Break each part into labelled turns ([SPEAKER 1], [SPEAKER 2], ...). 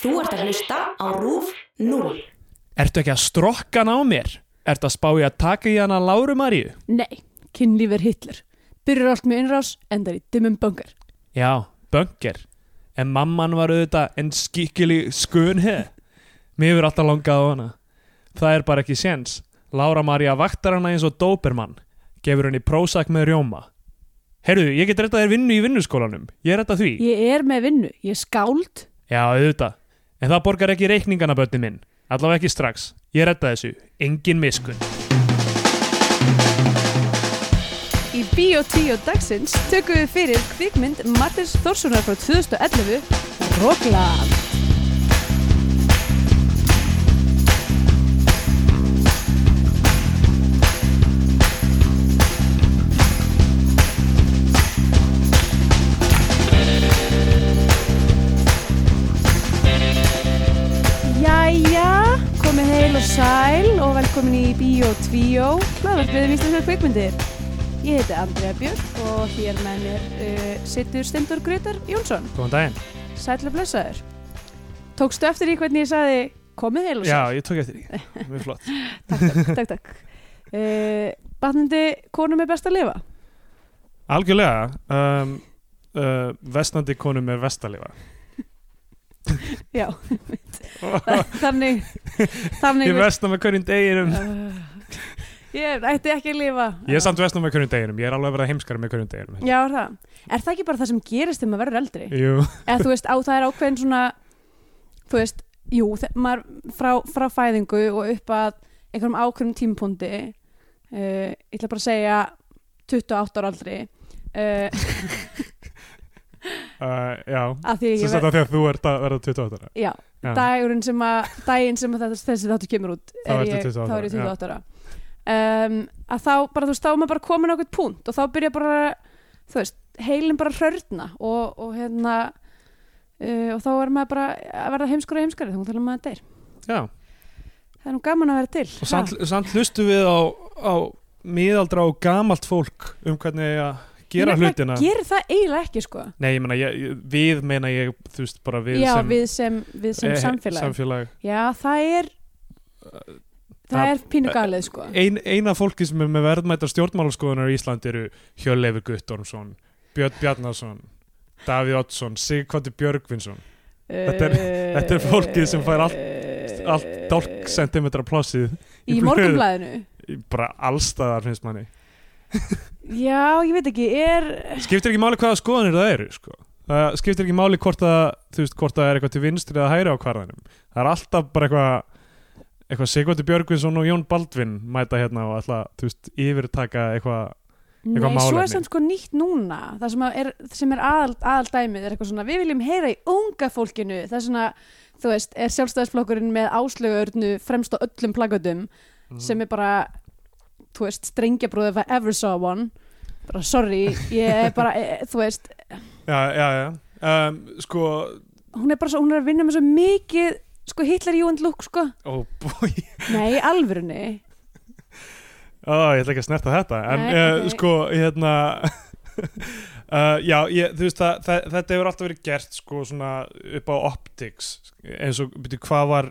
[SPEAKER 1] Þú ert að hlusta á RÚF 0.
[SPEAKER 2] Ertu ekki að strokka hann á mér? Ertu að spá ég að taka í hana Láru Maríu?
[SPEAKER 3] Nei, kynlíf er Hitler. Byrjar allt með innrás, endar í dimmum bangar.
[SPEAKER 2] Já, bönger. En mamman var auðvitað en skikili skunhe. Mér verður alltaf langað á hana. Það er bara ekki séns. Lára María vaktar hana eins og dópermann. Gefur henni prósak með rjóma. Herðu, ég get rettað þér vinnu í vinnuskólanum. Ég er rettað því.
[SPEAKER 3] Ég er með vinnu, ég er skáld.
[SPEAKER 2] Já, auðvitað. En það borgar ekki reikningana bönni minn. Allavega ekki strax. Ég rettað þessu. Engin miskun.
[SPEAKER 3] Í Bíó 10 dagsins tökum við fyrir kvikmynd Martins Þórssonar frá 2011 Rokland. Jæja, komið heil og sæl og velkomin í Bíó 2 hlaðvarpið um íslenskar kvikmyndir. Ég heiti Andrea Björk og hér með mér uh, sittur Stendur Gretar Jónsson.
[SPEAKER 2] Góðan daginn.
[SPEAKER 3] Sætla blessaður. Tókstu eftir í hvernig ég saði komið heil og
[SPEAKER 2] Já, ég tók eftir því. Mjög flott.
[SPEAKER 3] sæl? Takk, takk. Uh, Batnandi konum er best að lifa.
[SPEAKER 2] Algjörlega um, uh, Vestnandi konum er vestalifa
[SPEAKER 3] Já, þannig, þannig.
[SPEAKER 2] Ég vestna með hverjum deginum
[SPEAKER 3] Uh, ég ætti ekki að lifa.
[SPEAKER 2] Ég er samt vestna með hverjum deginum Ég er alveg að vera heimskar með hverjum deginum
[SPEAKER 3] Já, er það. Er það ekki bara það sem gerist þegar maður verður eldri?
[SPEAKER 2] Jú,
[SPEAKER 3] eða þú veist á það er ákveðin svona þú veist, jú þe- maður frá, frá fæðingu og upp að einhverjum ákveðnum tímpúndi uh, ég ætla bara að segja 28 ára aldri uh,
[SPEAKER 2] uh, já
[SPEAKER 3] að því
[SPEAKER 2] Svo
[SPEAKER 3] ég
[SPEAKER 2] þetta því að þú ert að verða 28 ára
[SPEAKER 3] já,
[SPEAKER 2] Já.
[SPEAKER 3] dagurinn sem að daginn sem að þetta, þessi þáttu kemur út eh,
[SPEAKER 2] Þá ertu
[SPEAKER 3] ég,
[SPEAKER 2] 28
[SPEAKER 3] þá er ég
[SPEAKER 2] ára,
[SPEAKER 3] 28 ára um, að þá bara þú veist, þá er maður bara komin á eitthvað punkt og þá byrja bara þú veist, heilin bara hrörna og, og hérna uh, og þá er maður bara að verða heimskari og heimskari þá er maður að deyr
[SPEAKER 2] Já,
[SPEAKER 3] Það er nú gaman að vera til.
[SPEAKER 2] og samt, samt hlustu við á, á miðaldra og gamalt fólk um hvernig ég að gera hlutina
[SPEAKER 3] Gerir það eiginlega ekki, sko.
[SPEAKER 2] Nei, ég meina, ég, ég- við meina ég þú veist bara við
[SPEAKER 3] Já,
[SPEAKER 2] sem
[SPEAKER 3] við sem, við sem
[SPEAKER 2] eh,
[SPEAKER 3] samfélag.
[SPEAKER 2] samfélag.
[SPEAKER 3] Já, það er, það
[SPEAKER 2] það-
[SPEAKER 3] er pínu galið, sko.
[SPEAKER 2] Ein, Eina fólki sem er með verðmættar stjórnmálaskoðunar í Ísland eru Hjölleifur Guttormsson Björn Bjarnason Davíð Oddsson, Sigvartur Björgvinsson Eh, þetta er-
[SPEAKER 3] Eh,
[SPEAKER 2] þetta er fólkið sem fær allt- allt dálk sentimetra plossið
[SPEAKER 3] Í morgunblæðinu.
[SPEAKER 2] bara allstaðar finnst manni
[SPEAKER 3] Já, ég veit ekki, er...
[SPEAKER 2] skiptir ekki máli hvaða skoðanir það eru sko. það skiptir ekki máli hvort það þú veist, hvort það er eitthvað til vinstri eða hæri á kvarðanum það er alltaf bara eitthvað eitthvað Sigvartur Björgvinsson og Jón Baldvin mæta hérna og alltaf, þú veist, yfirtaka eitthvað,
[SPEAKER 3] Nei,
[SPEAKER 2] Eitthvað
[SPEAKER 3] svo
[SPEAKER 2] málefni.
[SPEAKER 3] er samt sko nýtt núna það sem að er, sem er aðal, aðaldæmið er eitthvað svona, við viljum heyra í unga fólkinu það er svona, þú veist, er sjálfstæðisflokkurinn með áslöguörnu fremst á öllum plagatum
[SPEAKER 2] Mhm.
[SPEAKER 3] sem er bara þú veist, strengjabrúð if I ever saw one bara sorry, ég er bara eh, þú veist,
[SPEAKER 2] já, já, já um, sko,
[SPEAKER 3] hún er bara svo, hún er að vinna með svo mikið sko Hitler Júend Lúk sko
[SPEAKER 2] ó oh bói
[SPEAKER 3] nei, í alvörunni
[SPEAKER 2] Ó, ég ætla ekki að snerta þetta en
[SPEAKER 3] Nei,
[SPEAKER 2] Nei,
[SPEAKER 3] ok.
[SPEAKER 2] sko, hérna uh, já, ég, þú veist það, það, þetta hefur alltaf verið gert sko svona upp á optics eins og, byrju, hvað var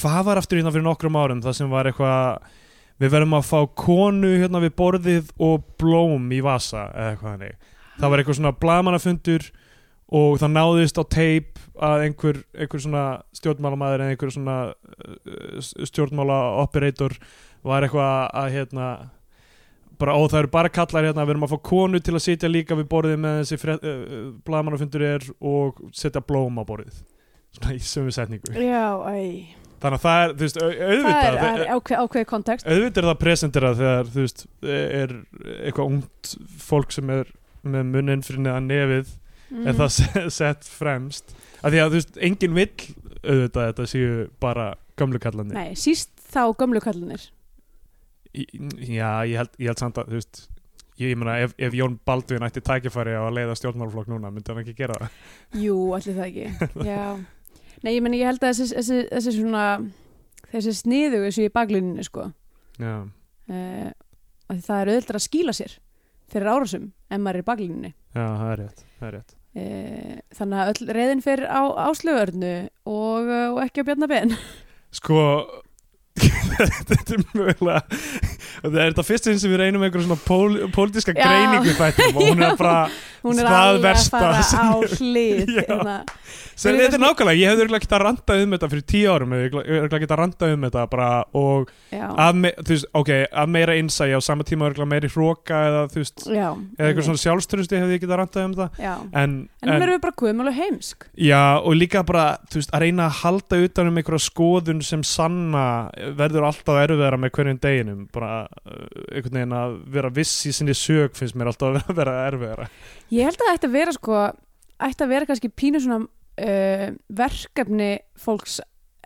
[SPEAKER 2] hvað var aftur hérna fyrir nokkrum árum það sem var eitthvað við verðum að fá konu hérna við borðið og blóm í vasa eða eitthvað þannig það var eitthvað svona blamanafundur og það náðist á teip að einhver, einhver svona stjórnmálamæður eða einhver svona uh, stjórnmála operator var eitthvað að hérna bara, ó það eru bara kallar hérna við erum að fá konu til að sitja líka við borðið með þessi fre- uh, uh, blaðmannafundur er og setja blóm á borðið svona í sömu setningu
[SPEAKER 3] já, æ,
[SPEAKER 2] þannig að það er, þú veist, au-
[SPEAKER 3] það
[SPEAKER 2] auðvitað
[SPEAKER 3] er, er ákveð, ákveð kontekst
[SPEAKER 2] auðvitað er það presenterað þegar þú veist, e-, er eitthvað ungt fólk sem er með munnin fyrir neðan nefið er
[SPEAKER 3] Mhm.
[SPEAKER 2] það se- sett fremst af því að þú veist, enginn vill auðvitað að þetta séu bara gömlu kallandi
[SPEAKER 3] Mm. nei, síst þá gömlu kallinir
[SPEAKER 2] Í- já, ég held, ég held samt að þú veist ég, ég meina, ef, ef Jón Baldvin ætti tækifæri á að leiða stjórnmálflokk núna myndi hann ekki gera það
[SPEAKER 3] Jú, allir það ekki Já, nei, ég meni, ég held að þessi, þessi, þessi svona þessi sniðu þessu í baklíninu, sko
[SPEAKER 2] já,
[SPEAKER 3] uh, það er auðvitað að skýla sér fyrir árásum en maður er í baklíninu
[SPEAKER 2] já það er rétt, það er rétt.
[SPEAKER 3] Eh, Þannig að öll reyðin fyrir á áslöfurnu og, eh, og ekki á Bjarnabenn.
[SPEAKER 2] Sko Þetta er mögulega Það er þetta fyrst sinn sem við reynum einhverjum svona pól, pólitíska
[SPEAKER 3] Já.
[SPEAKER 2] greiningu í þættinum og hún
[SPEAKER 3] Já.
[SPEAKER 2] er bara,
[SPEAKER 3] Hún er
[SPEAKER 2] Það
[SPEAKER 3] alveg að
[SPEAKER 2] versta
[SPEAKER 3] fara
[SPEAKER 2] sem
[SPEAKER 3] á
[SPEAKER 2] ég-
[SPEAKER 3] hlið.
[SPEAKER 2] Já.
[SPEAKER 3] hérna.
[SPEAKER 2] sem
[SPEAKER 3] Fyrir
[SPEAKER 2] þetta er nákvæmlega, ég hefði örgulega getað randað um þetta fyrir tíu árum, ég hefði örgulega getað randað um þetta bara og
[SPEAKER 3] Já.
[SPEAKER 2] að, me, þú veist, ok, að meira innsæja á sama tíma örgulega meiri hróka eða þú veist,
[SPEAKER 3] Já.
[SPEAKER 2] eða eitthvað svona sjálfstrusti hefði ég getað randað um það
[SPEAKER 3] Já.
[SPEAKER 2] en,
[SPEAKER 3] Mm. En um hún er við bara gömul og heimsk.
[SPEAKER 2] Já, og líka bara, þú veist, að reyna að halda utan um einhverja skoðun sem sanna verður alltaf erfiðara með hverjum deginum, bara uh, einhvern veginn að vera viss í sinni sög finnst mér alltaf að vera erfiðara
[SPEAKER 3] Ég held að það ætti að vera sko, ætti að vera kannski pínu svona uh, verkefni fólks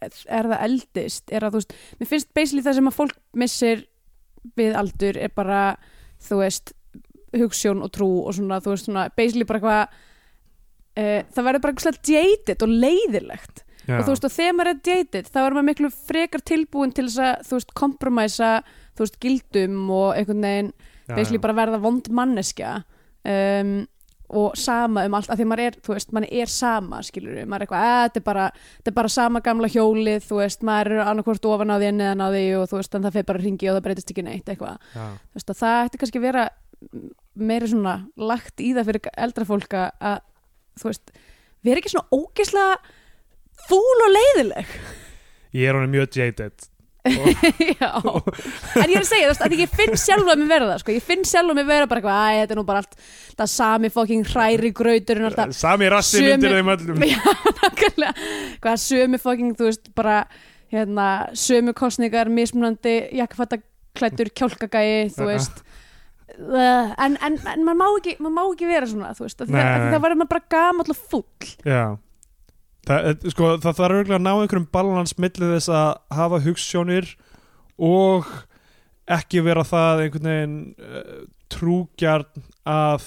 [SPEAKER 3] er það eldist, er að þú veist, mér finnst basically það sem að fólk missir við aldur er bara, þú veist, hugssjón og trú og svona, þú veist, svona basically bara eitthvað, uh, það verður bara eitthvað jaded og leiðilegt
[SPEAKER 2] Já,
[SPEAKER 3] og þú veist og þegar maður er dated þá er maður miklu frekar tilbúin til þess að þú veist kompromæsa þú veist gildum og einhvern veginn
[SPEAKER 2] já,
[SPEAKER 3] basically
[SPEAKER 2] já.
[SPEAKER 3] bara verða vond manneskja um, og sama um allt af því maður er, þú veist, maður er sama skilur við, maður er eitthvað, að þetta er bara þetta er bara sama gamla hjólið, þú veist maður er annarkvort ofan á því en neðan á því og þú veist en það fer bara ringi og það breytist ekki neitt eitthvað
[SPEAKER 2] já.
[SPEAKER 3] þú veist að það ætti kannski að vera meira svona lagt í það fyrir eldra fólka að, þú veist vera ekki svona ógeðslega fúl og leiðileg
[SPEAKER 2] Ég er honum mjög jaded
[SPEAKER 3] Já, en ég er að segja, þú veist, að ég finn sjálf að mér verða það, sko, ég finn sjálf að mér verða bara eitthvað, æ, þetta er nú bara allt, það sami fokking hræri grauturinn og alltaf,
[SPEAKER 2] Sami rassi
[SPEAKER 3] Sumir-
[SPEAKER 2] myndir þeim öllum
[SPEAKER 3] já, nákvæmlega, hvað sömu fokking, þú veist, bara, hérna, sömu kostningar, mismunandi, jakkafattaklættur, kjálkagæi, þú veist, uh, en, en, en maður má ekki, maður má ekki vera svona, þú veist, af því
[SPEAKER 2] Nei,
[SPEAKER 3] það, af
[SPEAKER 2] nei.
[SPEAKER 3] því það verður maður bara gamall og fúll,
[SPEAKER 2] Já Það, eh, sko, það þarf örgulega að ná einhverjum balans millið þess að hafa hugssjónir og ekki vera það einhvern veginn uh, trúgjarn að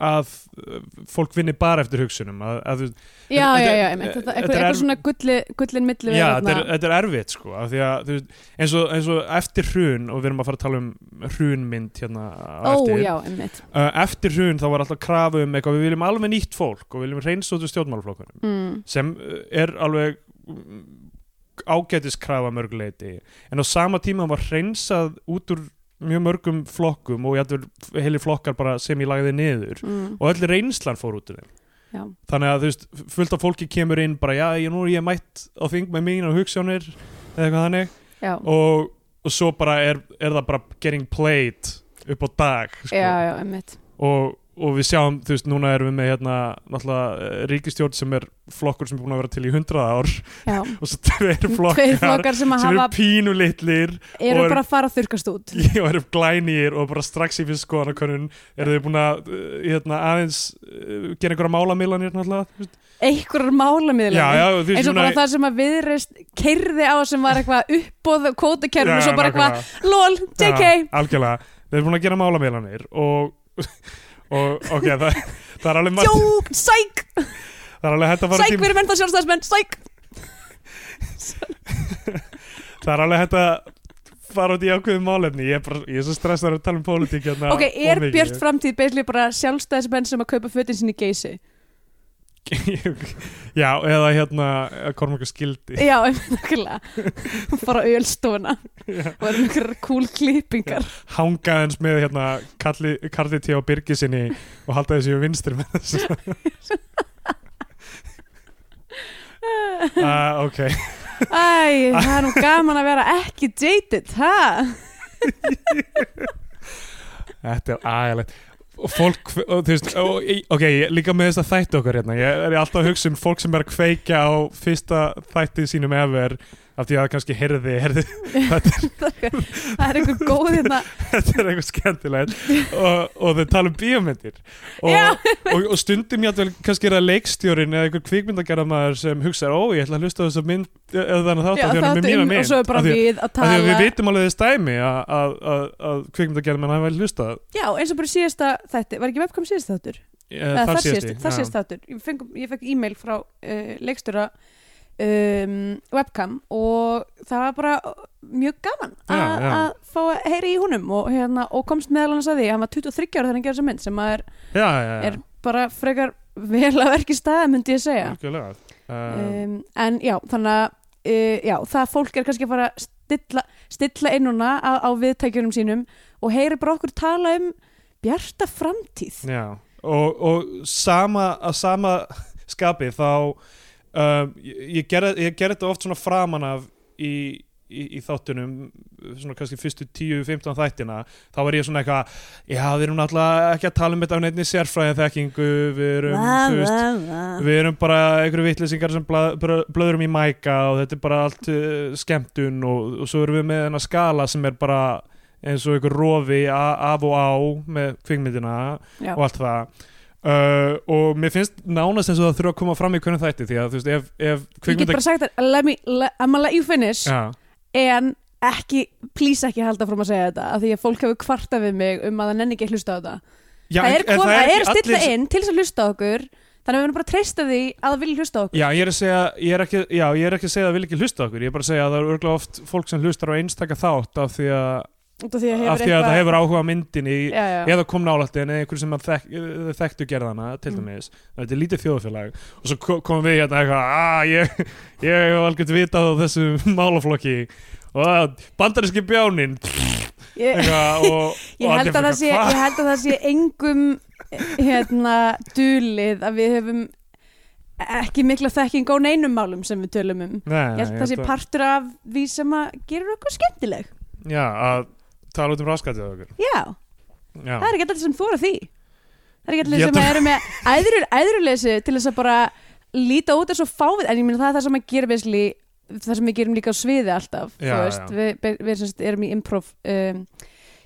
[SPEAKER 2] að eh, fólk vinni bara eftir hugsunum að, að, þú-
[SPEAKER 3] já,
[SPEAKER 2] Þetta-
[SPEAKER 3] já, já,
[SPEAKER 2] þetta-
[SPEAKER 3] einmitt, þetta-
[SPEAKER 2] þetta
[SPEAKER 3] eitthvað
[SPEAKER 2] er-
[SPEAKER 3] eitthvað svona gulli, gullin milli
[SPEAKER 2] já, þetta
[SPEAKER 3] hérna.
[SPEAKER 2] er, þetta er erfitt sko, af því að, þú veist, eins, og, eins og eftir hrun og við erum að fara að tala um hrunmynd hérna á
[SPEAKER 3] ó,
[SPEAKER 2] eftir
[SPEAKER 3] já, einmitt,
[SPEAKER 2] Eh, eftir hrun þá var alltaf krafa um eitthvað við viljum alveg nýtt fólk og við viljum reynst út úr stjórnmálaflokkunum
[SPEAKER 3] mm.
[SPEAKER 2] sem eh, er alveg mm, ágætiskrafa mörguleiti en á sama tíma var hreinsað út úr mjög mörgum flokkum og jættur heilir flokkar bara sem ég lagði niður
[SPEAKER 3] Mm,
[SPEAKER 2] og öll reynslan fór út úr þeim
[SPEAKER 3] já.
[SPEAKER 2] þannig að þú veist, fullt af fólki kemur inn bara já, ég, nú er ég mætt á þing með mín og hugssjónir eða eitthvað þannig
[SPEAKER 3] Já.
[SPEAKER 2] og, og svo bara er, er það bara getting played upp á dag sko
[SPEAKER 3] já, já, einmitt
[SPEAKER 2] og, og við sjáum, þú veist, núna erum við með hérna, náttúrulega eh, ríkistjórn sem er flokkur sem er búin að vera til í 100 ár
[SPEAKER 3] já.
[SPEAKER 2] og svo tveir flokkar,
[SPEAKER 3] Tveir flokkar sem, að
[SPEAKER 2] sem eru
[SPEAKER 3] hafa,
[SPEAKER 2] pínu litlir og
[SPEAKER 3] eru
[SPEAKER 2] eru-
[SPEAKER 3] bara að fara að þurkast út
[SPEAKER 2] og eru glænýr og bara strax í fyrst skoðanakönnun eru þau búin að eh, hérna, aðeins eh, gera einhverja málamilanir náttúrulega þú veist?
[SPEAKER 3] einhverjar málamiðlega
[SPEAKER 2] já, já, þú veist,
[SPEAKER 3] eins og
[SPEAKER 2] svona-
[SPEAKER 3] bara það sem að viðreist keirði á sem var eitthvað uppbóð
[SPEAKER 2] Já,
[SPEAKER 3] kvótakerfum og svo bara eitthvað
[SPEAKER 2] nákvæmlega.
[SPEAKER 3] lol, JK
[SPEAKER 2] Já, algjörlega, þau eru búin að gera málamilanir og, og ok, það, það er alveg margt-
[SPEAKER 3] Jók, sæk,
[SPEAKER 2] það er alveg hægt að fara
[SPEAKER 3] sæk, við erum ennþá sjálfstæðismenn, sæk
[SPEAKER 2] Það er alveg hægt að fara út í ákveðum málefni Ég er, bara, ég er svo stressaður að tala um pólitík hérna
[SPEAKER 3] Ok, er
[SPEAKER 2] of mikið.
[SPEAKER 3] Björt framtíð beislega bara sjálfstæðismenn sem að kaupa fötin sinni í geysi
[SPEAKER 2] Já, eða hérna Kormáka skildi
[SPEAKER 3] Já, einhverjulega Fara á ölstofuna og erum einhverjar cool klippingar
[SPEAKER 2] Hanga eins með hérna Karli, Karli T. og Birgi sinni og halda þessi við vinstri með þessu uh, Ok,
[SPEAKER 3] Æ, það er nú gaman að vera ekki dated, ha?
[SPEAKER 2] þetta er aðeinslegt og fólk, og, þú veist, og, ok, ég, líka með þess að þætti okkar hérna, ég er alltaf að hugsa um fólk sem er að kveikja á fyrsta þætti sínum efer, af því að kannski heyrði, heyrði,
[SPEAKER 3] það er einhver góð hérna
[SPEAKER 2] þetta er eitthvað skemmtilegt og, og þau tala um bíómyndir og,
[SPEAKER 3] Já.
[SPEAKER 2] og, og stundum ég að kannski er það leikstjórin eða einhver kvikmyndagerðamaður sem hugsaður ó ég ætla að hlusta á þess að mynd eða þannig þátt
[SPEAKER 3] Já,
[SPEAKER 2] að því hann er
[SPEAKER 3] þáttu
[SPEAKER 2] með mína
[SPEAKER 3] um-
[SPEAKER 2] mynd
[SPEAKER 3] og svo er bara
[SPEAKER 2] Af því,
[SPEAKER 3] við að
[SPEAKER 2] af því að
[SPEAKER 3] tala
[SPEAKER 2] við vitum alveg þess dæmi að, að, að, að kvikmyndagerðamenn hafa hlustað
[SPEAKER 3] já, eins og bara síðasta þætti, var ekki webcam síðasta þáttur?
[SPEAKER 2] eða
[SPEAKER 3] Eða
[SPEAKER 2] þar
[SPEAKER 3] þar
[SPEAKER 2] síðasti
[SPEAKER 3] þar síðast þáttur ég fekk, ég fekk e-mail frá uh, leikstura um, webcam og það var bara mjög gaman
[SPEAKER 2] Já,
[SPEAKER 3] að
[SPEAKER 2] já.
[SPEAKER 3] að fá að heyri í honum og, hérna, og komst meðal hans að því, hann var 23 ára þegar hann gerði þessa mynd sem að er,
[SPEAKER 2] já, já, já,
[SPEAKER 3] er bara frekar vel að verki staða myndi ég segja
[SPEAKER 2] algjörlega uh,
[SPEAKER 3] um, en já, þannig að uh, já, það fólk er kannski að fara að stilla, stilla innuna á, á viðtækjunum sínum og heyri bara okkur tala um bjarta framtíð
[SPEAKER 2] Já, og, og sama, að sama skapi þá um, ég, ég gerði ég gerði þetta oft svona framan af í, í, í þáttunum svona kannski fyrstu 10-15 þættina þá var ég svona eitthvað já við erum náttúrulega ekki að tala um þetta af neinni sérfræðin þekkingu við erum, þú veist
[SPEAKER 3] vá.
[SPEAKER 2] Við erum bara einhverju vitlýsingar sem blað, blö- blöðrum í mæka og þetta er bara allt uh, skemmtun og, og svo erum við með þennan skala sem er bara eins og einhver rofi a- af og á með kvikmyndina
[SPEAKER 3] Já.
[SPEAKER 2] og allt það uh, og mér finnst nánast eins og það þurfa að koma fram í hvernig þætti því að þú veist ef, ef
[SPEAKER 3] ég get
[SPEAKER 2] kvikmynda
[SPEAKER 3] bara sagt þér let me, let, I'm gonna let you finish
[SPEAKER 2] ja,
[SPEAKER 3] en ekki, please ekki halda fram að segja þetta af því að fólk hefur kvartað við mig um að það nenni ekki að hlusta á þetta
[SPEAKER 2] já,
[SPEAKER 3] það er,
[SPEAKER 2] en- en
[SPEAKER 3] kom, það er
[SPEAKER 2] ekki
[SPEAKER 3] stilla
[SPEAKER 2] allir-
[SPEAKER 3] inn til þess að hlusta á okkur þannig að við erum bara að treysta því að það vilja hlusta á okkur
[SPEAKER 2] Já, ég er að segja, ég er ekki, já, ég er ekki að segja að það vil ekki hlusta á okkur, ég er bara að segja að það er örgla oft fólk sem hlustar á einstaka þátt af því að,
[SPEAKER 3] Út af því að,
[SPEAKER 2] af því að það hefur áhuga á myndinni í,
[SPEAKER 3] já, já.
[SPEAKER 2] eða kom nálætti en einhver sem að þek, eh, þekktu gerðana til
[SPEAKER 3] Mm.
[SPEAKER 2] dæmis, þetta er lítið þjóðfélag og svo ko- komum við hérna eitthvað að ég, ég hef algjört vitað á þessum málaflokki og að bandaríski bjáninn
[SPEAKER 3] Ég,
[SPEAKER 2] eitthvað og,
[SPEAKER 3] ég,
[SPEAKER 2] og
[SPEAKER 3] held að það sé,
[SPEAKER 2] "Hva?"
[SPEAKER 3] ég held að það sé engum hérna dulið að við hefum ekki mikla þekking á neinum málum sem við tölum um
[SPEAKER 2] Nei, nei,
[SPEAKER 3] ég held að það sé partur af því sem að gerir okkur skemmtileg
[SPEAKER 2] Já, að tala út um raskatið á okkur
[SPEAKER 3] já,
[SPEAKER 2] Já,
[SPEAKER 3] það er ekki allir sem þóra því það er ekki allir
[SPEAKER 2] Ég
[SPEAKER 3] sem eru með æðrur, æðruleysi til þess að bara líta út eins og fávið en ég meina það er það sem að gera vesli það sem við gerum líka á sviði alltaf þú
[SPEAKER 2] Já,
[SPEAKER 3] veist,
[SPEAKER 2] já.
[SPEAKER 3] við, við, við semst erum í improv um,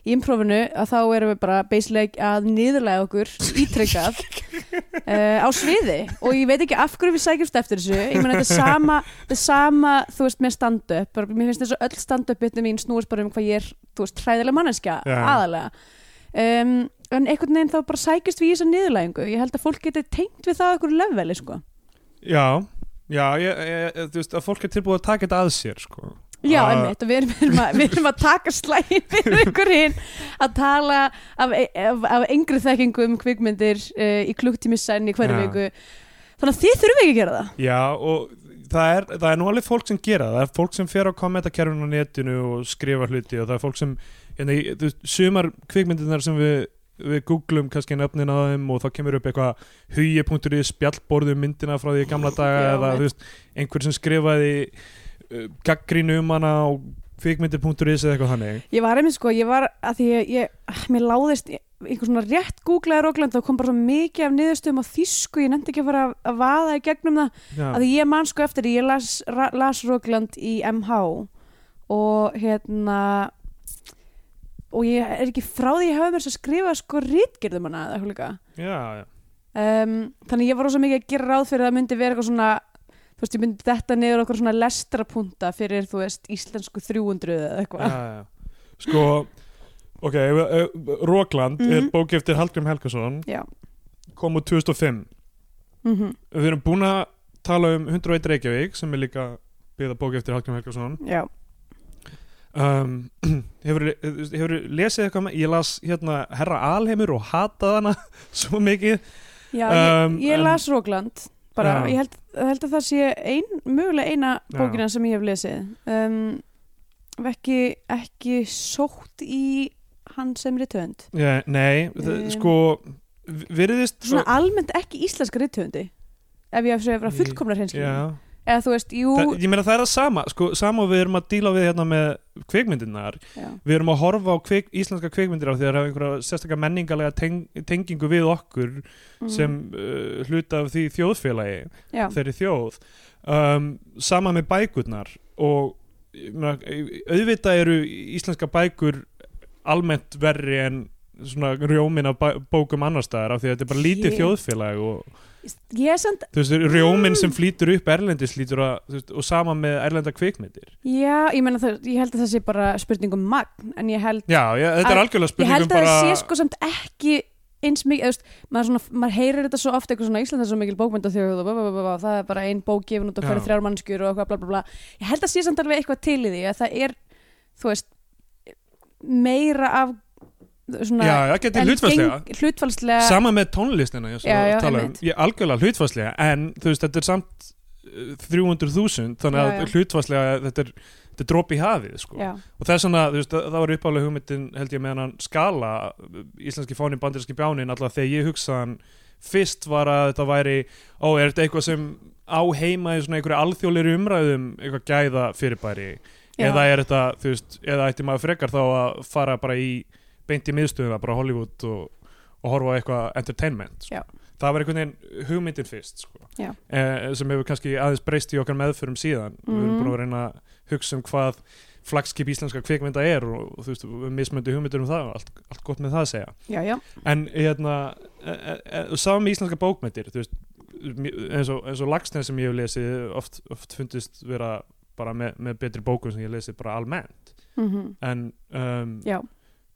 [SPEAKER 3] í improvinu að þá erum við bara basically að niðurlega okkur ítrykkað uh, á sviði og ég veit ekki af hverju við sækjumst eftir þessu ég meina þetta er sama, þetta er sama þú veist með stand-up, Bara- mér finnst þess að öll stand-up bitni mín snúist bara um hvað ég er þú veist hræðilega manneskja
[SPEAKER 2] Já.
[SPEAKER 3] aðalega um, en einhvern veginn þá bara sækjumst við í þessa niðurlægingu, ég held að fólk geti tengt við það okkur leveli sko
[SPEAKER 2] já, já ég, ég, þú veist að fólk er tilbúið að taka þetta að sér sko.
[SPEAKER 3] Já,
[SPEAKER 2] Að-
[SPEAKER 3] einmitt, og við erum, við erum, að, við erum að taka slægin fyrir ykkur hinn að tala af, af, af engri þekkingu um kvikmyndir uh, í klukktími senn í hverju
[SPEAKER 2] Já.
[SPEAKER 3] viku Þannig að þið þurfum ekki að gera það
[SPEAKER 2] Já og það er, það er nú alveg fólk sem gera það, það er fólk sem fer á kommentakerfinu á netinu og skrifa hluti og það er fólk sem, hérna, í- þú veist, sumar kvikmyndirnar sem við, við googlum kannski nöfnin á þeim og þá kemur upp eitthvað hugi.ri spjallborðu myndina frá því í gamla daga
[SPEAKER 3] Já,
[SPEAKER 2] eða
[SPEAKER 3] mitt.
[SPEAKER 2] þú veist, einhver sem skrifaði uh, gaggrínu um hana og kvikmyndir.is eða eitthvað þannig
[SPEAKER 3] Ég var einmitt sko, ég var að því ég, ég, ah, mér láðist í- einhver svona rétt googlaði rókland og kom bara svo mikið af niðurstöðum á þýsku, ég nefndi ekki að fara að, að vaða í gegnum það
[SPEAKER 2] Já,
[SPEAKER 3] að því ég man sko eftir því, ég las, ra, las Rockland í MH og hérna og ég er ekki frá því ég hafa mér að skrifa sko rítgerðum hana eða eitthvað líka.
[SPEAKER 2] já, já.
[SPEAKER 3] um, þannig ég var rosa mikið að gera ráð fyrir að það myndi vera eitthvað svona þú veist ég myndi þetta niður okkur svona lestrapunta fyrir þú veist íslensku 300 eða eitthvað
[SPEAKER 2] já, já. Sko Ok, eh, Rókland mm er
[SPEAKER 3] Mhm.
[SPEAKER 2] bók eftir Hallgrim Helgason
[SPEAKER 3] Já.
[SPEAKER 2] kom úr 2005
[SPEAKER 3] mm
[SPEAKER 2] Við erum búin að tala um 101 Reykjavík sem er líka byggða bók eftir Hallgrim Helgason
[SPEAKER 3] já,
[SPEAKER 2] um, Hefur hefurðu lesið eitthvað með Ég las hérna Herra Alheimur og hatað hana svo mikið
[SPEAKER 3] já ég,
[SPEAKER 2] Um,
[SPEAKER 3] ég
[SPEAKER 2] en-
[SPEAKER 3] las Rockland bara,
[SPEAKER 2] Já.
[SPEAKER 3] ég held, held að það sé ein, mögulega eina bókina sem ég hef lesið um, hef ekki, ekki sótt í hann sem rithöfund
[SPEAKER 2] Já, Nei,
[SPEAKER 3] Um.
[SPEAKER 2] um, sko virðist
[SPEAKER 3] svona almennt ekki íslenska rithöfundi ef ég hef segja að vera fullkomna hreinskilin
[SPEAKER 2] Já
[SPEAKER 3] eða þú veist, jú
[SPEAKER 2] Það, ég meina það er það sama, sko, sama og við erum að díla við hérna með kvikmyndirnar
[SPEAKER 3] já,
[SPEAKER 2] við erum að horfa á kvik, íslenska kvikmyndir af því að það er einhverja sérstaklega menningalega teng, tengingu við okkur
[SPEAKER 3] mm,
[SPEAKER 2] sem uh, hluta af því þjóðfélagi
[SPEAKER 3] já,
[SPEAKER 2] þeirri þjóð um, sama með bækurnar og ég meina, auðvitað eru íslenska bækur almennt verri en svona rjómin af bæ- bókum annar staðar af því að þetta er bara lítið
[SPEAKER 3] Ég-
[SPEAKER 2] þjóðfélag og
[SPEAKER 3] ég er samt
[SPEAKER 2] þú veist, rjómin sem flýtur upp erlendis flýtur að, þú veist, og sama með erlenda kvikmyndir
[SPEAKER 3] já, ég meina það, ég held að það sé bara spurning um magn, en ég held
[SPEAKER 2] Já, ég, þetta er
[SPEAKER 3] Að-
[SPEAKER 2] algjörlega
[SPEAKER 3] ég
[SPEAKER 2] spurningum
[SPEAKER 3] held að
[SPEAKER 2] bara
[SPEAKER 3] það sé sko samt ekki eins mikið, þú veist, maður, svona, maður heyrir þetta svo ofta eitthvað svona Ísland er svo mikil bókmynda þjóð og bla, bla, bla, bla, það er bara ein bók gefin út og hverju
[SPEAKER 2] Já.
[SPEAKER 3] þrjár mannskjur og eitthvað bla bla bla ég held að sé samt alveg eitthvað til í því að það er þú veist meira af svona,
[SPEAKER 2] já, það getur hlutfærslega
[SPEAKER 3] hlutfalslega
[SPEAKER 2] sama með tónlistina já,
[SPEAKER 3] Eh, Já, já,
[SPEAKER 2] tala, um.
[SPEAKER 3] einmitt.
[SPEAKER 2] ég, algjörlega hlutfærslega en þú veist, þetta er samt uh, 300.000 þannig
[SPEAKER 3] Já,
[SPEAKER 2] að
[SPEAKER 3] já.
[SPEAKER 2] hlutfærslega þetta er, þetta er drop í hafið sko.
[SPEAKER 3] já,
[SPEAKER 2] og þess vegna, þú veist, það það var uppálega hugmyndin held ég með hann skala uh, íslenski fánin, bandarinski bjánin, alltaf þegar ég hugsa hann fyrst var að þetta væri ó, er þetta eitthvað sem á heima í svona einhverju alþjóðleiri umræðum eitthvað gæða fyrirbæri
[SPEAKER 3] já,
[SPEAKER 2] eða er þetta, þú veist, eða ætti maður frekar þá að fara bara í beint í miðstöðuna, bara Hollywood og, og horfa á eitthvað entertainment
[SPEAKER 3] Já.
[SPEAKER 2] sko. það var einhvern veginn hugmyndin fyrst sko.
[SPEAKER 3] Já.
[SPEAKER 2] eh, sem hefur kannski aðeins breyst í okkar meðförum síðan við erum
[SPEAKER 3] Mhm.
[SPEAKER 2] búin að reyna að hugsa um hvað flagskip íslenska kvikmynda er og þú veist, mismöndu hugmyndir um það og allt, allt gott með það að segja
[SPEAKER 3] já, já,
[SPEAKER 2] en hérna e- e- e- sá með íslenska bókmyndir þú veist, mj- eins og, eins og lagsneið sem ég hef lesið oft, oft fundist vera bara með, með betri bókum sem ég hef lesið bara almennt
[SPEAKER 3] mhm,
[SPEAKER 2] en um,
[SPEAKER 3] já.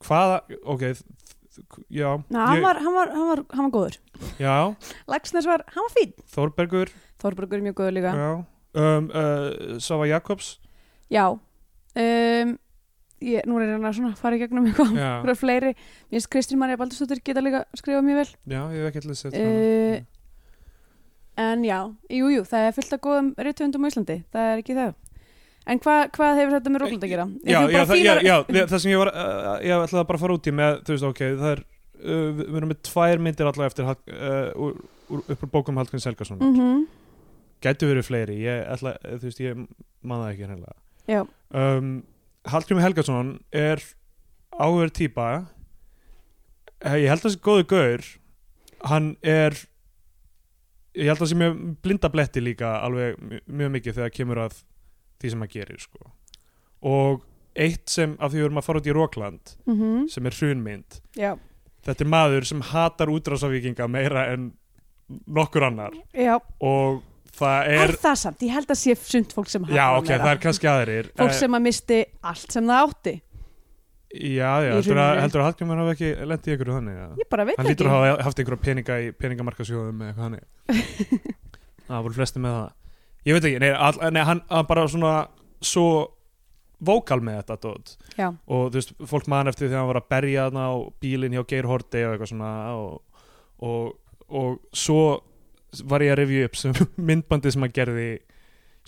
[SPEAKER 2] hvaða, ok þ- þ- já,
[SPEAKER 3] Ná, hann,
[SPEAKER 2] ég-
[SPEAKER 3] var, hann, var, hann, var, hann var góður
[SPEAKER 2] já,
[SPEAKER 3] Lagsnes var, hann var fín
[SPEAKER 2] Þórbergur
[SPEAKER 3] Þorbergur er mjög góður líka
[SPEAKER 2] já, um, uh, Sava Jakobs
[SPEAKER 3] já um, ég, nú er hann að svona fara í gegnum eitthvað
[SPEAKER 2] já,
[SPEAKER 3] frá fleiri, mér finnst Kristín Marja Baldursdóttir geta líka skrifað mjög vel
[SPEAKER 2] já, ég hef ekki allir sett
[SPEAKER 3] Eh, en já, jú, jú, það er fullt af góðum rithöfundum á Íslandi, það er ekki það en hva, hvað hefur þetta með Róland að gera?
[SPEAKER 2] já, já,
[SPEAKER 3] Eru bara
[SPEAKER 2] það, já,
[SPEAKER 3] fínar-
[SPEAKER 2] já, já, það sem ég var uh, ég ætlaði bara að fara út í með, þú veist, ok það er, uh, við við erum með tvær myndir allavega eftir Hall- uh, úr, úr, upp úr bókum Hallgrins Helgason, mm.
[SPEAKER 3] Mhm,
[SPEAKER 2] gætu verið fleiri ég ætla, eh, þú veist, ég man það ekki hennilega
[SPEAKER 3] já,
[SPEAKER 2] um, Hallgrim Helgason er áhverð típa Eh, ég held að það sé góðu gaur hann er ég held að það sé mjög blindabletti líka alveg mj- mjög mikið þegar kemur að því sem hann gerir sko. og eitt sem af því við erum að fara út í Rókland
[SPEAKER 3] mhm,
[SPEAKER 2] sem er hrunmynd
[SPEAKER 3] já,
[SPEAKER 2] þetta er maður sem hatar útrásavíkinga meira en nokkur annar
[SPEAKER 3] já
[SPEAKER 2] og það
[SPEAKER 3] er,
[SPEAKER 2] er,
[SPEAKER 3] það samt, ég held að sé sumt fólk sem
[SPEAKER 2] já
[SPEAKER 3] hatar
[SPEAKER 2] ok,
[SPEAKER 3] meira.
[SPEAKER 2] það er kannski aðrir
[SPEAKER 3] fólk
[SPEAKER 2] Eh,
[SPEAKER 3] sem að misti allt sem það átti
[SPEAKER 2] já, já,
[SPEAKER 3] í
[SPEAKER 2] heldur að,
[SPEAKER 3] hruninu.
[SPEAKER 2] heldur að Hallgrimur hafa ekki lendið ykkur þannig að
[SPEAKER 3] ég bara veit
[SPEAKER 2] hann
[SPEAKER 3] ekki
[SPEAKER 2] lítur að hafa haft einhverja peninga í peningamarkasjóðum eða eitthvað hann það voru flesti með það ég veit ekki, nei, all, nei hann, hann bara svona svo vókal með þetta dót.
[SPEAKER 3] já,
[SPEAKER 2] og þú veist, fólk man eftir þegar hann var að berja þarna á bílinn hjá Geir Horti og eitthvað svona og, og, og svo var ég að revju upp sem myndbandi sem hann gerði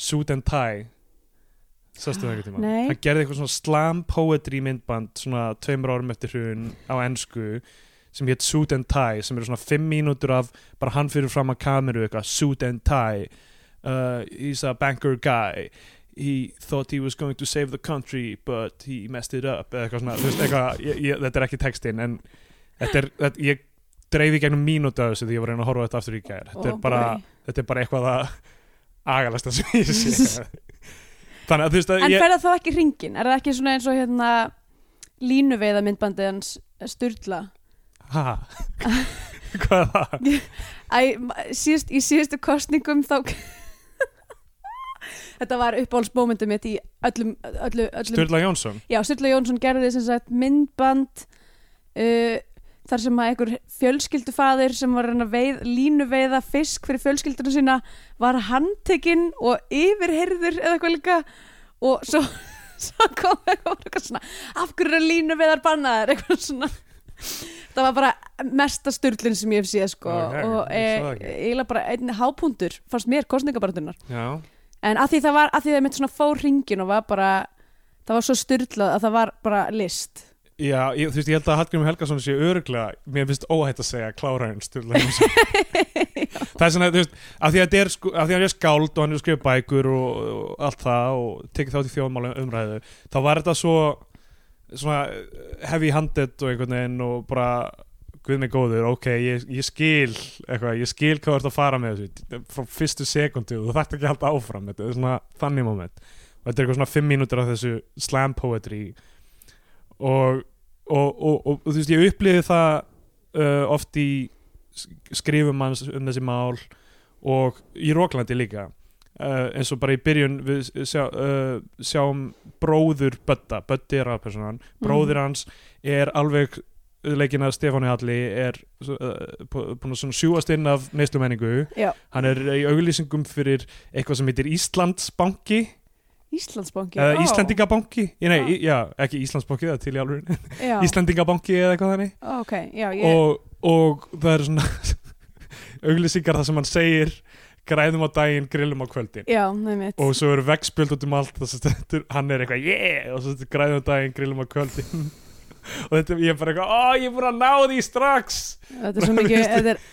[SPEAKER 2] Suit and Tie Sástu það eitthvað tíma?
[SPEAKER 3] Nei.
[SPEAKER 2] Hann gerði eitthvað svona slam poetry myndband svona tveimur árum eftir hrun á ensku sem hétt Suit and Tie sem eru svona fimm mínútur af bara hann fyrir fram að kameru eitthvað Suit and Tie uh, He's a banker guy He thought he was going to save the country but he messed it up eða eitthvað svona, þú veist, eitthvað, ég, ég, þetta er ekki textin en þetta er, þetta, ég dreifi gegnum mínútu af þessu því ég var að reyna að horfa á þetta aftur í gær þetta,
[SPEAKER 3] Ó,
[SPEAKER 2] er bara,
[SPEAKER 3] Oh, boy.
[SPEAKER 2] þetta er bara eitthvað að agalasta sem ég sé þannig að þú veist að
[SPEAKER 3] en
[SPEAKER 2] ég
[SPEAKER 3] fer það þá ekki hringin? er það ekki svona eins og hérna línuveiða myndbandið hans Sturla
[SPEAKER 2] ha, hvað er það?
[SPEAKER 3] Æ, ma- síðust, í síðustu kostningum þá þetta var uppáhaldsmómentum mitt í öllum, öllu, öllum
[SPEAKER 2] Sturla Jónsson
[SPEAKER 3] já, Sturla Jónsson gerði sem sagt myndband uh, þar sem að einhver fjölskyldufaðir sem var að reyna að veið, línu veiða fisk fyrir fjölskylduna sína var handtekinn og yfirherður eða eitthvað líka og svo, svo kom eitthvað, eitthvað svona af hverju er línu veiðar bannaðar eitthvað svona það var bara mesta sturlun sem ég hef séð sko
[SPEAKER 2] Ok,
[SPEAKER 3] og
[SPEAKER 2] ég sá það
[SPEAKER 3] eh,
[SPEAKER 2] ekki.
[SPEAKER 3] eiginlega bara einn hápundur fannst mér kostningabaratunar
[SPEAKER 2] já,
[SPEAKER 3] En að því það var, að því það mitt svona fór ringin og var bara, það var svo styrlað að það var bara list.
[SPEAKER 2] já ég, þú veist ég held að Hallgrim Helgason sé öruglega mér finnst óhætt að segja klára henn Sturla Jónsson það er svona, þú veist af því að þetta er, sko, af því að hann er skáld og hann er skrifa bækur og, og allt það og tekið þátt í þjóðmála umræðu þá var þetta svo svona heavy handed og einhvern veginn og bara guð mig góður, ok, ég, ég skil eitthvað, ég skil hvað þú ert að fara með þessu frá fyrstu sekundu og þú þarft ekki að halda áfram þetta er svona þannig moment og þetta er eitthvað svona fimm mínútur af þessu slam poetry og, og, og, og, og þú veist, ég upplýði það uh, oft í sk- skrifum hans um þessi mál og í Róklandi líka uh, eins og bara í byrjun við sjá, uh, sjáum bróður Bötta, Bötti er aðpersonan bróðir hans er alveg uh, leikinn að Stefáni Halli er svo- uh, bú- búinn að svona sjúast inn af neyslumenningu,
[SPEAKER 3] Já.
[SPEAKER 2] hann er í auglýsingum fyrir eitthvað sem heitir Íslandsbanki
[SPEAKER 3] Íslandsbanki
[SPEAKER 2] eða
[SPEAKER 3] ó,
[SPEAKER 2] Íslandingabanki Ég- nei,
[SPEAKER 3] Já.
[SPEAKER 2] í, já, ekki Íslandsbanki, það er til í alveg
[SPEAKER 3] já,
[SPEAKER 2] Íslandingabanki eða eitthvað þannig
[SPEAKER 3] ok, já, ég,
[SPEAKER 2] og, og það eru svona auglýsingar þar sem hann segir græðum á daginn, grillum á kvöldin
[SPEAKER 3] já, nefnitt
[SPEAKER 2] og svo eru veggspjöld út um allt og svo stendur, hann er eitthvað yeah og svo stendur græðum á daginn, grillum á kvöldin og þetta, ég er bara eitthvað, ó, ég er búin að ná því strax
[SPEAKER 3] þetta er svo mikið, þetta er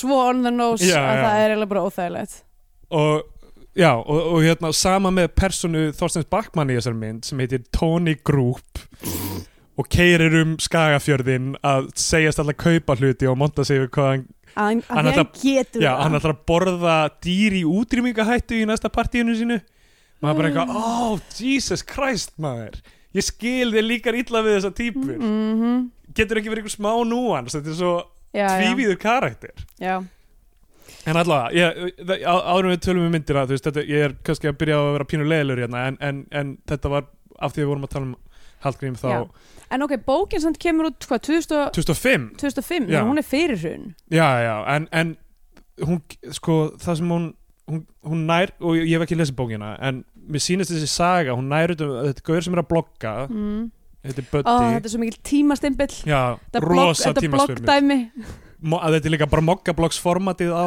[SPEAKER 3] svo on the nose
[SPEAKER 2] Já,
[SPEAKER 3] að
[SPEAKER 2] já.
[SPEAKER 3] það er eiginlega bara óþægilegt
[SPEAKER 2] og já, og, og hérna sama með personu Þorsteins Bakmann í þessari mynd sem heitir Tony Group og keirir um skagafjörðin að segjast alltaf kaupa hluti og monta sig við hvað hann,
[SPEAKER 3] að hann,
[SPEAKER 2] Hann
[SPEAKER 3] hann, hann
[SPEAKER 2] ætla-
[SPEAKER 3] getur
[SPEAKER 2] já,
[SPEAKER 3] það
[SPEAKER 2] hann ætlar að borða dýr í útrýmingahættu í næsta partíinu sínu maður bara
[SPEAKER 3] Mm.
[SPEAKER 2] eitthvað, oh, Jesus Christ maður ég skil þig líkar illa við þessa típur
[SPEAKER 3] Mhm.
[SPEAKER 2] getur ekki verið einhver smá núans þetta er svo
[SPEAKER 3] já, já,
[SPEAKER 2] tvívíður karakter
[SPEAKER 3] já,
[SPEAKER 2] En allavega, ég, það- á, árum við tölum við myndina, þú veist, þetta, ég er kannski að byrja á að vera pínu leiðilegur hérna, en, en, en þetta var af því við vorum að tala um Hallgrím þá
[SPEAKER 3] Já. en ok, bókin samt kemur út hvað, 2000 og-
[SPEAKER 2] 2005,
[SPEAKER 3] 2005,
[SPEAKER 2] Já.
[SPEAKER 3] þannig að hún er fyrir hrun
[SPEAKER 2] já, já, en, en hún, sko, það sem hún, hún, hún nær, og ég hef ekki lesið bókina, en mér sýnist þessi saga, hún nær út um, þetta er gaur sem er að blogga,
[SPEAKER 3] mm.
[SPEAKER 2] þetta er
[SPEAKER 3] Ó,
[SPEAKER 2] Böddi,
[SPEAKER 3] þetta er svo mikil tímastimpill
[SPEAKER 2] já,
[SPEAKER 3] Þetta er blogg-
[SPEAKER 2] rosa
[SPEAKER 3] þetta er
[SPEAKER 2] tímasfilmi,
[SPEAKER 3] bloggdæmi
[SPEAKER 2] að þetta er líka bara mokkablogsformatið á,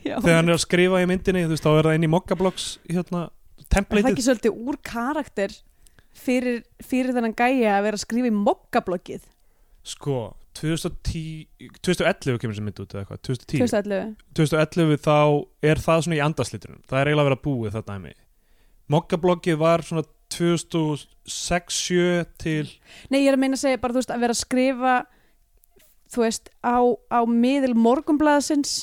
[SPEAKER 3] Já.
[SPEAKER 2] þegar hann er að skrifa í myndinni, þú veist, þá er það inn í mokkablogs, hérna,
[SPEAKER 3] Er það
[SPEAKER 2] templateið
[SPEAKER 3] ekki svolítið úr karakter fyrir, fyrir þennan gæja að vera að skrifa í mokkabloggið
[SPEAKER 2] Sko, 2010, 2011 kemur sem mynd út eða eitthvað, 2010
[SPEAKER 3] 2011
[SPEAKER 2] 2011 þá er það svona í andaslitrunum, það er eiginlega að vera búið þetta dæmi Mokkabloggið var svona 2006-7 til
[SPEAKER 3] Nei, ég er að meina að segja bara þú veist að vera að skrifa þú veist á, á miðil morgunblaðsins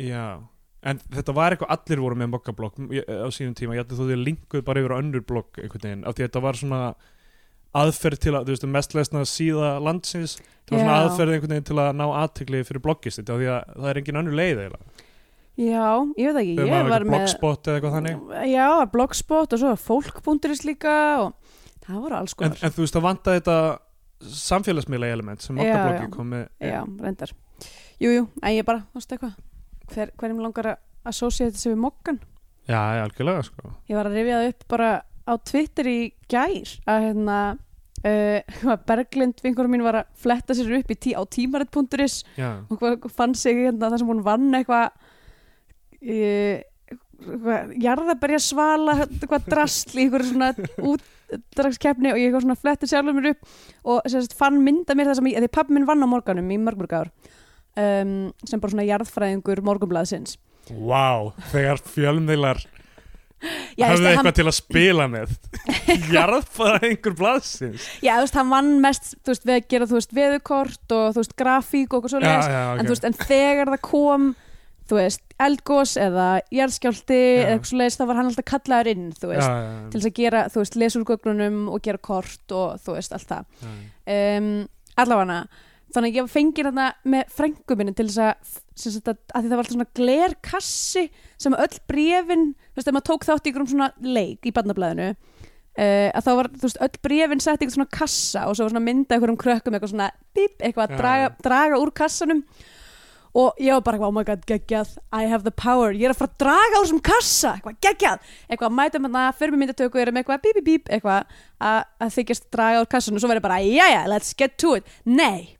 [SPEAKER 2] Já, en þetta var eitthvað allir voru með mokkablokk ég- á sínum tíma, ég ætti þó því að linkuð bara yfir á önnur blokk einhvern veginn, af því að þetta var svona aðferð til að, þú veist, mest lesna síða landsins, það var svona
[SPEAKER 3] Já.
[SPEAKER 2] aðferð einhvern veginn til að ná aðtegli fyrir bloggist þetta, af því að það er engin önnur leið eiginlega,
[SPEAKER 3] Já, ég veit ekki,
[SPEAKER 2] þegar
[SPEAKER 3] ég
[SPEAKER 2] maður
[SPEAKER 3] var
[SPEAKER 2] er
[SPEAKER 3] með
[SPEAKER 2] bloggspot eða eitthvað þannig
[SPEAKER 3] Já, blogspot og svo fólk.is líka og það voru alls
[SPEAKER 2] en,
[SPEAKER 3] konar
[SPEAKER 2] en þú veist það vanta þetta samfélagsmiðla element sem
[SPEAKER 3] Já,
[SPEAKER 2] Mokkabloggi
[SPEAKER 3] já.
[SPEAKER 2] kom með
[SPEAKER 3] Já, reyndar Jú, jú, en ég bara, þú veist eitthvað hver, hverjum langar að associate þessi við mokkan
[SPEAKER 2] já, já, algjörlega sko
[SPEAKER 3] Ég var að rifja það upp bara á Twitter í gær að hérna uh, Berglind vinkurum mín var að fletta sér upp í tí á tímarit.is
[SPEAKER 2] já,
[SPEAKER 3] og hvað- fann sig hérna þar sem hún vann eitthvað uh, jarðabæri að svala eitthvað drasl í einhverju svona útdragskeppni og ég eitthvað svona fletti sjálfur mér upp og sem sagt, fann mynda mér það sem ég, því pappi minn vann á morganum í mörgmörg ár um, sem bara svona jarðfræðingur morgunblaðsins
[SPEAKER 2] wow, þegar fjölmiðlar
[SPEAKER 3] Já, þú
[SPEAKER 2] hafðu
[SPEAKER 3] veist,
[SPEAKER 2] eitthvað
[SPEAKER 3] hann-
[SPEAKER 2] til að spila með jarðfæðingur blaðsins
[SPEAKER 3] Já, þú veist, hann vann mest, þú veist, við að gera, þú veist, veðurkort og, þú veist, grafík og okkur svo
[SPEAKER 2] já,
[SPEAKER 3] leðist.
[SPEAKER 2] já,
[SPEAKER 3] En, þú
[SPEAKER 2] ok
[SPEAKER 3] veist, en þegar það kom, þú veist, eldgós eða jarðskjálti
[SPEAKER 2] Já.
[SPEAKER 3] eða eitthvað svo leðist, þá var hann alltaf kallaður inn, þú
[SPEAKER 2] Já,
[SPEAKER 3] veist,
[SPEAKER 2] já,
[SPEAKER 3] til þess að gera, þú veist, lesurgögnunum og gera kort og, þú veist, allt það.
[SPEAKER 2] já,
[SPEAKER 3] Um, allavega þannig að ég fengi hérna með frængu minni til þess að, sem sagt, að, að því það var alltaf svona glerkassi sem öll brefin, þú veist, ef maður tók þátt í ykkur svona leik í barnablaðinu Uh, að þá var, þú veist, öll brefin sett í eitthvað svona kassa og svo var svona mynda einhverjum krökkum eitthvað svona, bíp,
[SPEAKER 2] Já,
[SPEAKER 3] eitthvað að draga, draga úr kassanum og ég var bara eitthvað, oh my god, geggjað I have the power, ég er að fara að draga úr þessum kassa eitthvað, geggjað, eitthvað, mætum hann að fyrir myndatöku erum eitthvað, bíp, bíp, bíp eitthvað, að- að þykjast draga úr kassanum og svo verður bara, jæja, let's get to it nei,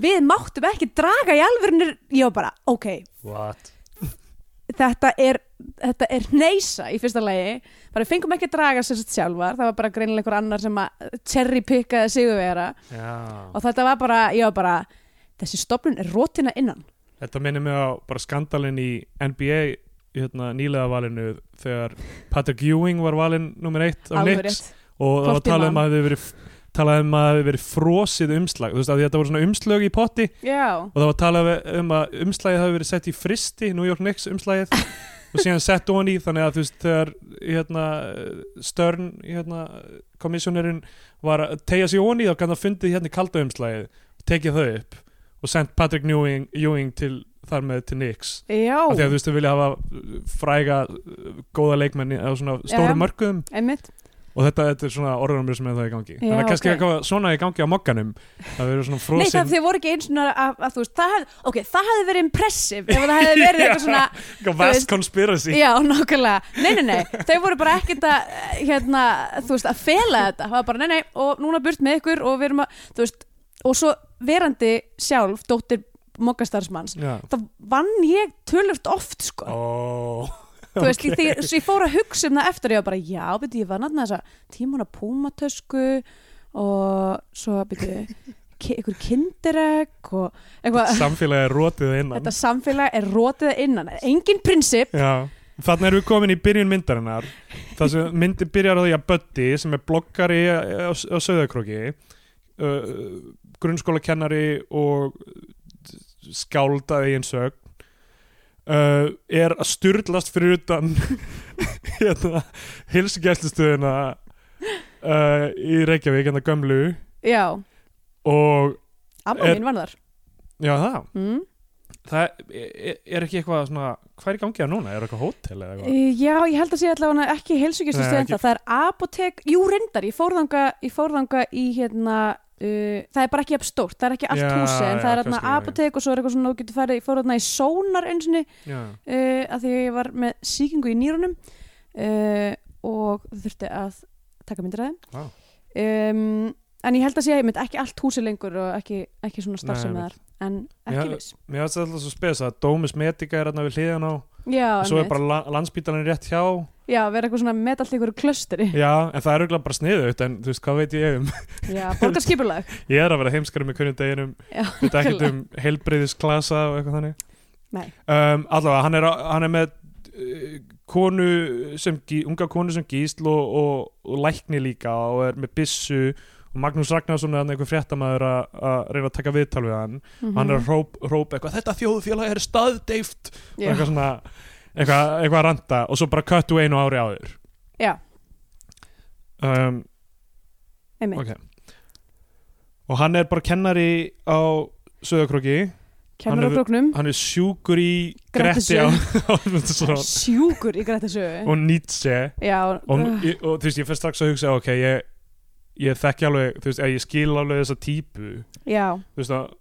[SPEAKER 3] við máttum ekki draga í alvörinu, ég var bara, ok
[SPEAKER 2] what
[SPEAKER 3] þetta er, þetta er neysa í fyrsta lagi, bara við fengum ekki að draga sér sett sjálfar, það var bara greinilega einhver annar sem að cherry pickaði sigurvera
[SPEAKER 2] já.
[SPEAKER 3] og þetta var bara, ég var bara þessi stofnun er rótina innan
[SPEAKER 2] þetta minnir mig á bara skandalinn í NBA hérna, nýlega valinu þegar Patrick Ewing var valinn nummer eitt af
[SPEAKER 3] alveg
[SPEAKER 2] Knicks
[SPEAKER 3] rétt,
[SPEAKER 2] og það var
[SPEAKER 3] Hvort ég
[SPEAKER 2] talað um
[SPEAKER 3] man.
[SPEAKER 2] að það hefði verið talað um að það hefði verið frosið umslag þú veist að þetta voru svona umslög í potti
[SPEAKER 3] já
[SPEAKER 2] og það var talað um að umslagið hafi verið sett í fristi, New York Knicks umslagið og síðan sett ofan í þannig að þú veist þegar hérna, Stern hérna, kommissionerinn var að tegja sig ofan í þá kannu að fundið hérna í kalda umslagið og tekið þau upp og sendt Patrick Ewing, Ewing til þar með til Knicks af því að
[SPEAKER 3] já,
[SPEAKER 2] þú veist þau vilja hafa uh, fræga uh, góða leikmenni á svona
[SPEAKER 3] Já, já.
[SPEAKER 2] stórum mörgum
[SPEAKER 3] einmitt
[SPEAKER 2] og þetta, þetta er svona orðanumri sem er það í gangi þannig að
[SPEAKER 3] Já,
[SPEAKER 2] kannski
[SPEAKER 3] ok.
[SPEAKER 2] eitthvað svona í gangi á mokkanum það verður svona
[SPEAKER 3] Nei, það
[SPEAKER 2] frosin
[SPEAKER 3] þau voru ekki eins og að, að þú veist, það hefði, ok, það hefði verið impressive ef það hefði verið eitthvað svona,
[SPEAKER 2] eitthvað
[SPEAKER 3] þú
[SPEAKER 2] vast
[SPEAKER 3] veist-
[SPEAKER 2] conspiracy
[SPEAKER 3] já, nákvæmlega, nei, nei, nei, þau voru bara ekkert að, hérna, þú veist, að fela þetta, það var bara, nei, nei, og núna burt með ykkur og við erum að, þú veist, og svo verandi sjálf, dóttir mokkastarsmanns,
[SPEAKER 2] Já.
[SPEAKER 3] þá vann ég tölvöft oft, sko.
[SPEAKER 2] Ó,
[SPEAKER 3] Þú veist,
[SPEAKER 2] ok.
[SPEAKER 3] okay. því, svo ég fór að hugsa um það eftir ég var bara, já, beti, ég var náttúrulega þessa tímuna púmatösku og svo, beti, ykkur kindiregg og eitthvað,
[SPEAKER 2] samfélagið er rótið að innan
[SPEAKER 3] þetta samfélag er rótið að innan, engin prinsip
[SPEAKER 2] Já, þannig erum við komin í byrjun myndarinnar þar sem myndin byrjar á því að Buddy sem er bloggari á, á Söðakróki uh, grunnskólakennari og skáldaði eins og uh, er að styrlast fyrir utan hérna hilsugæslustöðuna uh, í Reykjavík en það gömlu
[SPEAKER 3] já,
[SPEAKER 2] og
[SPEAKER 3] amma
[SPEAKER 2] Er-
[SPEAKER 3] mín var þar
[SPEAKER 2] já það
[SPEAKER 3] mm.
[SPEAKER 2] það er, er ekki eitthvað svona hvað er í gangi að núna, er eitthvað hótel eða eitthvað
[SPEAKER 3] Í- já, ég held að sé allavega ekki heilsugistu
[SPEAKER 2] Nei,
[SPEAKER 3] stöðan
[SPEAKER 2] ekki.
[SPEAKER 3] það, það er apotek jú, reyndar, ég fór þanga, ég fór þanga í hérna Uh, það er bara ekki jafn stórt, það er ekki allt
[SPEAKER 2] Já,
[SPEAKER 3] húsi en
[SPEAKER 2] já,
[SPEAKER 3] það er hérna
[SPEAKER 2] kannski, já, já.
[SPEAKER 3] apotek og svo er eitthvað svona þú getur farið, ég fór hérna í sónar eins og
[SPEAKER 2] já,
[SPEAKER 3] uh, að því að ég var með sýkingu í nýrunum uh, og þurfti að taka myndir að
[SPEAKER 2] Vá.
[SPEAKER 3] þeim um, en ég held að sé að ég mynd ekki allt húsi lengur og ekki, ekki svona starfsemi
[SPEAKER 2] Nei,
[SPEAKER 3] þar en ekki
[SPEAKER 2] Já,
[SPEAKER 3] viss
[SPEAKER 2] Mér finnst þetta alltaf svo spes að Dómus Medica er hérna við hliðan á
[SPEAKER 3] já,
[SPEAKER 2] og svo er
[SPEAKER 3] einmitt.
[SPEAKER 2] bara la landsbítalinn rétt hjá
[SPEAKER 3] já, vera eitthvað svona með allt ykkur klösteri
[SPEAKER 2] Já, en það er auðvitað bara sniðugt en þú veist, hvað veit ég um?
[SPEAKER 3] já, borgarskipulag
[SPEAKER 2] Ég er að vera heimskari með hvernig deginum
[SPEAKER 3] Já,
[SPEAKER 2] Þetta ekkert
[SPEAKER 3] nákvæmlega.
[SPEAKER 2] um heilbreyðisklasa og eitthvað þannig
[SPEAKER 3] Nei.
[SPEAKER 2] um, Allavega, hann er, á- hann er með uh, konu sem, gí- unga konu sem gísl og, og, og lækni líka og er með byssu og Magnús Ragnarsson er hann einhver fréttamaður að að reyna að taka viðtal við hann
[SPEAKER 3] Mhm.
[SPEAKER 2] hann er að hróp, hróp eitthvað þetta þjóðfélag er staðdeift og
[SPEAKER 3] Já.
[SPEAKER 2] eitthvað svona eitthvað, eitthvað að ranta og svo bara köttu einu ári áður
[SPEAKER 3] já,
[SPEAKER 2] um,
[SPEAKER 3] einmitt,
[SPEAKER 2] ok og hann er bara kennari á Söðakróki,
[SPEAKER 3] kemur á
[SPEAKER 2] hann er-
[SPEAKER 3] króknum
[SPEAKER 2] hann er sjúkur í Gretti
[SPEAKER 3] Grettisjö.
[SPEAKER 2] á Ásmundsson
[SPEAKER 3] sjúkur í grættisögu
[SPEAKER 2] og Nietzsche
[SPEAKER 3] já,
[SPEAKER 2] og,
[SPEAKER 3] uh,
[SPEAKER 2] ég- og þú veist, ég fyrst strax að hugsa ok, ég, ég þekki alveg þú veist, eða ég skil alveg þessa típu
[SPEAKER 3] já,
[SPEAKER 2] þú veist að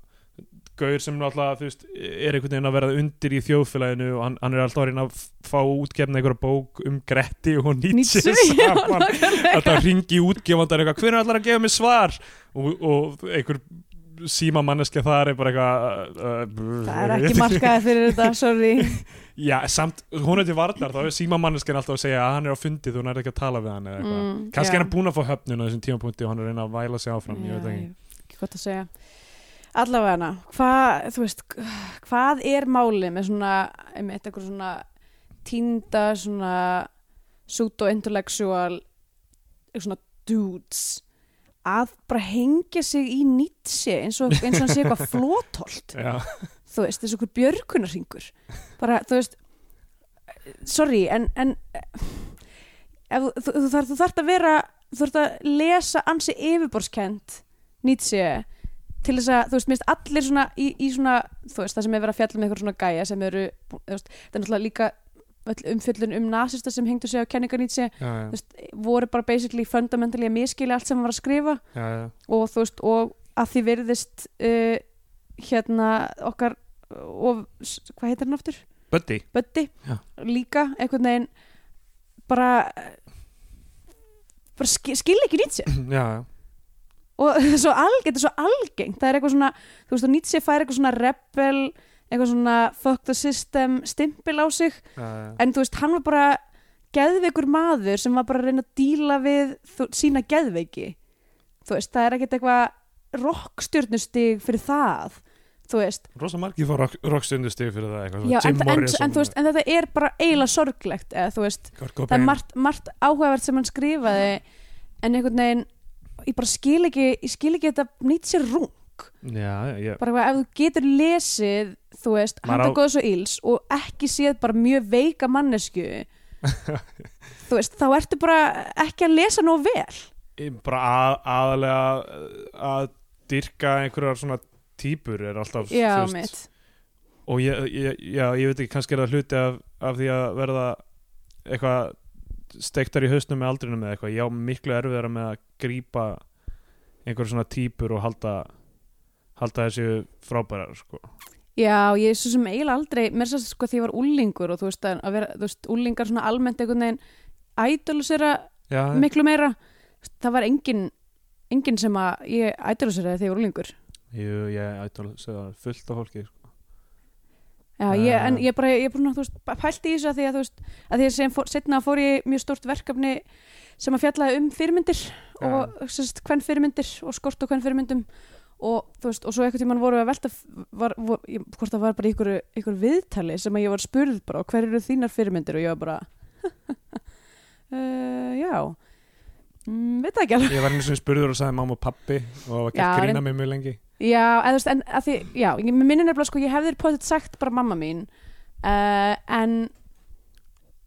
[SPEAKER 2] Gaur sem náttúrulega, þú veist, er einhvern veginn að verða undir í þjóðfélaginu og hann, hann er alltaf að reyna að fá útgefna einhverja bók um Gretti og Nietzsche
[SPEAKER 3] nýtsu já,
[SPEAKER 2] saman
[SPEAKER 3] nákvæmlega.
[SPEAKER 2] þetta ringi útgefandar eitthvað hvernig ætlar að gefa mér svar og, og einhver síma manneskja þar er bara eitthvað uh,
[SPEAKER 3] það er ekki markaði fyrir þetta, sorry
[SPEAKER 2] já, samt, hún er til varnar þá er síma manneskjan alltaf að segja að hann er á fundi þú nærði ekki að tala við hann eða eitthvað
[SPEAKER 3] Mm,
[SPEAKER 2] kannski
[SPEAKER 3] já.
[SPEAKER 2] er hann búin að fá höfnun á þessum tímapunkti og hann er að reyna að væla sig áfram ég veit ekki
[SPEAKER 3] Já, ekki gott að segja allavega hana, hvað þú veist, hvað er málið með svona, með eitthvað svona týnda svona pseudo-intellectual eitthvað svona dudes að bara hengja sig í Nietzsche eins og, eins og hann sé eitthvað flótolt
[SPEAKER 2] já,
[SPEAKER 3] þú veist, þessu okkur björkunarhingur bara, þú veist sorry, en, en ef, þú, þú, þarf, þú þarft að vera þú þarft að lesa ansi yfirborskend Nietzsche til þess að, þú veist, minnst allir svona í, í svona, þú veist, það sem er verið að fjalla með eitthvað svona gæja sem eru, þú veist, það er náttúrulega líka öll umfjöllun um nasista sem hengdu sig á kenningar Nietzsche,
[SPEAKER 2] já,
[SPEAKER 3] þú
[SPEAKER 2] já,
[SPEAKER 3] veist, voru bara basically fundamentally að miskili allt sem hann var að skrifa
[SPEAKER 2] já, já.
[SPEAKER 3] og þú veist og að því verðist uh, hérna okkar og hvað heitir hann aftur?
[SPEAKER 2] Buddy
[SPEAKER 3] Böddi
[SPEAKER 2] Já.
[SPEAKER 3] líka einhvern veginn bara bara skil, skil ekki Nietzsche
[SPEAKER 2] já, já.
[SPEAKER 3] og þetta er svo algengt, þetta er svo algengt það er eitthvað svona, þú veist og Nietzsche fær eitthvað svona rebel, eitthvað svona fuck the system stimpil á sig
[SPEAKER 2] Já, já.
[SPEAKER 3] en þú veist, hann var bara geðveikur maður sem var bara að reyna að díla við þú, sína geðveiki þú veist, það er ekkert eitthvað rockstjörnustig fyrir það þú veist,
[SPEAKER 2] rosa margir fá rockstundustig fyrir það eitthvað,
[SPEAKER 3] já,
[SPEAKER 2] svona
[SPEAKER 3] en,
[SPEAKER 2] Jim
[SPEAKER 3] en,
[SPEAKER 2] Morrison
[SPEAKER 3] en, þú veist, en þetta er bara eiginlega sorglegt eða þú veist,
[SPEAKER 2] Kurt
[SPEAKER 3] það er
[SPEAKER 2] Cobain.
[SPEAKER 3] margt, margt áhugavert sem hann skrifaði en einhvern veginn, ég bara skil ekki ég skil ekki þetta nýtt sér rung
[SPEAKER 2] já, já, já.
[SPEAKER 3] bara eitthvað, ef þú getur lesið þú veist,
[SPEAKER 2] Maður
[SPEAKER 3] handa
[SPEAKER 2] á-
[SPEAKER 3] góðs og íls og ekki séð bara mjög veika mannesku þú veist, þá ertu bara ekki að lesa nóg vel
[SPEAKER 2] Ég bara að, aðalega uh, að dyrka einhverjar svona típur er alltaf þú
[SPEAKER 3] já,
[SPEAKER 2] veist,
[SPEAKER 3] mitt,
[SPEAKER 2] og ég, ég, já, ég veit ekki kannski er það hluti af, af því að verða eitthvað steiktar í hausnum með aldrinum eða eitthvað, ég á miklu erfiðara með að grípa einhver svona típur og halda halda þessi frábærar sko.
[SPEAKER 3] Já, ég er svo sem eiginlega aldrei, mér sérst sko því ég var úlingur og þú veist að að vera, þú veist, úlingar svona almennt einhvern veginn ædolusera
[SPEAKER 2] Já,
[SPEAKER 3] miklu meira, það var engin, engin sem að ég ædoluseraði þegar ég var úlingur.
[SPEAKER 2] jú, ég ætla að segja það fullt af fólki sko.
[SPEAKER 3] Já, ég,
[SPEAKER 2] Ah.
[SPEAKER 3] en ég bara, ég bara, þú veist, bara pælti í þessu að því að þú veist, að því að sem fór, setna fór ég í mjög stórt verkefni sem að fjallaði um fyrirmyndir og sérst, hvern fyrirmyndir og skort og hvern fyrirmyndum og þú veist, og svo einhvern tímann voru að velta var, vor, ég, hvort það var bara í ykkur, ykkur viðtali sem að ég var spurð bara hver eru þínar fyrirmyndir og ég var bara uh, já mm, veit það ekki alveg
[SPEAKER 2] Ég var einu sem spurður og sagði mamma og pappi og það var
[SPEAKER 3] Já,
[SPEAKER 2] gert
[SPEAKER 3] en-
[SPEAKER 2] grína mig mjög lengi
[SPEAKER 3] já, eða, þú veist, en að því, já, ég mér minnir nefnilega sko, ég hefði potið sagt bara mamma mín uh, en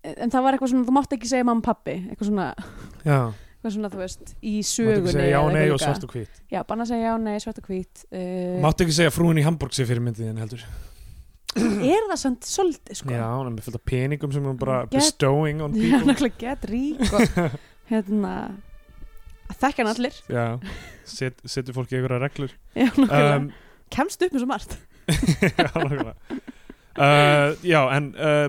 [SPEAKER 3] en það var eitthvað svona, þú mátt ekki segja mamma og pappi eitthvað svona,
[SPEAKER 2] Já,
[SPEAKER 3] eitthvað svona, þú veist í
[SPEAKER 2] máttu
[SPEAKER 3] sögunni
[SPEAKER 2] ekki segja já,
[SPEAKER 3] eða
[SPEAKER 2] nei
[SPEAKER 3] eitthvað
[SPEAKER 2] og
[SPEAKER 3] líka.
[SPEAKER 2] svart og hvít
[SPEAKER 3] Já, banna að segja já, nei, svart og hvít uh,
[SPEAKER 2] Máttu ekki segja frúin í Hamburg sér fyrir myndið þinn heldur
[SPEAKER 3] Er það samt svolítið, sko?
[SPEAKER 2] Já, hún er með fullt af peningum sem hún bara
[SPEAKER 3] Get-
[SPEAKER 2] bestowing on
[SPEAKER 3] Mm, Já,
[SPEAKER 2] people
[SPEAKER 3] náttúrulega get rík og hérna að þekkja hann allir
[SPEAKER 2] Já, set, setur fólki í einhverja reglur
[SPEAKER 3] Já, náttúrulega,
[SPEAKER 2] um,
[SPEAKER 3] kemst upp með svo margt
[SPEAKER 2] já, nákvæmlega. uh, já, en uh,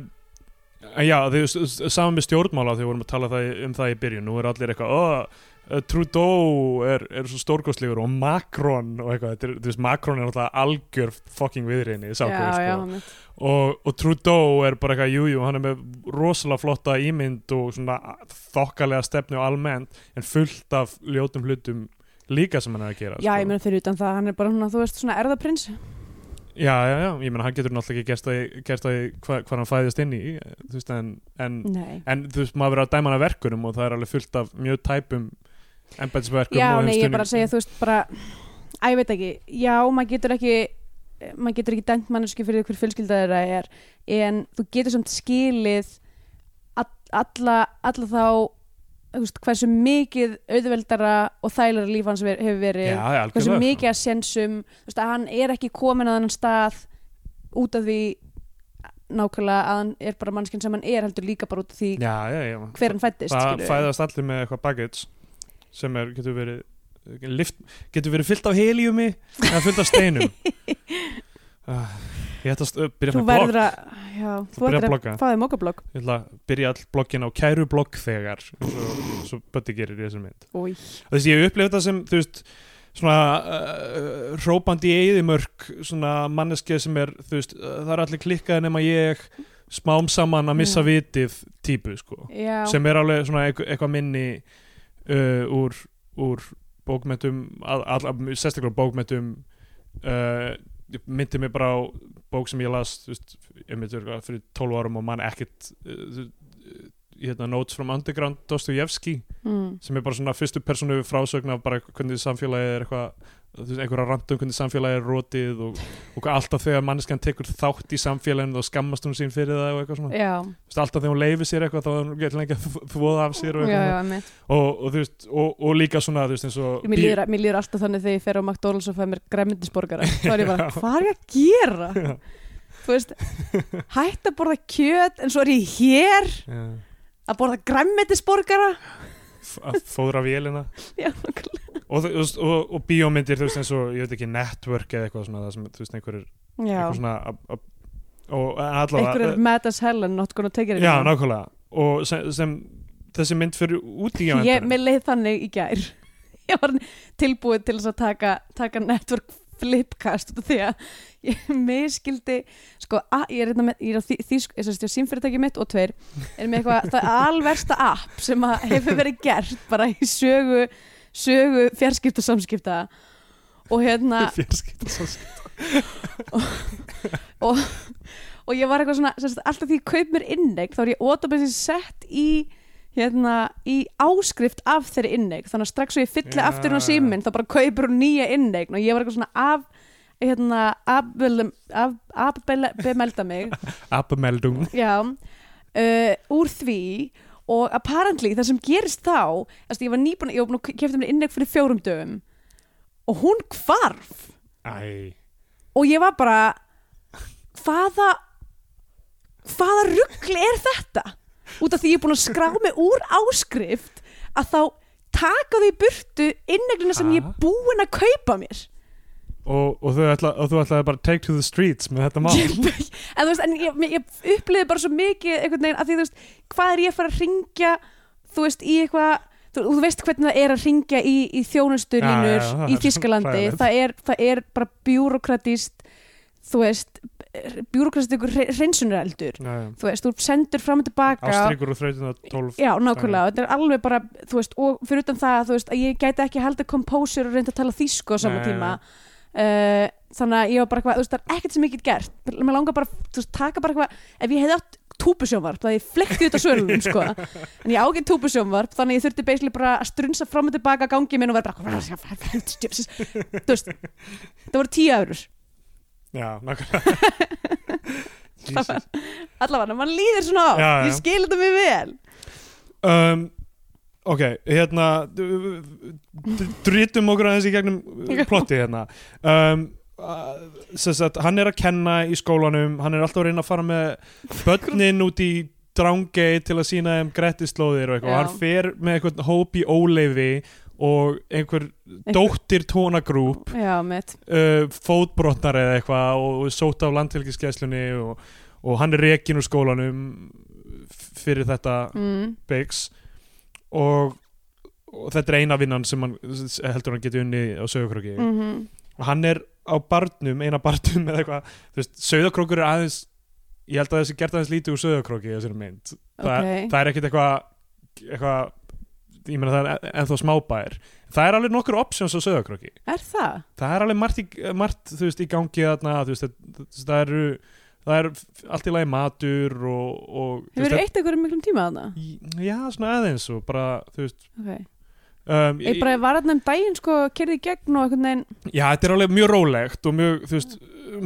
[SPEAKER 2] en já, þau s- s- saman með stjórnmála þegar við vorum að tala það, í- um það í byrjun nú er allir eitthvað oh, Trudeau er, er svo stórkostlegur og Macron og eitthvað, þetta er, þú veist Macron er náttúrulega algjör fucking viðriðinni
[SPEAKER 3] Já, já,
[SPEAKER 2] sko.
[SPEAKER 3] mitt.
[SPEAKER 2] og, og Trudeau er bara eitthvað jújú, jú, hann er með rosalega flotta ímynd og svona þokkalega stefni og almennt, en fullt af ljótum hlutum líka sem hann er að gera sko.
[SPEAKER 3] já ég meina fyrir utan það, hann er bara svona, þú veist, svona erðaprins
[SPEAKER 2] Já, já, já, ég meina hann getur náttúrulega ekki gert það, í- gert það í hva, hvað hann fæðist inn í eh, þú veist, en, en,
[SPEAKER 3] Nei
[SPEAKER 2] en þú veist, maður verið að dæma hann að verkunum og það er alveg fullt af mjög tæpum embætisverkum
[SPEAKER 3] Já,
[SPEAKER 2] og
[SPEAKER 3] nei, ég
[SPEAKER 2] heimstunni
[SPEAKER 3] er bara að segja, þú veist, bara Æ, ég veit ekki, já, maður getur ekki maður getur ekki dæmt manneski fyrir hver fjölskylda þeirra er en þú getur samt skilið all, alla, alla þá þú veist, hversu mikið auðveldara og þælara líf hans ver- hefur verið
[SPEAKER 2] Já, já, algjörlega
[SPEAKER 3] hversu
[SPEAKER 2] sko.
[SPEAKER 3] mikið að sensum þú veist, að hann er ekki komin að hann stað út af því nákvæmlega að hann er bara mannskinn sem hann er heldur líka bara út af því
[SPEAKER 2] Já, já, já
[SPEAKER 3] hver hann fættist
[SPEAKER 2] Það fæðast allir með eitthvað baggage sem er, getur verið eh, lift, getur verið fyllt af heliumi eða fyllt af steinum uh, Ég ætla að st- byrja
[SPEAKER 3] þú
[SPEAKER 2] með blogg
[SPEAKER 3] verður að já, þú
[SPEAKER 2] byrjar að
[SPEAKER 3] verður að
[SPEAKER 2] blogga.
[SPEAKER 3] fá þig mokablogg
[SPEAKER 2] Ég ætla að byrja all bloggin á kæru blogg þegar svo, svo Bötti gerir í þessum mynd
[SPEAKER 3] Új.
[SPEAKER 2] Þess að ég upplifði þetta sem, þú veist, svona uh, hrópandi í eyðimörk, svona manneskið sem er, þú veist, uh, það er allir klikkaði nema ég smám saman að missa
[SPEAKER 3] Já.
[SPEAKER 2] vitið típu, sko.
[SPEAKER 3] Já,
[SPEAKER 2] Sem er alveg svona eitth- eitthvað minni uh, úr, úr bókmentum, all, all, sérstaklega úr bókmentum, uh, myndi mig bara á bók sem ég las, þú veist, ég myndi verið fyrir 12 árum og mann ekkit, uh, þú- uh, hérna, Notes from Underground, Dostoyevsky
[SPEAKER 3] mm.
[SPEAKER 2] sem er bara svona fyrstu personu frásögn af bara hvernig samfélagið er eitthvað þú veist, einhverja randum hvernig samfélagið er rotið og, og hvað alltaf þegar manneskan tekur þátt í samfélaginu þá skammast hún sín fyrir það og eitthvað svona
[SPEAKER 3] já,
[SPEAKER 2] Þú veist, alltaf þegar hún leifir sér eitthvað þá er hún getur lengi að þvóða af sér og,
[SPEAKER 3] já,
[SPEAKER 2] eitthvað
[SPEAKER 3] já, mitt
[SPEAKER 2] svona. og, og, þú veist, og, og líka svona þú veist, eins og
[SPEAKER 3] Mér líður, mér líður alltaf þannig þegar ég fer á McDonalds og fæ mér græmyndisborgara Þá er ég bara, hvað er ég að gera? Þú veist, hætt að borða kjöt en svo er ég hér
[SPEAKER 2] Já,
[SPEAKER 3] að borða græmyndisborgara
[SPEAKER 2] f- að fóðra vélina
[SPEAKER 3] Já, nákvæmlega.
[SPEAKER 2] og, þú veist, og, og bíómyndir þú veist eins og ég veit ekki network eða eitthvað svona það sem þú veist einhverjir
[SPEAKER 3] já.
[SPEAKER 2] eitthvað svona að- að- og allavega
[SPEAKER 3] einhver er mad as hell and not gonna take it
[SPEAKER 2] Já,
[SPEAKER 3] anymore.
[SPEAKER 2] nákvæmlega og sem, sem þessi mynd fyrir út í
[SPEAKER 3] ég,
[SPEAKER 2] gæfandanum.
[SPEAKER 3] Mér leið þannig í gær Ég var tilbúið til þess að taka, taka network flipkast út af því að ég miskildi sko, a, ég er, hérna með, ég er á því, því, ég sérst, ég símfyrirtæki mitt og tveir er með eitthvað, það er alversta app sem að hefur verið gert bara í sögu, sögu fjarskipta samskipta og hérna
[SPEAKER 2] Fjarskipta samskipti.
[SPEAKER 3] og ég var eitthvað svona, sérst, alltaf því ég kaup mér innegg þá er ég ótabæsið sett í hérna, í áskrift af þeirri innegg, þannig að strax svo ég fylli
[SPEAKER 2] Já.
[SPEAKER 3] aftur hún á síminn, þá bara kaupur hún nýja innegg og ég var eitthvað svona af hérna, afbeldum- af, afbemelda mig
[SPEAKER 2] Abmeldung
[SPEAKER 3] já, uh, úr því og apparently það sem gerist þá þessi, ég var nýbúin, ég var búin að kefta mér innegg fyrir fjórum dögum og hún hvarf
[SPEAKER 2] Æ
[SPEAKER 3] og ég var bara hvaða hvaða ruggli er þetta út af því ég er búin að skrá mig úr áskrift að þá taka því burtu inneglina sem ég er
[SPEAKER 2] Ah.
[SPEAKER 3] búin að kaupa mér
[SPEAKER 2] og, og, þau ætla, og þú ætlaði bara take to the streets með þetta mál
[SPEAKER 3] ég, en þú veist, en ég, ég upplifði bara svo mikið einhvern veginn að því þú veist, hvað er ég að fara að ringja þú veist, í eitthvað þú, þú veist hvernig það er að ringja í, í
[SPEAKER 2] Já, já,
[SPEAKER 3] þjónustulínur
[SPEAKER 2] já, það
[SPEAKER 3] í
[SPEAKER 2] er
[SPEAKER 3] Þískalandi
[SPEAKER 2] hræðilegt.
[SPEAKER 3] það er, það er bara bjúrokratist þú veist bjúrokratist ykkur hreinsunareldur
[SPEAKER 2] Já, já.
[SPEAKER 3] þú veist, þú sendur fram og tilbaka
[SPEAKER 2] ástríkur og þrautin að 12
[SPEAKER 3] Já, nákvæmlega, þetta er alveg bara, þú veist, og fyrir utan það, þú veist, að ég gæti ekki haldið composure og reynda að tala þýsku á sama
[SPEAKER 2] Nei.
[SPEAKER 3] tíma uh, þannig að ég var bara eitthvað, þú veist, það er ekkert sem ég get gert, mér langar bara, þú veist, taka bara eitthvað, ef ég hefði átt túpusjónvarp, það ég flekti þetta svörlum, sko en ég á ekki túpusjónvarp, þannig að ég þurfti basically bara að strunsa fram og tilbaka að gangi minn og vera bara, þú veist, það voru tíu öfrur
[SPEAKER 2] já, nákvæmlega Jesus.
[SPEAKER 3] allavega, mann líður svona á,
[SPEAKER 2] Já, já.
[SPEAKER 3] ég skil þetta mjög vel
[SPEAKER 2] um, ok, hérna d- d- drítum okkur aðeins í gegnum uh, plotti hérna um, að- sem sagt, hann er að kenna í skólanum hann er alltaf að reyna að fara með börnin út í drangei til að sína þeim grettislóðir og eitthvað
[SPEAKER 3] Já.
[SPEAKER 2] hann fer með eitthvað hóp í óleifi og einhver dóttir tónagrúp
[SPEAKER 3] Já, mitt,
[SPEAKER 2] uh, fótbrotnar eða eitthvað og, og sót af landfélgiskeislunni og, og hann er rekin úr skólanum f- fyrir þetta
[SPEAKER 3] mm,
[SPEAKER 2] byggs og, og þetta er eina vinnan sem hann s- heldur hann geti unni á sögurkróki
[SPEAKER 3] mm
[SPEAKER 2] og hann er á barnum, eina barnum eða eitthvað, þú veist, sögurkrókur er aðeins ég held að þessi gert aðeins lítið úr sögurkróki í þessari mynd, það,
[SPEAKER 3] Ok.
[SPEAKER 2] það er ekkit eitthvað eitthvað ég meina það er en- ennþá smábær það er alveg nokkur options á sögurkróki
[SPEAKER 3] er það?
[SPEAKER 2] það er alveg margt, í, margt þú veist, í gangi þarna, þú veist, það, það eru það er allt í lagi matur og, og þú
[SPEAKER 3] Hefur verið
[SPEAKER 2] veist,
[SPEAKER 3] eitt einhverjum miklum tíma að það?
[SPEAKER 2] það, já, svona aðeins og bara, þú veist
[SPEAKER 3] Okay.
[SPEAKER 2] um,
[SPEAKER 3] Ég bara var þarna um daginn sko, kerði í gegn og einhvern veginn
[SPEAKER 2] já, þetta er alveg mjög rólegt og mjög, þú veist,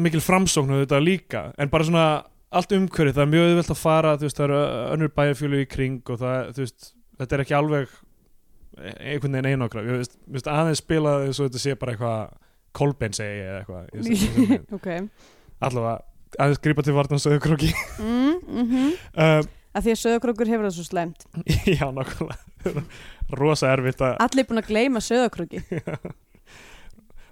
[SPEAKER 2] mikil framsókn og þetta líka, en bara svona allt umhverfið, það er mjög auðvelt að fara þú veist, það eru önnur bæjarfjölu í kring og það, þú veist, þetta er ekki alveg e, einhvern veginn einokra ég veist, þú veist, aðeins spilað eins og þetta sé bara eitthvað kolbein segi eða eitthvað í þessum- í þessum mynd.
[SPEAKER 3] Ok
[SPEAKER 2] allavega aðeins grípa til vartan söðukróki
[SPEAKER 3] mm, mm
[SPEAKER 2] um,
[SPEAKER 3] Að því að söðakrókur hefur það svo slemt
[SPEAKER 2] já, nákvæmlega rosa erfitt að
[SPEAKER 3] Allir búin að gleyma söðakróki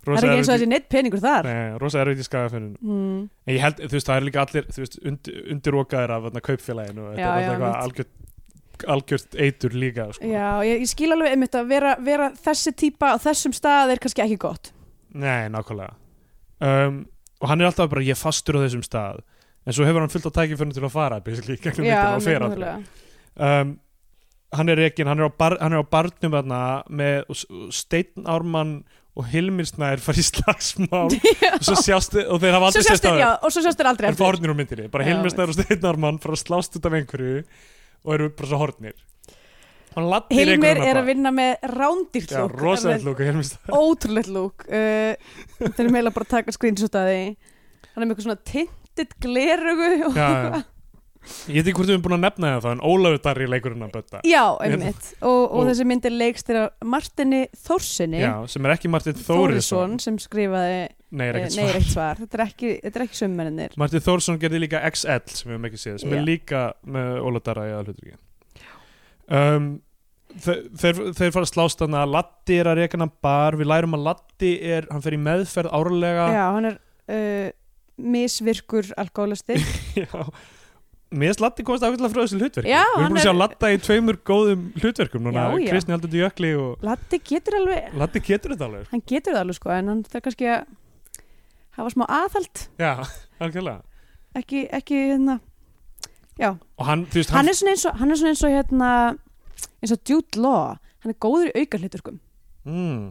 [SPEAKER 3] Það er
[SPEAKER 2] rosa
[SPEAKER 3] ekki eins og
[SPEAKER 2] erfitt,
[SPEAKER 3] þessi neitt peningur þar
[SPEAKER 2] nei, rosa erfitt í skagafinnun
[SPEAKER 3] mm,
[SPEAKER 2] en ég held, þú veist, það er líka allir þú veist, und, undirokaðir af þarna, kaupfélaginu og þetta
[SPEAKER 3] Já,
[SPEAKER 2] er
[SPEAKER 3] já,
[SPEAKER 2] alltaf eitthvað algjört, algjört eitur líka sko.
[SPEAKER 3] Já, ég, ég skil alveg einmitt að vera, vera þessi típa á þessum stað er kannski ekki gott
[SPEAKER 2] nei, nákvæmlega um, og hann er alltaf bara, ég er fastur á þessum stað en svo hefur hann fullt á tækiförnum til að fara basically, í gegnum myndina og fer aldrei
[SPEAKER 3] nákvæmlega.
[SPEAKER 2] um, hann er ekki hann er á, bar, hann er á barnum þarna með og s- og Steinn Ármann og Hilmir Snær fari í slagsmál og svo sjást þið- og þeir hafa
[SPEAKER 3] Svo
[SPEAKER 2] aldrei
[SPEAKER 3] sjást
[SPEAKER 2] sést
[SPEAKER 3] þér,
[SPEAKER 2] það
[SPEAKER 3] já, og svo sjást þér aldrei
[SPEAKER 2] en
[SPEAKER 3] eftir.
[SPEAKER 2] fá hornir úr myndinni, bara
[SPEAKER 3] Já,
[SPEAKER 2] Hilmir
[SPEAKER 3] veit.
[SPEAKER 2] Snær og Steinn Ármann fara að slást út af einhverju og eru bara svo hornir hann laddir
[SPEAKER 3] Hilmir
[SPEAKER 2] einhverjum
[SPEAKER 3] er að vinna með rándýrt
[SPEAKER 2] Já,
[SPEAKER 3] lúk
[SPEAKER 2] rosalegt lúk á Hilmir Snær
[SPEAKER 3] ótrúlegt lúk uh, þeir eru meila bara að taka screenshot að því hann er með eitthvað svona tintit glerugu og...
[SPEAKER 2] Já, já. Ég veit ekki hvort við erum búin að nefna það en Ólafur Darri leikurinn að bötta
[SPEAKER 3] já, einmitt og, og
[SPEAKER 2] Og-
[SPEAKER 3] þessi mynd er leikst þegar Martini Þórsinni
[SPEAKER 2] Já, sem er ekki Martin Þórisson
[SPEAKER 3] sem skrifaði
[SPEAKER 2] Nei, er
[SPEAKER 3] eh,
[SPEAKER 2] ekkert
[SPEAKER 3] Nei, er
[SPEAKER 2] svar
[SPEAKER 3] ekkert svar, þetta er ekki, þetta er ekki sömmennir
[SPEAKER 2] Martin Þórsson gerði líka XL sem við höfum ekki séð, sem
[SPEAKER 3] Já.
[SPEAKER 2] er líka með Óla Darra í aðhluturki um, þe- þeir, þeir fara að slást hann að Latti er að reka hann bar, við lærum að Latti er, hann fer í meðferð árlega
[SPEAKER 3] já, hann er uh, misvirkur alkoholisti
[SPEAKER 2] Já. Mér finnst Latti komast ákveðlega frá þessu hlutverki
[SPEAKER 3] Já,
[SPEAKER 2] Við erum
[SPEAKER 3] hann
[SPEAKER 2] búin að sjá
[SPEAKER 3] er-
[SPEAKER 2] Latta í tveimur góðum hlutverkum núna,
[SPEAKER 3] Já, já.
[SPEAKER 2] Kristni Aldur Jökli og
[SPEAKER 3] Latti getur alveg,
[SPEAKER 2] Latti getur þetta alveg
[SPEAKER 3] hann getur það alveg sko en hann þarf kannski að hafa smá aðhald
[SPEAKER 2] Já, algjörlega
[SPEAKER 3] ekki, ekki hérna já,
[SPEAKER 2] Og hann, þú veist,
[SPEAKER 3] hann
[SPEAKER 2] hann,
[SPEAKER 3] er svona eins og, hann er svona eins og hérna eins og Jude Law hann er góður í aukarliturkum
[SPEAKER 2] mm,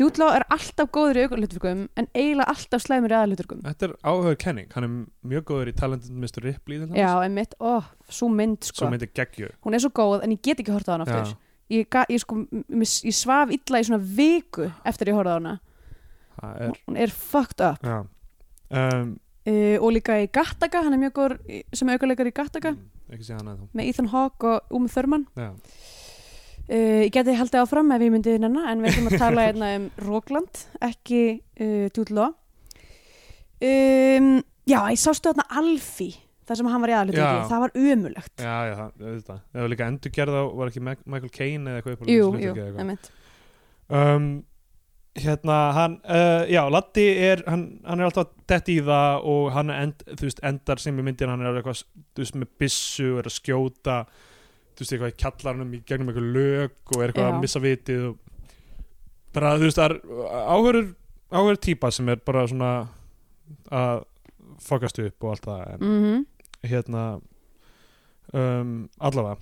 [SPEAKER 3] Jude Law er alltaf góður í aukarliturkum en eiginlega alltaf slæmur í aðaliturkum
[SPEAKER 2] Þetta er áhugaður kenning Hann er mjög góður í talentin Mr. Ripley til dæmis.
[SPEAKER 3] já, emmitt, ó, svo mynd sko
[SPEAKER 2] Svo myndir geggju
[SPEAKER 3] hún er svo góð en ég get ekki hortað á hana
[SPEAKER 2] Já.
[SPEAKER 3] aftur ég, ga- ég, sko, m- m- ég svaf illa í svona viku eftir ég horfði á hana
[SPEAKER 2] Það er
[SPEAKER 3] hún er fucked up
[SPEAKER 2] Já um,
[SPEAKER 3] uh, og líka í Gattaca, hann er mjög góður í- sem aukarleikar í Gattaca
[SPEAKER 2] Mm, Ekki sé hann að
[SPEAKER 3] með Ethan Hawke og Uma Thurman
[SPEAKER 2] Já,
[SPEAKER 3] Uh, ég geti haldið áfram ef ég myndi hérna en við ætlum að tala hérna um Rókland ekki eh, uh, Dúdló um, Já, ég sástu þarna Alfí þar sem hann var í aðalutverki,
[SPEAKER 2] Já.
[SPEAKER 3] það var ömulegt
[SPEAKER 2] já, já, það, auðvitað. það var líka endurgerð á, var ekki Ma- Michael Caine eða eitthvað upp á
[SPEAKER 3] Jú,
[SPEAKER 2] hlutverki
[SPEAKER 3] jú,
[SPEAKER 2] eða eitthvað.
[SPEAKER 3] einmitt
[SPEAKER 2] um, hérna, hann uh, já, Latti er, hann, hann er alltaf dett í það og hann end, þú veist, endar sem í myndin, hann er eitthvað þú veist, með byssu og er að skjóta þú veist, eitthvað í kjallarnum í gegnum eitthvað lög og er eitthvað
[SPEAKER 3] Já.
[SPEAKER 2] að missa vitið og bara, þú veist, það er áhverjur, áhverjur típa sem er bara svona að fokast upp og allt það en
[SPEAKER 3] mm
[SPEAKER 2] hérna um, allavega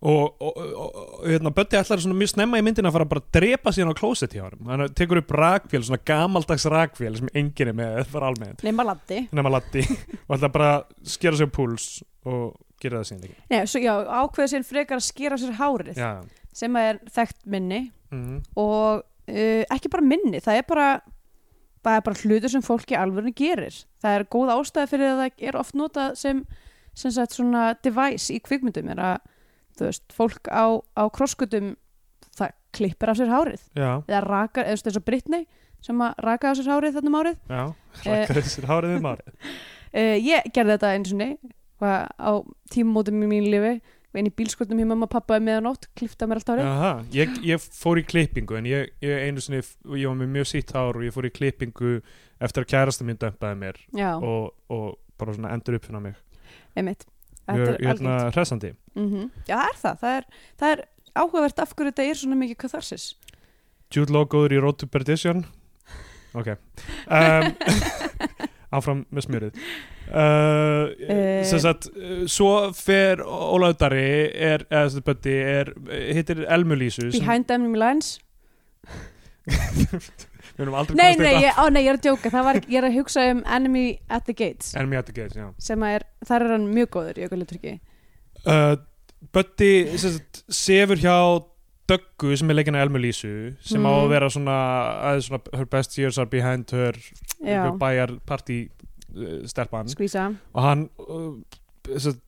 [SPEAKER 2] og, og, og, og hérna Bötti ætlar svona mjög snemma í myndina að fara bara að drepa síðan á klósett hjá honum hann tekur upp rakvél, svona gamaldags rakvél sem enginn er með, það var almennt
[SPEAKER 3] nema Latti
[SPEAKER 2] nema Latti og ætlar bara að skera sér púls og gera það síðan ekki
[SPEAKER 3] Nei, svo, já, ákveða sér frekar að skera sér hárið
[SPEAKER 2] já,
[SPEAKER 3] sem að er þekkt minni
[SPEAKER 2] mm,
[SPEAKER 3] og uh, ekki bara minni, það er bara það er bara hlutur sem fólki alvörinu gerir það er góð ástæða fyrir að það er oft notað sem, sem sagt svona device í kvikmyndum er að þú veist, fólk á, á krosskutum það klippir af sér hárið
[SPEAKER 2] já,
[SPEAKER 3] eða rakar, eða þú veist, eins og Brittany sem að raka af sér hárið þarna um árið
[SPEAKER 2] já
[SPEAKER 3] Eh.
[SPEAKER 2] rækkar sér hárið um árið
[SPEAKER 3] uh, ég gerði þetta eins og nei á tímumótum í mínu lífi inn í bílskotnum hjá mamma og pappa um meðanótt klifta mér allt hárið
[SPEAKER 2] Aha, ég, ég fór í klippingu en ég, ég einu sinni, ég var með mjög sítt hár og ég fór í klippingu eftir að kærasta mín dömpaði mér
[SPEAKER 3] já,
[SPEAKER 2] og, og bara svona endur uppfinna mig
[SPEAKER 3] einmitt Þetta
[SPEAKER 2] mjög
[SPEAKER 3] er algengt.
[SPEAKER 2] hérna, hressandi
[SPEAKER 3] mm Já, það er það. Það er, það er áhugavert af hverju þetta er svona mikið katharsis.
[SPEAKER 2] Jude Law góður í Road to Perdition ok um, áfram með smjörið uh,
[SPEAKER 3] Eh.
[SPEAKER 2] sem sagt uh, svo fer Ólaður Darri er, eða sem sagt Böddi er hittir Elmu Lísu sem-
[SPEAKER 3] Behind enemy lines.
[SPEAKER 2] við erum aldrei
[SPEAKER 3] Nei,
[SPEAKER 2] komast
[SPEAKER 3] nei,
[SPEAKER 2] þetta.
[SPEAKER 3] ég, á, nei, ég er að djóka. Það var, ég er að hugsa um enemy at the gates
[SPEAKER 2] Enemy at the Gates, já
[SPEAKER 3] sem að er, þar er hann mjög góður í aukuliturki.
[SPEAKER 2] uh, Böddi sem sagt, sefur hjá Döggu sem er leikinn að Elmu Lísu sem á
[SPEAKER 3] Mm.
[SPEAKER 2] að vera svona, aðeins svona her best years are behind her
[SPEAKER 3] Já,
[SPEAKER 2] bæjar partí uh, stelpan
[SPEAKER 3] skvísa.
[SPEAKER 2] og hann uh, satt,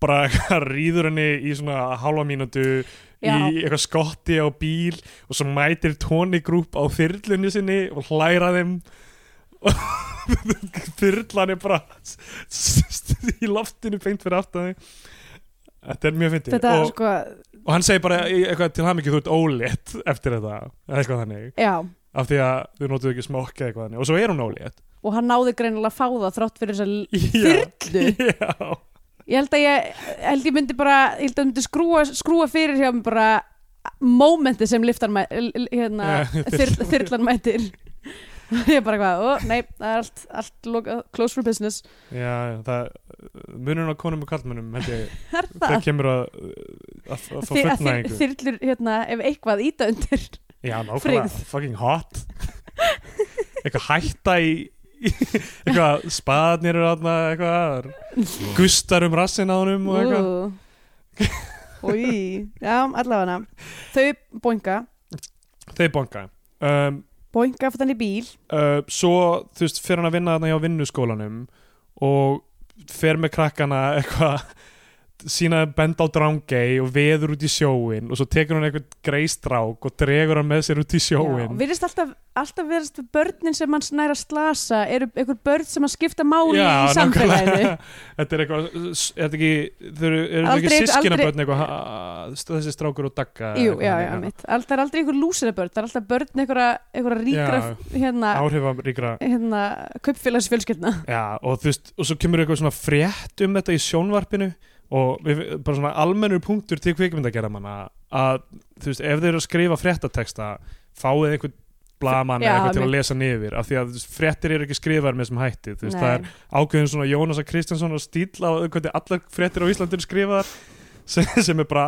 [SPEAKER 2] bara eitthvað rýður henni í svona hálfa mínútu
[SPEAKER 3] Já.
[SPEAKER 2] í eitthvað skotti á bíl og svo mætir Tony Group á þyrlunni sinni og hlæra þeim og þyrlan er bara s- s- í loftinu beint fyrir aftan þig Þetta er mjög fyndið
[SPEAKER 3] Þetta er
[SPEAKER 2] og,
[SPEAKER 3] sko,
[SPEAKER 2] og hann segir bara í- eitthvað til hann ekki þú ert ólétt eftir þetta eða eitthvað þannig
[SPEAKER 3] já.
[SPEAKER 2] af því að þau notuðu ekki smokka eitthvað þannig og svo er hún ólétt
[SPEAKER 3] Og hann náði greinilega að fá það þrátt fyrir þess að
[SPEAKER 2] Já.
[SPEAKER 3] þyrlu.
[SPEAKER 2] Já
[SPEAKER 3] Ég held að ég, ég held ég myndi bara, ég held að ég myndi skrúa, skrúa fyrir hjá mig bara mómenti sem liftan mæ, hérna,
[SPEAKER 2] Já,
[SPEAKER 3] þyrl, þyrlan mætir ég er bara hvað, ó, nei, það er allt, allt lokað, close for business
[SPEAKER 2] Já, já, það munurinn á konum og kallmönnum held ég,
[SPEAKER 3] það er
[SPEAKER 2] þegar
[SPEAKER 3] það
[SPEAKER 2] kemur að að, að fá
[SPEAKER 3] Þi- að þyr-
[SPEAKER 2] fullnæðingu
[SPEAKER 3] þyrlur, hérna, ef eitthvað íta undir
[SPEAKER 2] Já,
[SPEAKER 3] Frigð.
[SPEAKER 2] nákvæmlega, fucking hot eitthvað hætta í í- eitthvað spaðnir eru þarna eitthvað það er gustar um rassin á honum og eitthvað
[SPEAKER 3] Úi, já, allavega þau boinga,
[SPEAKER 2] þeir bonga um,
[SPEAKER 3] boinga fyrir þannig bíl
[SPEAKER 2] uh, svo þú veist fer hann að vinna þarna hjá vinnuskólanum og fer með krakkana eitthvað sína benda á drangei og veður út í sjóin og svo tekur hann eitthvað greistrák og dregur hann með sér út í
[SPEAKER 3] Já,
[SPEAKER 2] sjóin
[SPEAKER 3] virðist alltaf, alltaf virðist börnin sem hann næra að slasa eru einhver börn sem að skipta máli í samfélaginu
[SPEAKER 2] nákvæmlega. þetta er eitthvað s- er þetta ekki, þau eru, eru
[SPEAKER 3] Aldrei-
[SPEAKER 2] ekki sískinabörn
[SPEAKER 3] aldrei-
[SPEAKER 2] eitthvað ha- þessi strákur og dagga hérna?
[SPEAKER 3] Jú, já, já, mitt. All, það er aldrei einhver lúsirabörn, það er alltaf börn einhverja, einhverja ríkra
[SPEAKER 2] Já.
[SPEAKER 3] hérna,
[SPEAKER 2] áhrifaríkra
[SPEAKER 3] hérna, kaupfélagsfjölskyldna.
[SPEAKER 2] já, og, þú veist, og svo kemur eitthvað svona frétt um þetta í sjónvarpinu og við, bara svona almennur punktur til kvikmyndagerðamanna að þú veist, ef þeir eru að skrifa fréttateksta fáið einhvern blaman
[SPEAKER 3] Já,
[SPEAKER 2] eða eitthvað til að
[SPEAKER 3] mitt.
[SPEAKER 2] lesa niður af því að þú veist, fréttir eru ekki skrifaðar með þessum hætti þú veist, það er
[SPEAKER 3] Nei.
[SPEAKER 2] ákveðin svona Jónasa Kristjánsson og stíl á hvernig allar fréttir á Íslandinu skrifaðar sem, sem er bara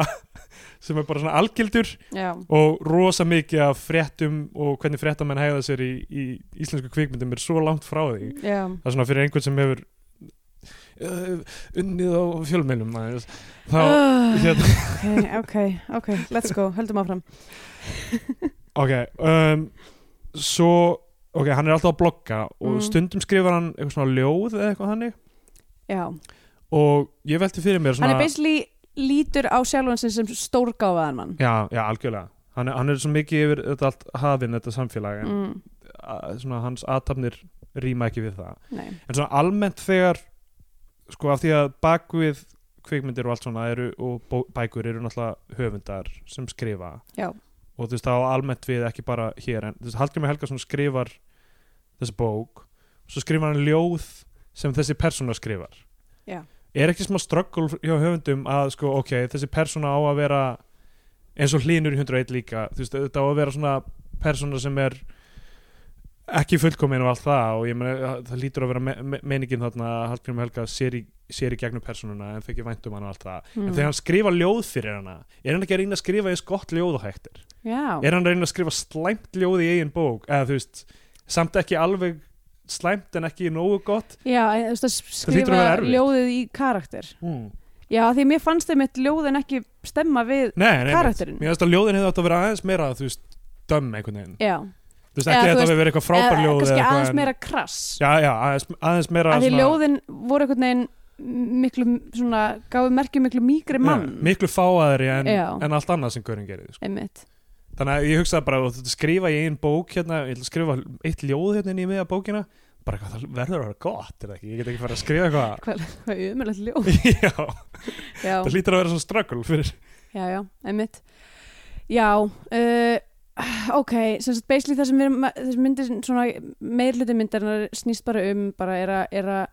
[SPEAKER 2] sem er bara svona algildur
[SPEAKER 3] Já,
[SPEAKER 2] og rosa mikið af fréttum og hvernig fréttamenn hegða sér í, í íslensku kvikmyndum er svo langt frá því
[SPEAKER 3] já.
[SPEAKER 2] það er svona fyrir einhvern sem hefur uh, unnið á fjölmennum þá
[SPEAKER 3] Ah,
[SPEAKER 2] hérna,
[SPEAKER 3] ok, ok, ok, let's go, höldum áfram.
[SPEAKER 2] ok um, svo, ok, hann er alltaf að blogga og
[SPEAKER 3] Mm.
[SPEAKER 2] stundum skrifar hann eitthvað svona ljóð eða eitthvað hannig
[SPEAKER 3] Já,
[SPEAKER 2] og ég velti fyrir mér
[SPEAKER 3] hann
[SPEAKER 2] svona
[SPEAKER 3] er basically lítur á sjálfan sig sem stórgáfaðan mann.
[SPEAKER 2] já, já, algjörlega hann er, hann er svo mikið yfir þetta allt hafinn þetta samfélag en
[SPEAKER 3] Mm,
[SPEAKER 2] að, svona, hans aðtapnir rýma ekki við það
[SPEAKER 3] nei,
[SPEAKER 2] en svona almennt þegar sko af því að bakvið kvikmyndir og allt svona eru og bó- bækur eru náttúrulega höfundar sem skrifa
[SPEAKER 3] Já.
[SPEAKER 2] og þú veist það á almennt við ekki bara hér en þú veist Hallgrimur Helgason skrifar þessa bók og svo skrifar hann ljóð sem þessi persóna skrifar
[SPEAKER 3] Já.
[SPEAKER 2] er ekki smá ströggul hjá höfundum að sko ok, þessi persóna á að vera eins og hlínur í 101 líka þú veist þetta á að vera svona persóna sem er ekki fullkomin og allt það og ég meni það lítur að vera me me meiningin þarna að Hallgrimur Helga sér í, sér í gegnum persónuna en þykir vænt um hann og allt það
[SPEAKER 3] mm.
[SPEAKER 2] en þegar hann skrifa ljóð fyrir hana er hann ekki að reyna að skrifa eins gott ljóð og hægt er
[SPEAKER 3] Já,
[SPEAKER 2] er hann að reyna að skrifa slæmt ljóð í eigin bók eða þú veist, samt ekki alveg slæmt en ekki nógu gott
[SPEAKER 3] já en, þú veist að
[SPEAKER 2] hlýtur að
[SPEAKER 3] skrifa
[SPEAKER 2] vera erfitt.
[SPEAKER 3] ljóðið í karakter
[SPEAKER 2] mm.
[SPEAKER 3] Já, því mér fannst þeim eitt ljóðin ekki stemma við
[SPEAKER 2] nei, nei, nei,
[SPEAKER 3] karakterinn
[SPEAKER 2] mér finnst að ljóðin hefði átt að vera aðeins meira þú veist, dömm einhvern veginn
[SPEAKER 3] Já,
[SPEAKER 2] þú veist,
[SPEAKER 3] Eða,
[SPEAKER 2] ekki
[SPEAKER 3] þú
[SPEAKER 2] að þetta
[SPEAKER 3] veist,
[SPEAKER 2] hafi verið eitthvað frábær ljóð
[SPEAKER 3] kannski
[SPEAKER 2] eða eitthvað
[SPEAKER 3] aðeins
[SPEAKER 2] en-
[SPEAKER 3] meira krass
[SPEAKER 2] já, já, aðeins, aðeins meira
[SPEAKER 3] að því
[SPEAKER 2] svona-
[SPEAKER 3] ljóðin voru einhvern veginn miklu svona, gáðu merkjum miklu mýgri mann
[SPEAKER 2] Já, miklu fáaðri en,
[SPEAKER 3] Já.
[SPEAKER 2] en allt annað sem Göring gerir sko.
[SPEAKER 3] einmitt,
[SPEAKER 2] þannig að ég hugsaði bara að skrifa í einn bók hérna, ég ætla að skrifa eitt ljóð hérna inn í miða bókina bara eitthvað, það verður að vera gott er það ekki? ég get ekki fara að skrifa eitthvað
[SPEAKER 3] hvað er umjöðlega ljóð
[SPEAKER 2] já,
[SPEAKER 3] já,
[SPEAKER 2] það lítur að vera svona ströggul fyrir
[SPEAKER 3] já, já, einmitt já, uh, ok sem sagt, basically það sem, við, erum- þessi myndir svona, meirluti myndarinnar snýst bara um, bara er að, er að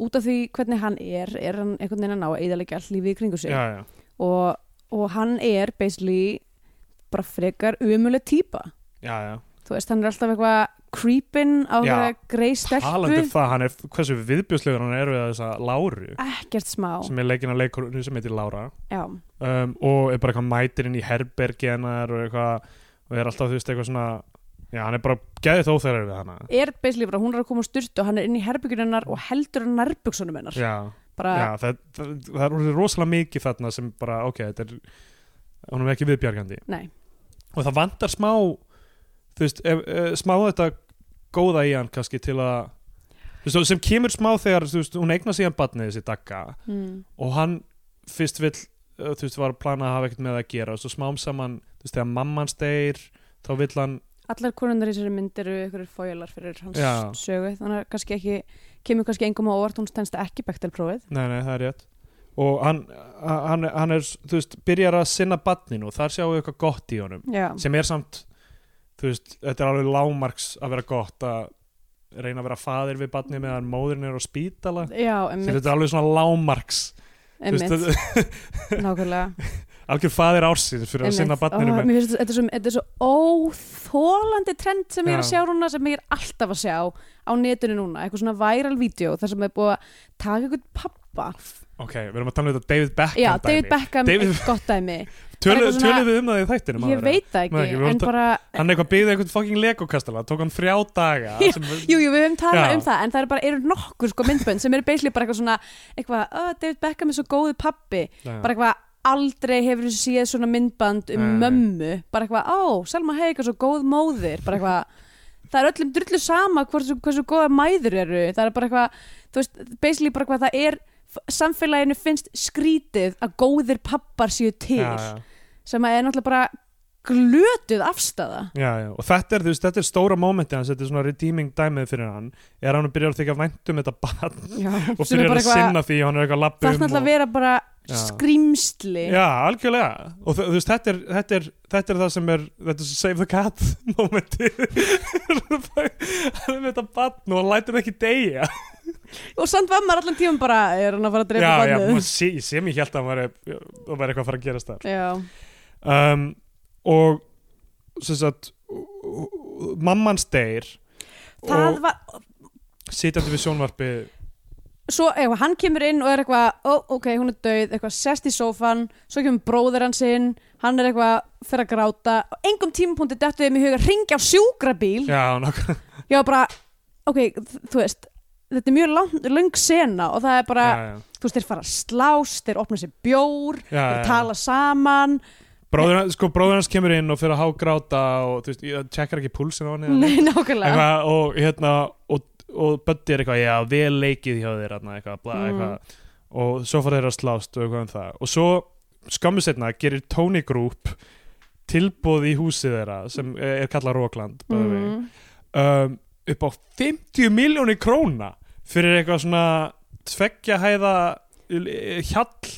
[SPEAKER 3] út af því hvernig hann er, er hann einhvern veginn að ná að eðalega all lífið í kringu sig
[SPEAKER 2] já, já.
[SPEAKER 3] og, og hann er basically bara frekar umjöðlega típa
[SPEAKER 2] Já, já.
[SPEAKER 3] þú veist, hann er alltaf eitthvað creepin á
[SPEAKER 2] Já.
[SPEAKER 3] hverja grei stelpu
[SPEAKER 2] talandi um það, hann er, hversu viðbjörslegur hann er við þessa Láru
[SPEAKER 3] ekkert smá
[SPEAKER 2] sem er leikinn að leikurinu sem heitir Lára
[SPEAKER 3] já,
[SPEAKER 2] um, og er bara eitthvað mætirinn í herbergi hennar og eitthvað og er alltaf þú veist eitthvað svona já, hann er bara geðið óþærar við hana
[SPEAKER 3] er basically bara hún er að koma á styrtu og hann er inn í herbyggjunennar og heldur hann nærbyggsonum hennar
[SPEAKER 2] já,
[SPEAKER 3] bara,
[SPEAKER 2] já það, það, það er orðið rosalega mikið þarna sem bara, ok, þetta er hún er ekki viðbjargandi
[SPEAKER 3] nei,
[SPEAKER 2] og það vantar smá þú veist, ef, ef, smá þetta góða í hann kannski til að þú veist, sem kemur smá þegar þú veist, hún eignar síðan batnið þessi dagga
[SPEAKER 3] mm.
[SPEAKER 2] og hann fyrst vill uh, þú veist, var að plana að hafa ekkert með það að gera og svo smám saman, þú veist, þegar mamman steir þá vill hann,
[SPEAKER 3] allar konundar í þessari mynd eru ykkur fójalar fyrir hans
[SPEAKER 2] Já.
[SPEAKER 3] sögu þannig að kannski ekki, kemur kannski engum á óvart hún stendst ekki bektelprófið
[SPEAKER 2] nei, nei, það er rétt og hann, hann, hann er þú veist, byrjar að sinna batninu og þar sjáum við eitthvað gott í honum,
[SPEAKER 3] já,
[SPEAKER 2] sem er samt þú veist, þetta er alveg lágmarks að vera gott að reyna að vera faðir við batni meðan móðurinn er á spítala
[SPEAKER 3] já,
[SPEAKER 2] Sem
[SPEAKER 3] emmitt
[SPEAKER 2] þetta er alveg svona lágmarks þú veist,
[SPEAKER 3] emmitt,
[SPEAKER 2] þetta-
[SPEAKER 3] nákvæmlega
[SPEAKER 2] algjör faðir ársins fyrir að sinna
[SPEAKER 3] einmitt.
[SPEAKER 2] batninu
[SPEAKER 3] Ó,
[SPEAKER 2] með
[SPEAKER 3] mér finnst þetta svo, þetta er svo óþólandi trend sem ég er að
[SPEAKER 2] Já.
[SPEAKER 3] sjá núna sem ég er alltaf að sjá á netinu núna, eitthvað svona viral vídeo þar sem er búið að taka eitthvað pappa
[SPEAKER 2] ok, við erum að tala um þetta David Beckham
[SPEAKER 3] Já,
[SPEAKER 2] dæmi.
[SPEAKER 3] David Beckham
[SPEAKER 2] David-
[SPEAKER 3] er gott dæmi
[SPEAKER 2] Tölu,
[SPEAKER 3] eitthvað svona-
[SPEAKER 2] tölum við um það í þættinum
[SPEAKER 3] Ég
[SPEAKER 2] áður?
[SPEAKER 3] veit það ekki,
[SPEAKER 2] Nei, ekki, við vorum
[SPEAKER 3] en
[SPEAKER 2] ta-
[SPEAKER 3] bara
[SPEAKER 2] hann eitthvað byggði einhvern fucking legokastala tók hann þrjá daga
[SPEAKER 3] Já,
[SPEAKER 2] sem,
[SPEAKER 3] Jú, jú, við höfum talað
[SPEAKER 2] Já.
[SPEAKER 3] um það en það eru bara, eru nokkur sko myndbönd sem eru basically bara eitthvað svona eitthvað, oh, David Beckham er svo góðu pappi
[SPEAKER 2] Já.
[SPEAKER 3] bara eitthvað, aldrei hefur þú séð svona myndband um
[SPEAKER 2] Nei.
[SPEAKER 3] mömmu bara eitthvað, ó, Selma Hayek er svo góð móðir bara eitthvað Það er öllum drullu sama hversu, hversu góða mæður eru. Það er bara eitthvað, þú veist, basically bara eitthvað, það er, samfélaginu finnst skrítið að góðir pappar séu til.
[SPEAKER 2] já,
[SPEAKER 3] sem að er náttúrulega bara glötuð afstæða
[SPEAKER 2] já, já, já. og þetta er, þú veist, þetta er stóra mómenti hans þetta er svona redeeming dæmið fyrir hann er hann að byrja að þykja væntum þetta barn
[SPEAKER 3] Já,
[SPEAKER 2] og byrja að sinna því hann er eitthvað
[SPEAKER 3] það
[SPEAKER 2] lappi
[SPEAKER 3] er
[SPEAKER 2] um
[SPEAKER 3] náttúrulega að
[SPEAKER 2] og,
[SPEAKER 3] vera bara
[SPEAKER 2] Já.
[SPEAKER 3] skrýmsli
[SPEAKER 2] já, algjörlega og þú þú veist, þetta er, þetta er, þetta er það sem er þetta er save the cat mómenti hann er með þetta barn og hann lætur það ekki deyja
[SPEAKER 3] og samt var maður allan tíma bara er hann að fara að
[SPEAKER 2] já,
[SPEAKER 3] drepa
[SPEAKER 2] já,
[SPEAKER 3] bannið
[SPEAKER 2] maður sé, ég sé mér hjælt að hann væri- það væri eitthvað að fara að gerast það
[SPEAKER 3] já,
[SPEAKER 2] um, og sem sagt mamman steir
[SPEAKER 3] það
[SPEAKER 2] og
[SPEAKER 3] var
[SPEAKER 2] sitjandi við sjónvarpi
[SPEAKER 3] svo eitthvað, hann kemur inn og er eitthvað ó, ok, hún er döið, eitthvað sest í sófan svo kemur bróðir hans inn hann er eitthvað, fer að gráta á engum tímapunkti dettu þeim í huga, ringja á sjúkrabíl
[SPEAKER 2] já, nokkuð
[SPEAKER 3] ég var bara, ok, þ- þú veist þetta er mjög lang, lang sena og það er bara,
[SPEAKER 2] já,
[SPEAKER 3] þú veist, þeir fara að slást þeir opna sér bjór,
[SPEAKER 2] já,
[SPEAKER 3] þeir
[SPEAKER 2] já, já.
[SPEAKER 3] tala saman
[SPEAKER 2] Bróður, hans- sko, bróður hans kemur inn og fyrir að hágráta og þú veist, ég tjekkar ekki púlsin á hann eða neitt.
[SPEAKER 3] Nei, nákvæmlega
[SPEAKER 2] eitthvað, og hérna og, og Böddi er eitthvað, já, vel leikið hjá þér hérna, eitthvað, bla,
[SPEAKER 3] Mm.
[SPEAKER 2] eitthvað og svo fara þeir að slást og eitthvað um það og svo skammu setna gerir Tony Group tilbúð í húsið þeirra sem er kallað Rókland mm.
[SPEAKER 3] mm.
[SPEAKER 2] um, upp á 50 miljónir króna fyrir eitthvað svona tveggja hæða eh, hjall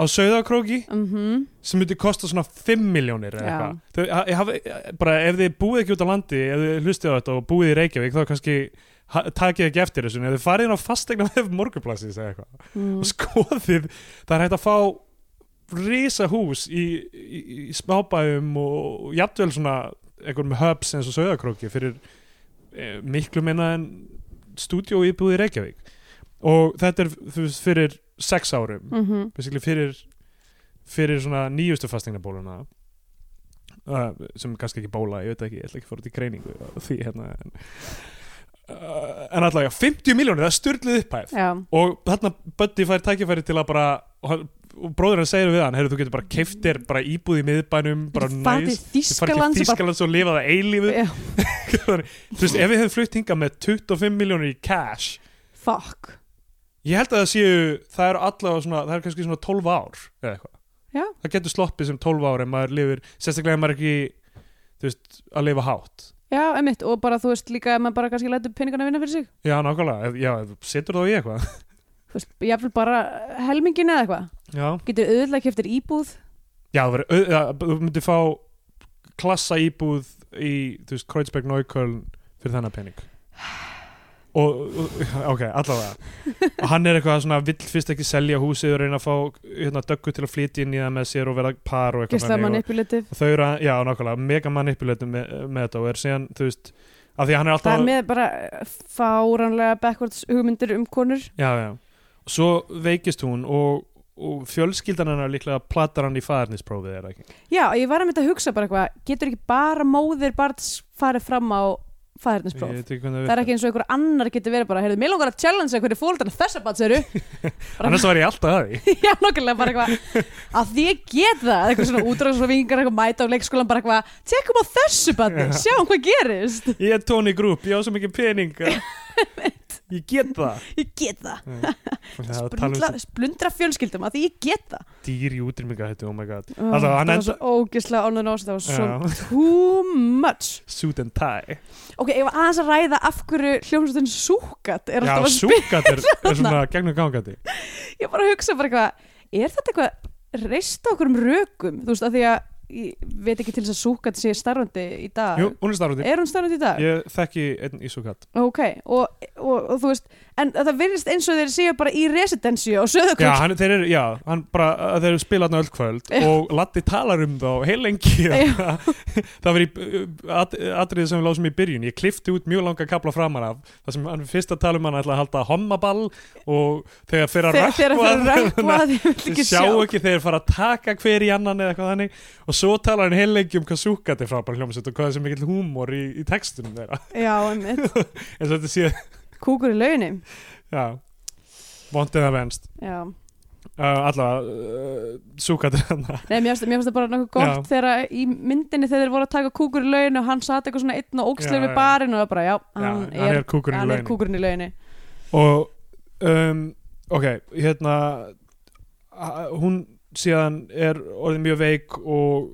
[SPEAKER 2] á Sauðakróki
[SPEAKER 3] Mhm.
[SPEAKER 2] sem myndi kosta svona 5 miljónir eða
[SPEAKER 3] Já.
[SPEAKER 2] eitthvað Þau- ha- ég hafi- bara ef þið búið ekki út á landi ef þið hlustið á þetta og búið í Reykjavík þá kannski ha- takið ekki eftir þessu en ef þið farið inn á fastegna með morgunplassi eða eitthvað
[SPEAKER 3] mm.
[SPEAKER 2] og skoðið það er hægt að fá risa hús í, í, í smábæjum og jafnvel svona einhverjum hubs eins og söðakróki fyrir eh, miklu minna en stúdíó íbúið í Reykjavík og þetta er þú veist, fyrir sex árum
[SPEAKER 3] Mhm.
[SPEAKER 2] basically fyrir fyrir svona nýjustu fastegnabóluna uh, sem er kannski ekki bóla ég veit ekki, ég ætla ekki að fóra út í greiningu á því hérna en, uh, en allavega 50 miljónir, það er styrluð upphæð
[SPEAKER 3] Já,
[SPEAKER 2] og þarna Buddy fær tækifæri til að bara og hann- og bróður hann segir við hann heyrðu þú getur bara keiftir bara íbúð í miðbænum bara
[SPEAKER 3] Þú farið
[SPEAKER 2] næs
[SPEAKER 3] til
[SPEAKER 2] Þú farið til
[SPEAKER 3] Þýskalands og bara-
[SPEAKER 2] Þískaland og lifa það eilífið
[SPEAKER 3] Já.
[SPEAKER 2] þú veist ef við hefum flutt hingað með 25 miljónir í cash
[SPEAKER 3] fuck
[SPEAKER 2] ég held að það séu það er allavega svona það er kannski svona 12 ár eða eitthvað
[SPEAKER 3] Já.
[SPEAKER 2] það getur sloppið sem 12 ár en maður lifir sérstaklega ef maður er ekki þú veist að lifa hátt
[SPEAKER 3] Já, emitt, og bara þú veist líka að maður bara kannski lætur peningana vinna fyrir sig
[SPEAKER 2] já nákvæmlega Ef- já ef þú setur þá í eitthvað
[SPEAKER 3] Þú veist, jafnvel bara helmingin eða eitthvað
[SPEAKER 2] já
[SPEAKER 3] Getur auðvitað keftir íbúð
[SPEAKER 2] Já, þú verður- auð- ja, þú myndir fá klassa íbúð í, þú veist, Kreuzberg Neukölln fyrir þennan pening og, og- ok, allavega og hann er eitthvað svona, vill fyrst ekki selja húsið og reyna að fá hérna, döggu til að flytja inn í það með sér og verða par og eitthvað
[SPEAKER 3] Gæsla
[SPEAKER 2] þannig og-
[SPEAKER 3] manipulativ
[SPEAKER 2] og þau eru, að, já, nákvæmlega, mega manipuleitum með, með þetta og er síðan, þú veist af því að hann er alltaf
[SPEAKER 3] Það er með bara eh, fáránlega backwards hugmyndir um konur
[SPEAKER 2] já, já. og svo veikist hún og, og fjölskyldan hennar líklega platar hann í faðarnisprófið, er það ekki?
[SPEAKER 3] Já, ég var að mynda að hugsa bara eitthvað Getur ekki bara móðir barns farið fram á
[SPEAKER 2] Ég
[SPEAKER 3] fæðirnispróf
[SPEAKER 2] veit ekki hvernig
[SPEAKER 3] Það er
[SPEAKER 2] virkar.
[SPEAKER 3] ekki eins og einhver annar getur verið bara Heyrðu, mér langar að challenge einhverju fólkdana þessa barns eru
[SPEAKER 2] annars var ég alltaf að því
[SPEAKER 3] Já, nokkulega bara eitthvað að því ég get það, eitthvað svona útráðsrafingar eitthvað mæta á leikskólan, bara eitthvað tekum á þessu banni,
[SPEAKER 2] Já.
[SPEAKER 3] sjáum hvað gerist
[SPEAKER 2] Ég er Tony Group, ég á svo mikið peninga Ég get það
[SPEAKER 3] ég get það,
[SPEAKER 2] Það er tala um
[SPEAKER 3] Splundla,
[SPEAKER 2] þessi
[SPEAKER 3] splundra fjölskyldum að því ég get það
[SPEAKER 2] dýr í útrýminga hættu, oh my god Alltaf,
[SPEAKER 3] Ó,
[SPEAKER 2] hann
[SPEAKER 3] það var
[SPEAKER 2] enda-
[SPEAKER 3] svo ógislega ánöðin ás það var svo
[SPEAKER 2] Já.
[SPEAKER 3] too much
[SPEAKER 2] Suit and tie
[SPEAKER 3] ok, ég var aðeins að ræða af hverju hljómsveitin súkat er
[SPEAKER 2] Já,
[SPEAKER 3] alltaf að spila,
[SPEAKER 2] súkat er, er svona gegnum gangandi
[SPEAKER 3] ég var að hugsa bara eitthvað er þetta eitthvað reist á okkur um rökum þú veist, að því að ég veit ekki til þess að súkat sé starfandi í dag
[SPEAKER 2] Jú, hún er starfandi
[SPEAKER 3] er hún starfandi í dag?
[SPEAKER 2] Ég þekki einn í súkat
[SPEAKER 3] Ok, og, og, og þú veist en það virðist eins og þeir séu bara í residensi og
[SPEAKER 2] Já,
[SPEAKER 3] söðakvöld
[SPEAKER 2] hann, þeir eru, já, hann bara, að þeir eru spilað öll kvöld og Latti talar um þá heilengi það var í uh, at, atriði sem við lásum í byrjun, ég klifti út mjög langa kapla framan af, það sem hann fyrst að tala um hann ætla að halda hommaball og þegar fyrir að
[SPEAKER 3] þegar þeir eru að rökkva því ég vil
[SPEAKER 2] Þeir
[SPEAKER 3] ekki
[SPEAKER 2] sjá
[SPEAKER 3] sjá
[SPEAKER 2] ekki þeir fara að taka hver í annan eða eitthvað þannig og svo talar hann heilengi um hvað súkat er frábær hljómsveit og hvað er sem mikill húmor í, í textunum þeirra
[SPEAKER 3] Já, einmitt,
[SPEAKER 2] eins og þetta sé,
[SPEAKER 3] kúkur í launin
[SPEAKER 2] já vondið að venst
[SPEAKER 3] Já,
[SPEAKER 2] uh, allavega uh, súkat er hann
[SPEAKER 3] nei, mér finnst mér finnst það bara nokkuð gott þegar í myndinni þegar þeir voru að taka kúkur í launin og hann satt eitthvað svona einn og
[SPEAKER 2] Já,
[SPEAKER 3] óksleir við
[SPEAKER 2] já.
[SPEAKER 3] barinn og það bara, já, hann,
[SPEAKER 2] hann er kúkurinn í
[SPEAKER 3] hann er
[SPEAKER 2] launin
[SPEAKER 3] kúkurinn í launin
[SPEAKER 2] og um, ok, hérna a- hún síðan er orðin mjög veik og,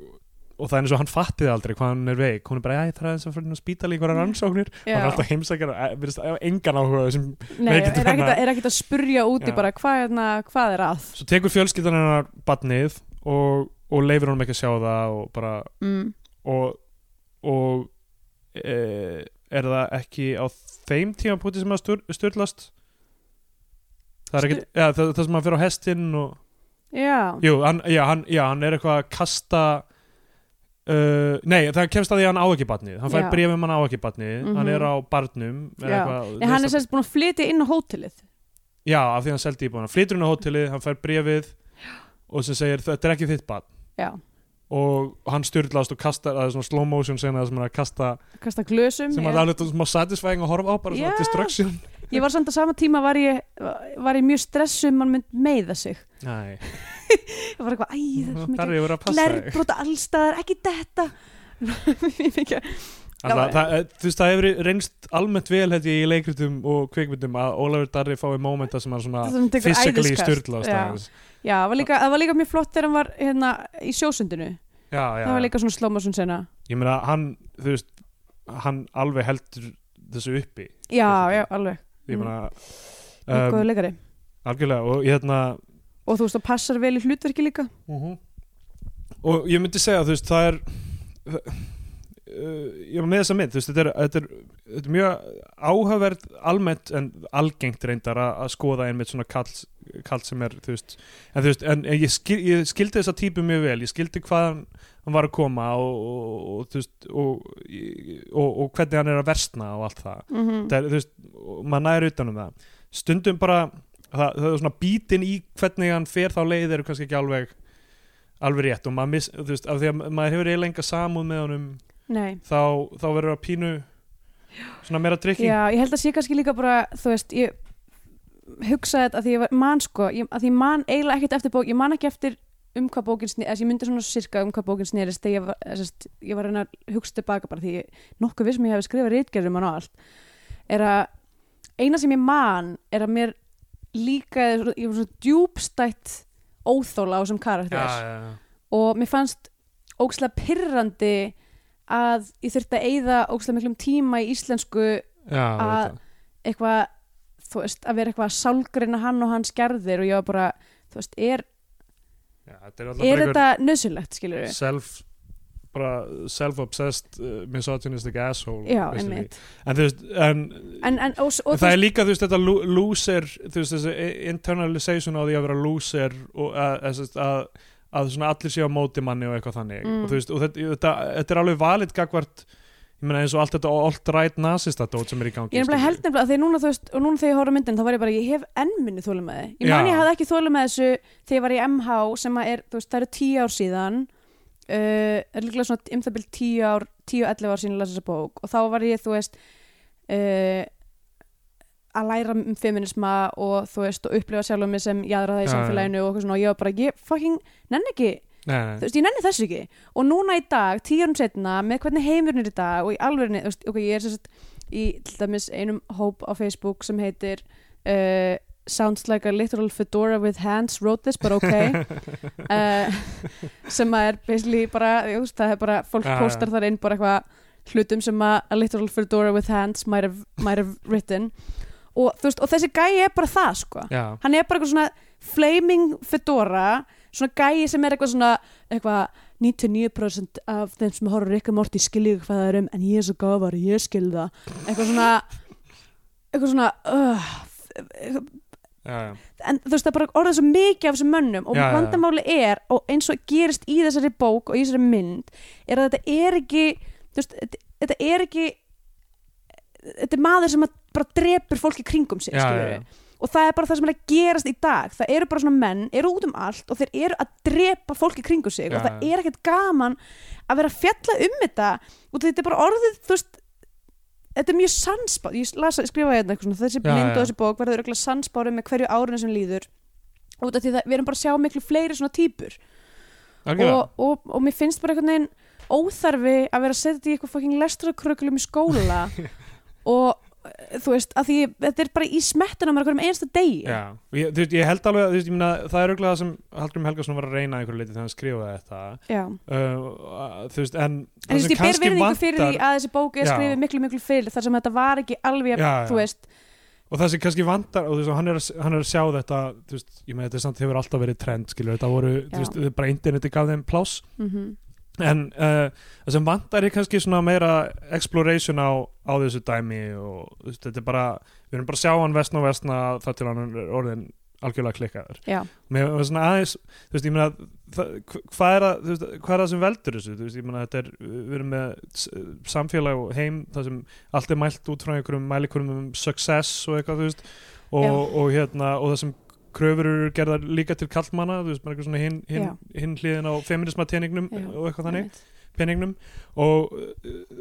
[SPEAKER 2] og það er eins og hann fattiði aldrei hvað hann er veik hún er bara, "Æ, ég þarf aðeins að fara inn á spítala í
[SPEAKER 3] Mm.
[SPEAKER 2] einhverjar rannsóknir hann er alltaf heimsækjar, virðist að hafa engan áhuga á þessum
[SPEAKER 3] Nei,
[SPEAKER 2] Nei,
[SPEAKER 3] er
[SPEAKER 2] ekkert
[SPEAKER 3] ekkert
[SPEAKER 2] annað.
[SPEAKER 3] að- er ekkert að spurja úti
[SPEAKER 2] Já.
[SPEAKER 3] bara hvað, hérna, hvað er að
[SPEAKER 2] svo tekur fjölskyldan hennar badnið og, og leifir honum ekki að sjá það og bara
[SPEAKER 3] mm.
[SPEAKER 2] og, og e, er það ekki á þeim tímapúti sem að stur, styrlast það er ekki ja, það, það sem hann fyrir á hestinn og
[SPEAKER 3] Já,
[SPEAKER 2] jú, hann, já, hann, já, hann er eitthvað að kasta Uh, nei, það kemst að því að hann á ekki barnið hann fær
[SPEAKER 3] Já.
[SPEAKER 2] bréf um hann á ekki barnið
[SPEAKER 3] Mhm.
[SPEAKER 2] hann er á barnum eða
[SPEAKER 3] Já.
[SPEAKER 2] eitthvað,
[SPEAKER 3] Nei, hann er
[SPEAKER 2] neista-
[SPEAKER 3] semst búin að flytja inn á hótelið
[SPEAKER 2] já, af því hann seldi íbúin hann flytur hann á hótelið, hann fær bréfið og sem segir, þetta er ekki þitt barn
[SPEAKER 3] Já,
[SPEAKER 2] og hann styrlast og kastar það er svona slow motion sena sem hann er að kasta
[SPEAKER 3] kasta glösum
[SPEAKER 2] sem
[SPEAKER 3] eða-
[SPEAKER 2] hann er alveg smá satisfying að horfa á bara svona
[SPEAKER 3] Já.
[SPEAKER 2] destruction
[SPEAKER 3] Ég var samt að sama tíma var ég, var ég mjög stressuð um hann mynd meiða sig.
[SPEAKER 2] Nei,
[SPEAKER 3] Ég var eitthvað, æ, það er svo
[SPEAKER 2] þar
[SPEAKER 3] mikið
[SPEAKER 2] er ég verið að passa þig
[SPEAKER 3] glerbrota allstaðar, ekki þetta. Mjög mikið.
[SPEAKER 2] Alla,
[SPEAKER 3] Já.
[SPEAKER 2] það, eh, Þú veist, það hefur reynst almennt vel held ég í leikritum og kvikmyndum að Ólafur Darri fái mómenta sem hann
[SPEAKER 3] Það
[SPEAKER 2] svona
[SPEAKER 3] sem tekur
[SPEAKER 2] physically
[SPEAKER 3] æðiskast.
[SPEAKER 2] styrlast
[SPEAKER 3] Já.
[SPEAKER 2] aðeins.
[SPEAKER 3] Já, það var líka, það var líka mjög flott þegar hann var hérna í sjósundinu.
[SPEAKER 2] Já, já,
[SPEAKER 3] það var
[SPEAKER 2] já.
[SPEAKER 3] líka svona slómasun sena.
[SPEAKER 2] Ég meina, hann, þú veist hann alveg heldur þessu uppi
[SPEAKER 3] Já,
[SPEAKER 2] Ég
[SPEAKER 3] já, alveg.
[SPEAKER 2] Ég meina
[SPEAKER 3] Um,
[SPEAKER 2] um,
[SPEAKER 3] Góður leikari.
[SPEAKER 2] algjörlega og hérna
[SPEAKER 3] og þú veist það passar vel í hlutverki líka
[SPEAKER 2] og ég myndi segja þú veist það er uh, ég var með þessa mynd þú veist þetta er, þetta er, þetta er mjög áhugaverð almennt en algengt reyndar að, að skoða einmitt svona kall, kall sem er þú veist en, þú veist, en, en ég, skil, ég skildi þessa típu mjög vel ég skildi hvað hann, hann var að koma og, og, og, þú veist, og, og, og hvernig hann er að versna og allt það
[SPEAKER 3] mm -hmm.
[SPEAKER 2] það er, þú veist, og maður næri utanum það stundum bara, það, það er svona bítin í hvernig hann fer þá leið eru kannski ekki alveg alveg rétt og maður miss, þú veist, af því að maður hefur eiginlega enga samúð með honum
[SPEAKER 3] Nei,
[SPEAKER 2] þá, þá verður það pínu svona meira drikking
[SPEAKER 3] já, ég held að sé kannski líka bara þú veist, ég hugsaði þetta að því ég var- man sko, ég, að því ég man eiginlega ekkert eftir bók, ég man ekki eftir um hvað bókin snerist, þess ég myndi svona sirka um hvað bókin snerist þegar ég var, þess, ég var að reyna að hugsa tilbaka bara því ég, nokkuð við sem ég hef skrifað reitgerðum hann og allt er að eina sem ég man er að mér líka ég var svona djúbstætt óþóla á sem karakter
[SPEAKER 2] já,
[SPEAKER 3] og mér fannst ókslega pirrandi að ég þurfti að eyða ókslega miklum tíma í íslensku
[SPEAKER 2] já, já
[SPEAKER 3] Að-
[SPEAKER 2] auðvitað.
[SPEAKER 3] eitthvað, þú veist, að vera eitthvað að sálgreina hann og hans gerðir og ég var bara þú veist, er,
[SPEAKER 2] já þetta er alltaf
[SPEAKER 3] er
[SPEAKER 2] bara
[SPEAKER 3] þetta nöðsulegt, skilur
[SPEAKER 2] einhver
[SPEAKER 3] við?
[SPEAKER 2] self bara self-obsessed uh, misogynistic asshole
[SPEAKER 3] Já,
[SPEAKER 2] basically.
[SPEAKER 3] einmitt.
[SPEAKER 2] en þú veist, en
[SPEAKER 3] En, en, og, og,
[SPEAKER 2] En það er líka, þú veist, þetta lo- loser þú veist, þessi internalization á því að vera loser og að, að, sem sagt, að, að svona allir séu á móti manni og eitthvað þannig
[SPEAKER 3] Mm.
[SPEAKER 2] og, þú veist, og þetta, þetta, þetta er alveg valid gagvart, ég meina eins og allt þetta alt-right nazista dót sem er í gangi
[SPEAKER 3] Ég er nefnilega
[SPEAKER 2] skilur.
[SPEAKER 3] held nefnilega að því núna þú veist og núna þegar ég horf á myndin þá var ég bara, ég hef enn minni þólum með þið. Ég man
[SPEAKER 2] Já.
[SPEAKER 3] ég hafði ekki þólum með þessu þegar ég var í MH sem að er, þú veist, það eru tíu ár síðan uh, er líklega svona um það byrjum tíu ár, tíu, ellefu ár síðan að lesa þessa bók og þá var ég, þú veist uh, að læra um feminisma og þú veist og upplifa sjálfum mig sem jaðra það í
[SPEAKER 2] Já, já.
[SPEAKER 3] samfélaginu og eitthvað svona og ég var bara, ég fucking nenn ekki
[SPEAKER 2] Nei,
[SPEAKER 3] þú
[SPEAKER 2] nei,
[SPEAKER 3] veist, ég nenni þessu ekki og núna í dag, tíu árum setna, með hvernig heimurinn er í dag og í alvörinni, þú veist, ok, ég er sem sagt í til dæmis einum hóp á Facebook sem heitir uh, Sounds like a literal fedora with hands wrote this, but ok uh, sem að er basically bara, þú veist, það er bara fólk
[SPEAKER 2] Já, já.
[SPEAKER 3] postar þar inn bara eitthvað hlutum sem að a literal fedora with hands might have, might have written og, þú veist, og þessi gæi er bara það, sko
[SPEAKER 2] já,
[SPEAKER 3] hann er bara eitthvað svona flaming fedora svona gæi sem er eitthvað svona eitthvað 99% af þeim sem horfur Rick and Morty skilja hvað það er um en ég er svo gáfar, ég skil það eitthvað svona eitthvað svona uh,
[SPEAKER 2] já, já.
[SPEAKER 3] en þú veist það er bara orðið svo mikið af þessum mönnum og
[SPEAKER 2] Já, já, já.
[SPEAKER 3] vandamáli er og eins og gerist í þessari bók og í þessari mynd er að þetta er ekki þú veist, þetta- þetta er ekki þetta er maður sem að bara drepur fólki kringum sig
[SPEAKER 2] Já,
[SPEAKER 3] skilurðu.
[SPEAKER 2] já, já.
[SPEAKER 3] og það er bara það sem er að gerast í dag það eru bara svona menn, eru út um allt og þeir eru að drepa fólki kringum sig
[SPEAKER 2] Já,
[SPEAKER 3] og það
[SPEAKER 2] já.
[SPEAKER 3] er ekkert gaman að vera að fjalla um þetta og þetta er bara orðið þú veist þetta er mjög sannspáð, ég las, skrifaði hérna eitthvað svona þessi
[SPEAKER 2] Já,
[SPEAKER 3] mynd
[SPEAKER 2] já.
[SPEAKER 3] og þessi bók verður örugglega sannspáð með hverju árinu sem líður út af því það, við erum bara að sjá miklu fleiri svona típur
[SPEAKER 2] algjörlega
[SPEAKER 3] og, og, og mér finnst bara einhvern veginn óþarfi að vera að setja þetta í eitthvað fucking lestrarkrökulum í skóla og eh, þú veist, að því þetta er bara í smettunum á hverjum einasta degi
[SPEAKER 2] Já, og ég, þú veist, ég held alveg að, þú veist, ég meina, það er auðvitað það sem Hallgrim Helgason var að reyna að einhverju leiti þegar hann skrifaði þetta
[SPEAKER 3] Já.
[SPEAKER 2] uh, að- þú veist, en
[SPEAKER 3] en þú veist, ég ber virðingu fyrir því að þessi bók er
[SPEAKER 2] Já.
[SPEAKER 3] skrifið miklu miklu fyrir þar sem þetta var ekki alveg,
[SPEAKER 2] Já, já.
[SPEAKER 3] þú veist
[SPEAKER 2] og það sem kannski vandar og þú veist, og hann, er að, hann er að sjá þetta þú veist, ég með þetta er samt hefur alltaf verið trend skilur, þetta voru,
[SPEAKER 3] Já.
[SPEAKER 2] þú veist, þetta er bara interneti gaf þeim pláss
[SPEAKER 3] mm -hmm.
[SPEAKER 2] en uh, það sem vandar er kannski svona meira exploration á, á þessu dæmi og þú veist, þetta er bara við erum bara að sjá hann vestna og vestna þar til hann er orðin algjörlega klikkaður
[SPEAKER 3] Já.
[SPEAKER 2] mér var svona aðeins þú veist, ég meina, það, hva- hvað, er að, þú veist, hvað er það sem veldur þessu þú veist, ég meina, þetta er, við erum með s- samfélag og heim það sem allt er mælt út frá einhverjum mælikurum um success og eitthvað þú veist, og,
[SPEAKER 3] Já.
[SPEAKER 2] og, hérna, og það sem kröfur eru gerðar líka til kallmanna þú veist, maður er eitthvað svona hinn hin, hin hliðin á feminisma teningnum
[SPEAKER 3] Já,
[SPEAKER 2] og eitthvað þannig peningnum og,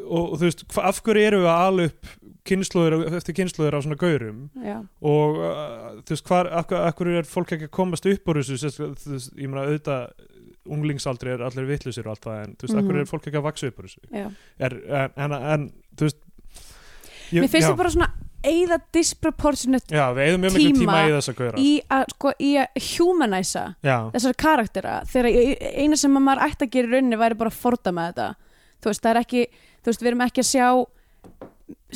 [SPEAKER 2] og, og þú veist, hva, af hverju eru við að ala upp kynnslóður eftir kynnslóður á svona gaurum
[SPEAKER 3] Já.
[SPEAKER 2] og uh, þú veist hvar, af, hver- af hverju er fólk ekki að komast upp úr þessu sérst, þú veist, ég meina auðvitað unglingsaldri er allir vitlusir og allt það en þú veist, af hverju
[SPEAKER 3] Mhm.
[SPEAKER 2] er fólk ekki að vaksa upp úr þessu
[SPEAKER 3] Já.
[SPEAKER 2] er, en, en, en þú veist ég,
[SPEAKER 3] mér finnst
[SPEAKER 2] já,
[SPEAKER 3] það bara svona eða disproportionate
[SPEAKER 2] já, við eigðum mjög miklu
[SPEAKER 3] tíma
[SPEAKER 2] tíma í þessa gauðra
[SPEAKER 3] í að, sko, í að humanæsa
[SPEAKER 2] já,
[SPEAKER 3] þessar karaktera þegar ég- eina sem að maður ætti að gera í rauninni væri bara að forda með þetta þú veist, það er ekki, þú veist, við erum ekki að sjá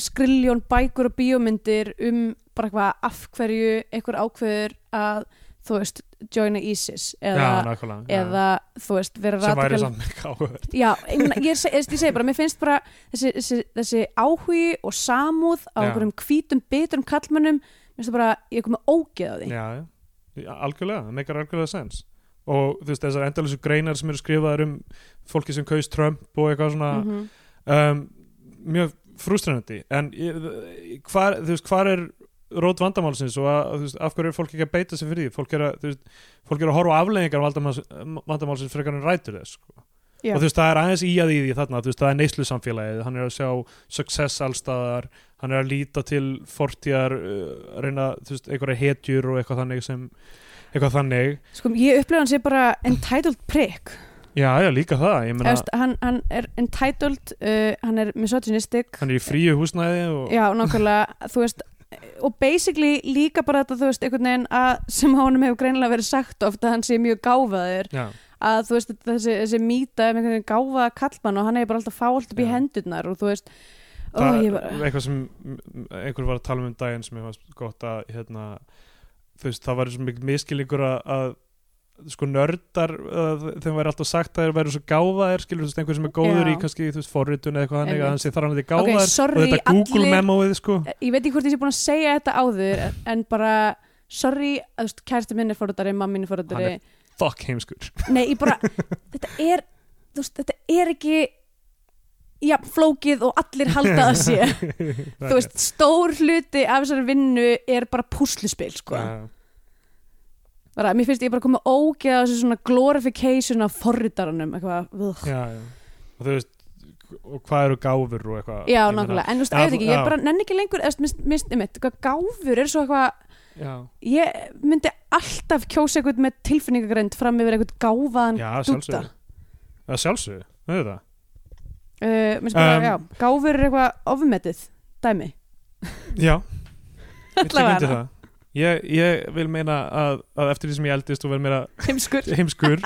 [SPEAKER 3] skriljón bækur og bíómyndir um bara bara eitthvað af hverju einhver ákveður að þú veist, joina ISIS eða,
[SPEAKER 2] já, nákvæmlega já.
[SPEAKER 3] eða þú veist, vera
[SPEAKER 2] sem væri
[SPEAKER 3] radikal-
[SPEAKER 2] samt með káður
[SPEAKER 3] Já, ég, meina, ég, seg- ég segi bara, mér finnst bara þessi, þessi, þessi áhugi og samúð á
[SPEAKER 2] Já.
[SPEAKER 3] einhverjum hvítum, bitrum kallmönnum, mér finnst það bara, ég er komið ógeð á því.
[SPEAKER 2] já, já. Já, algjörlega, það meikar algjörlega sens og þú veist, þessar endalísu greinar sem eru skrifaðar um fólki sem kaus Trump og eitthvað svona
[SPEAKER 3] Mm
[SPEAKER 2] um, mjög frústrænandi en ég- hvar, þú veist, hvar er rót vandamálsins og að, þú veist, af hverju er fólk ekki að beita sig fyrir því fólk er að, þú veist, fólk er að horfa á afleggingar vandamáls, vandamálsins frekar en rætur þess sko.
[SPEAKER 3] Já.
[SPEAKER 2] og þú veist, það er aðeins í að í því þarna, þú veist, það er neyslu samfélagið hann er að sjá success allstaðar hann er að líta til fortíðar uh, reyna, þú veist, einhverja hetjur og eitthvað þannig sem, eitthvað þannig
[SPEAKER 3] Sko, ég upplifa hann sé bara entitled prick.
[SPEAKER 2] já, já, líka það, ég
[SPEAKER 3] Eða,
[SPEAKER 2] meina
[SPEAKER 3] veist, hann, hann er entitled, uh, hann er misogynistic,
[SPEAKER 2] hann er í fríu húsnæði og,
[SPEAKER 3] já, nákvæmlega, þú veist, og basically líka bara þetta, þú veist, einhvern veginn að sem honum hefur greinilega verið sagt oft að hann sé mjög gáfaður
[SPEAKER 2] já,
[SPEAKER 3] að þú veist þessi, þessi mýta um einhvern veginn gáfa kallmann og hann er bara alltaf fált upp í
[SPEAKER 2] Já.
[SPEAKER 3] hendurnar og þú veist ó,
[SPEAKER 2] það
[SPEAKER 3] ég
[SPEAKER 2] er
[SPEAKER 3] bara,
[SPEAKER 2] eitthvað sem m- einhver var að tala um um daginn sem ég var gott að hérna, þú veist, það var svo mikið miskilíkur að, að sko nördar uh, þeim væri alltaf sagt að þeir væri svo gáfaðir skilur þú veist einhver sem er góður
[SPEAKER 3] Já.
[SPEAKER 2] í kannski þú veist forritun eða eitthvað þannig
[SPEAKER 3] Einmitt.
[SPEAKER 2] að hann sé þar hann að þið
[SPEAKER 3] Ok,
[SPEAKER 2] gáfaðir
[SPEAKER 3] sorry,
[SPEAKER 2] og þetta Google
[SPEAKER 3] allir-
[SPEAKER 2] memoið sko
[SPEAKER 3] ég veit ekki hvort ég sé búin að segja þetta áður en bara sorry, að, þú veist, kærasti minn er fórhundari mamma mín er fórhundari
[SPEAKER 2] Hann fuck heimskur
[SPEAKER 3] nei, ég bara, þetta er þú veist, þetta er ekki já, flókið og allir halda að sé þú veist, stór hluti af þessari vinnu er bara púsluspil sko.
[SPEAKER 2] Já.
[SPEAKER 3] bara, mér finnst ég bara komið ógeða þessu svona glorification af forritaranum eitthvað, vugh.
[SPEAKER 2] já, já. og þú veist og hvað eru gáfur og eitthvað
[SPEAKER 3] Já,
[SPEAKER 2] Ég meina,
[SPEAKER 3] nákvæmlega, en þú veist,
[SPEAKER 2] Já,
[SPEAKER 3] ég veit
[SPEAKER 2] þú-
[SPEAKER 3] ekki, ég
[SPEAKER 2] já.
[SPEAKER 3] bara nenni ekki lengur, eða þú veist, minnst, minnst, eitthvað gáfur er svo eitthvað,
[SPEAKER 2] já,
[SPEAKER 3] ég myndi alltaf kjósa eitthvað með tilfinningagreind fram yfir eitthvað gáfaðan,
[SPEAKER 2] já
[SPEAKER 3] dúdda.
[SPEAKER 2] sjálfsögðu já, sjálfsögðu, það er það
[SPEAKER 3] uh, minnst bara,
[SPEAKER 2] Um,
[SPEAKER 3] já, gáfur er eitthvað ofmetið, dæmi.
[SPEAKER 2] já, Ég tek
[SPEAKER 3] Allavega.
[SPEAKER 2] undir það. Ég, ég vil meina að, að eftir því sem ég eldist og verð meira
[SPEAKER 3] Heimskur.
[SPEAKER 2] heimskur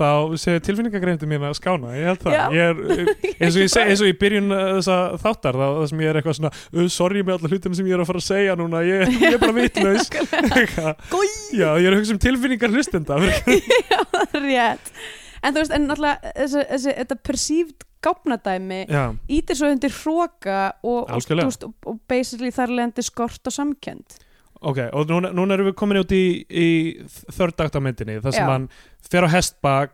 [SPEAKER 2] þá sé tilfinningagreindu mín að skána ég held
[SPEAKER 3] Já.
[SPEAKER 2] það ég er, eins, og ég seg, eins og ég byrjun uh, þessa þáttar þá það sem ég er eitthvað svona uh, sorry með alla hlutum sem ég er að fara að segja núna ég, ég er bara vitlaus
[SPEAKER 3] Gói.
[SPEAKER 2] já, ég er að hugsa um tilfinningar hlustenda
[SPEAKER 3] Rétt. En þú veist, en náttúrulega, þessi, þessi, þetta perceived gáfnadæmi
[SPEAKER 2] já,
[SPEAKER 3] ítir svo undir hróka og, og,
[SPEAKER 2] Algjörlega.
[SPEAKER 3] þú veist, og, og basically þar lendi skort og samkend.
[SPEAKER 2] ok, og núna, núna erum við komin út í, í þördaktamyndinni þar sem
[SPEAKER 3] Já.
[SPEAKER 2] hann fer á hestbak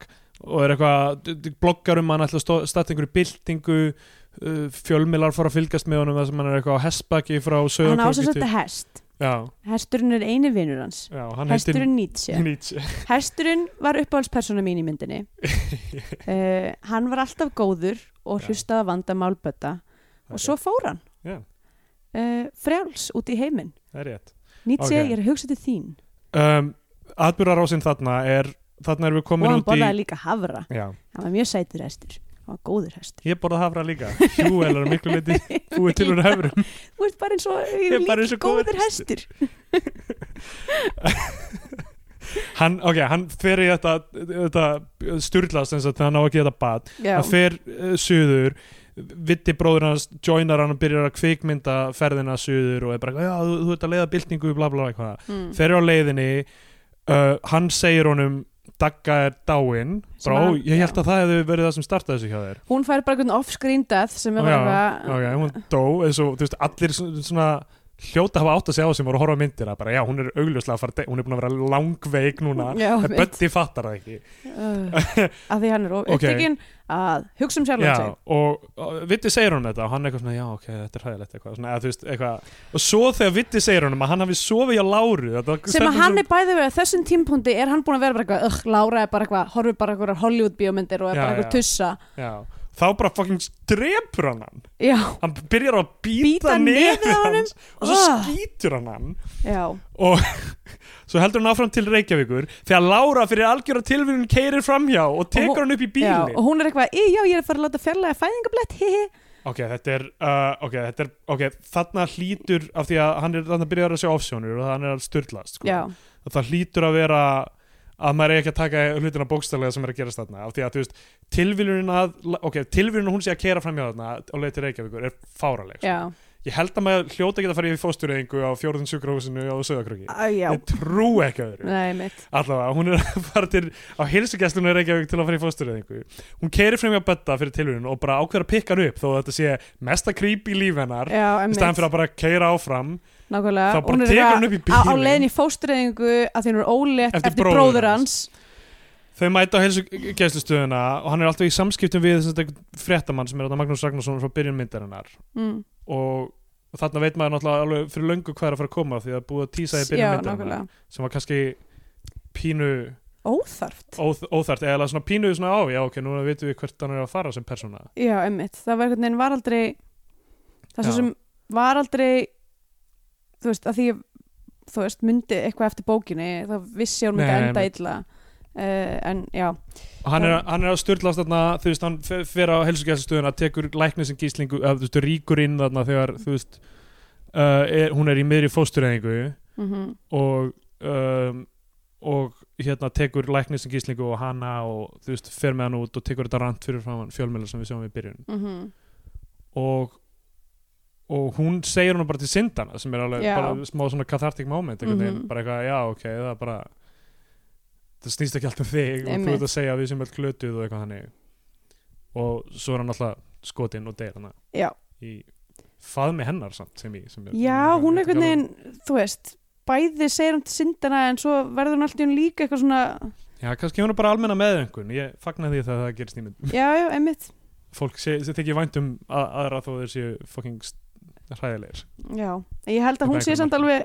[SPEAKER 2] og er eitthvað, d- d- bloggar um hann ætla að stó- statta einhverju byltingu uh, fjölmilar fara að fylgast með honum þar sem hann er eitthvað á hestbaki frá
[SPEAKER 3] Hann
[SPEAKER 2] sögurkróki
[SPEAKER 3] ásins þetta hest.
[SPEAKER 2] já,
[SPEAKER 3] Hesturinn er eini vinur hans.
[SPEAKER 2] já, hann heitir
[SPEAKER 3] Hesturinn Nietzsche.
[SPEAKER 2] Nietzsche
[SPEAKER 3] Hesturinn var uppáhaldspersona mín í myndinni uh, Hann var alltaf góður og
[SPEAKER 2] Já.
[SPEAKER 3] hlustaði að vanda málbötta og svo fór hann
[SPEAKER 2] Já.
[SPEAKER 3] uh, frjáls út í heiminn
[SPEAKER 2] Það er rétt Ok.
[SPEAKER 3] Nietzsche, ég er að hugsa til þín
[SPEAKER 2] um, Atbyrðarásinn þarna er Þarna erum við
[SPEAKER 3] og
[SPEAKER 2] komin
[SPEAKER 3] hann
[SPEAKER 2] út í
[SPEAKER 3] borðaði líka havra
[SPEAKER 2] já,
[SPEAKER 3] Hann var mjög sætur hestur, hann var góður hestur
[SPEAKER 2] Ég borða hafra líka Hjúel er að miklu liti búið til úr höfrum
[SPEAKER 3] Þú ert bara eins og
[SPEAKER 2] er bara
[SPEAKER 3] líka
[SPEAKER 2] eins og góður
[SPEAKER 3] góður hestur
[SPEAKER 2] Hann, ok, hann fer í þetta, þetta Sturlast eins og þegar hann á ekki þetta bad
[SPEAKER 3] Já,
[SPEAKER 2] Hann fer uh, suður Vitti bróður hans joinar hann og byrjar að kvikmynda ferðina suður og er bara, já, þú, þú ert að leiða byltingu bla bla bla eitthvað
[SPEAKER 3] mm.
[SPEAKER 2] þeir eru á leiðinni uh, hann segir honum Dagga er dáin
[SPEAKER 3] Sem
[SPEAKER 2] Brá,
[SPEAKER 3] hann-
[SPEAKER 2] ég held
[SPEAKER 3] já.
[SPEAKER 2] að það hefði verið það sem startaði þessu hjá þér
[SPEAKER 3] Hún fær bara einhvern off-screen death sem er
[SPEAKER 2] Já,
[SPEAKER 3] bara
[SPEAKER 2] ok, hún dó eins og, þú veist, allir sv- svona hljóta hafa átt að segja á sem voru að horfa á myndir að bara, já, hún er augljóslega að fara, að dey- hún er búin að vera langveik núna,
[SPEAKER 3] Já,
[SPEAKER 2] en Böddi fattar það ekki
[SPEAKER 3] uh, að því hann er of
[SPEAKER 2] Ok.
[SPEAKER 3] upptekinn að hugsa um sjálfan sig
[SPEAKER 2] já, og, og Vitti segir honum þetta og hann eitthvað svona, já, ok, þetta er hæðilegt eitthvað, svona, eða, þú veist, eitthvað, og svo þegar Vitti segir honum að hann hafi sofið hjá Láru þetta
[SPEAKER 3] sem
[SPEAKER 2] stendur
[SPEAKER 3] að hann
[SPEAKER 2] svo-
[SPEAKER 3] er bæðið verið að þessum tímpúndi er hann búin að vera bara eitthvað, ögh, Lára er bara eitthvað horfir bara eitthvað Hollywood bíómyndir og er
[SPEAKER 2] Já,
[SPEAKER 3] bara eitthvað
[SPEAKER 2] já.
[SPEAKER 3] tussa
[SPEAKER 2] já, þá bara fucking drepur hann hann
[SPEAKER 3] já,
[SPEAKER 2] hann byrjar að býta,
[SPEAKER 3] Bíta nefið
[SPEAKER 2] nefið
[SPEAKER 3] á honum.
[SPEAKER 2] hans og svo
[SPEAKER 3] Ah.
[SPEAKER 2] skýtur hann hann
[SPEAKER 3] já,
[SPEAKER 2] og svo heldur hann áfram til Reykjavíkur þegar Lára fyrir algjöra tilvíðun keirir framhjá og
[SPEAKER 3] Og
[SPEAKER 2] tekur hann
[SPEAKER 3] hún-
[SPEAKER 2] upp í
[SPEAKER 3] já
[SPEAKER 2] bíli
[SPEAKER 3] og hún er eitthvað, "Í, já, ég er að fara að láta fjarlæga fæðingablett hihi,
[SPEAKER 2] ok, þetta er, uh, ok, þetta er ok, þarna hlýtur af því að hann er þarna byrjar að sjá ofsjónur og hann er að styrlast sko.
[SPEAKER 3] já,
[SPEAKER 2] að það hlýtur að vera að maður er ekki að taka hlutina bókstælega sem er að gerast þarna af því að þú veist, tilvílunin að ok, tilvílunin hún sé að keira framhjá þarna á leið til Reykjavíkur er fáraleg sko.
[SPEAKER 3] já
[SPEAKER 2] Ég held að maður hljóta geta að fara í fóstureyðingu á fjórðun sjúkrahúsinu á Söðakröki.
[SPEAKER 3] Æ, já,
[SPEAKER 2] Ég trú ekki öðru.
[SPEAKER 3] nei mitt
[SPEAKER 2] Allavega, hún er að fara til, á hilsugestunum er ekki til að fara í fóstureyðingu. Hún keiri fram hjá Bötta fyrir tilhörun og bara ákveður að pikka hann upp þó að þetta sé mesta creep í líf hennar. Í
[SPEAKER 3] Já, einmitt,
[SPEAKER 2] staðan fyrir að bara keira áfram
[SPEAKER 3] nákvæmlega
[SPEAKER 2] þá bara
[SPEAKER 3] er
[SPEAKER 2] tekur
[SPEAKER 3] eitthvað
[SPEAKER 2] hann upp í
[SPEAKER 3] á, á
[SPEAKER 2] bílinn.
[SPEAKER 3] leiðin í fóstreiðingu að því hún er ólétt
[SPEAKER 2] Eftir
[SPEAKER 3] eftir,
[SPEAKER 2] bróður
[SPEAKER 3] bróður
[SPEAKER 2] hans.
[SPEAKER 3] hans
[SPEAKER 2] Þau mæta á helsugæslustöðuna og hann er alltaf í samskiptum við þess að fréttamann sem er þetta Magnús Ragnarsson frá byrjun myndarinnar
[SPEAKER 3] mm.
[SPEAKER 2] og þarna veit maður náttúrulega alveg fyrir löngu hvað er að fara að koma því að búið að tísa í
[SPEAKER 3] Já,
[SPEAKER 2] byrjun myndarinnar
[SPEAKER 3] nákvæmlega
[SPEAKER 2] sem var kannski pínu
[SPEAKER 3] Óþarft
[SPEAKER 2] óþ óþært eða svona pínu svona á, já ok, núna veitum við hvert hann er að fara sem persóna
[SPEAKER 3] Já, emmitt, það var einhvern veginn var aldrei það svo
[SPEAKER 2] Já.
[SPEAKER 3] sem var aldrei þú veist, að því ég, þú veist, myndi eitthvað eftir bókinni þá vissi ég hún myndi
[SPEAKER 2] Nei,
[SPEAKER 3] enda
[SPEAKER 2] einmitt.
[SPEAKER 3] illa uh, en já,
[SPEAKER 2] og hann er, hann er að styrlast þarna þú veist, hann fer- fer á helsugæslustöðuna tekur læknir sem gíslingu, eða, þú veist, ríkur inn þarna þegar, þú veist uh, er, hún er í miðri fóstureyðingu
[SPEAKER 3] mm
[SPEAKER 2] og um, og hérna tekur læknir sem gíslingu og hana og þú veist, fer með hann út og tekur þetta rant fyrir framann fjölmjöla sem við sjáum í byrjun og og hún segir hún bara til syndana sem er alveg
[SPEAKER 3] Já.
[SPEAKER 2] bara smá svona cathartic moment mm
[SPEAKER 3] Mhm.
[SPEAKER 2] -hmm. bara eitthvað, já ok, það er bara það snýst ekki allt um þig og þú
[SPEAKER 3] Einmitt.
[SPEAKER 2] ert að segja að við sem öll glötuð og eitthvað þannig og svo er hann alltaf skotinn og deyr hana
[SPEAKER 3] Já.
[SPEAKER 2] í faðmi hennar samt sem ég sem er,
[SPEAKER 3] já, hún
[SPEAKER 2] ég veit ekki
[SPEAKER 3] einhvern veginn þú veist, bæði segir hann til syndana en svo verður hún alltaf líka eitthvað svona
[SPEAKER 2] alveg- já, kannski hún er bara almenna meðöngun ég fagna því þegar það gerist í mynd
[SPEAKER 3] já, já, emmitt
[SPEAKER 2] fólk sé, sé þykir vænt um að, aðra þó þeir séu fucking st- hræðilegir
[SPEAKER 3] Já, en ég held að hún
[SPEAKER 2] Þetta er
[SPEAKER 3] sé
[SPEAKER 2] eitthvað
[SPEAKER 3] samt alveg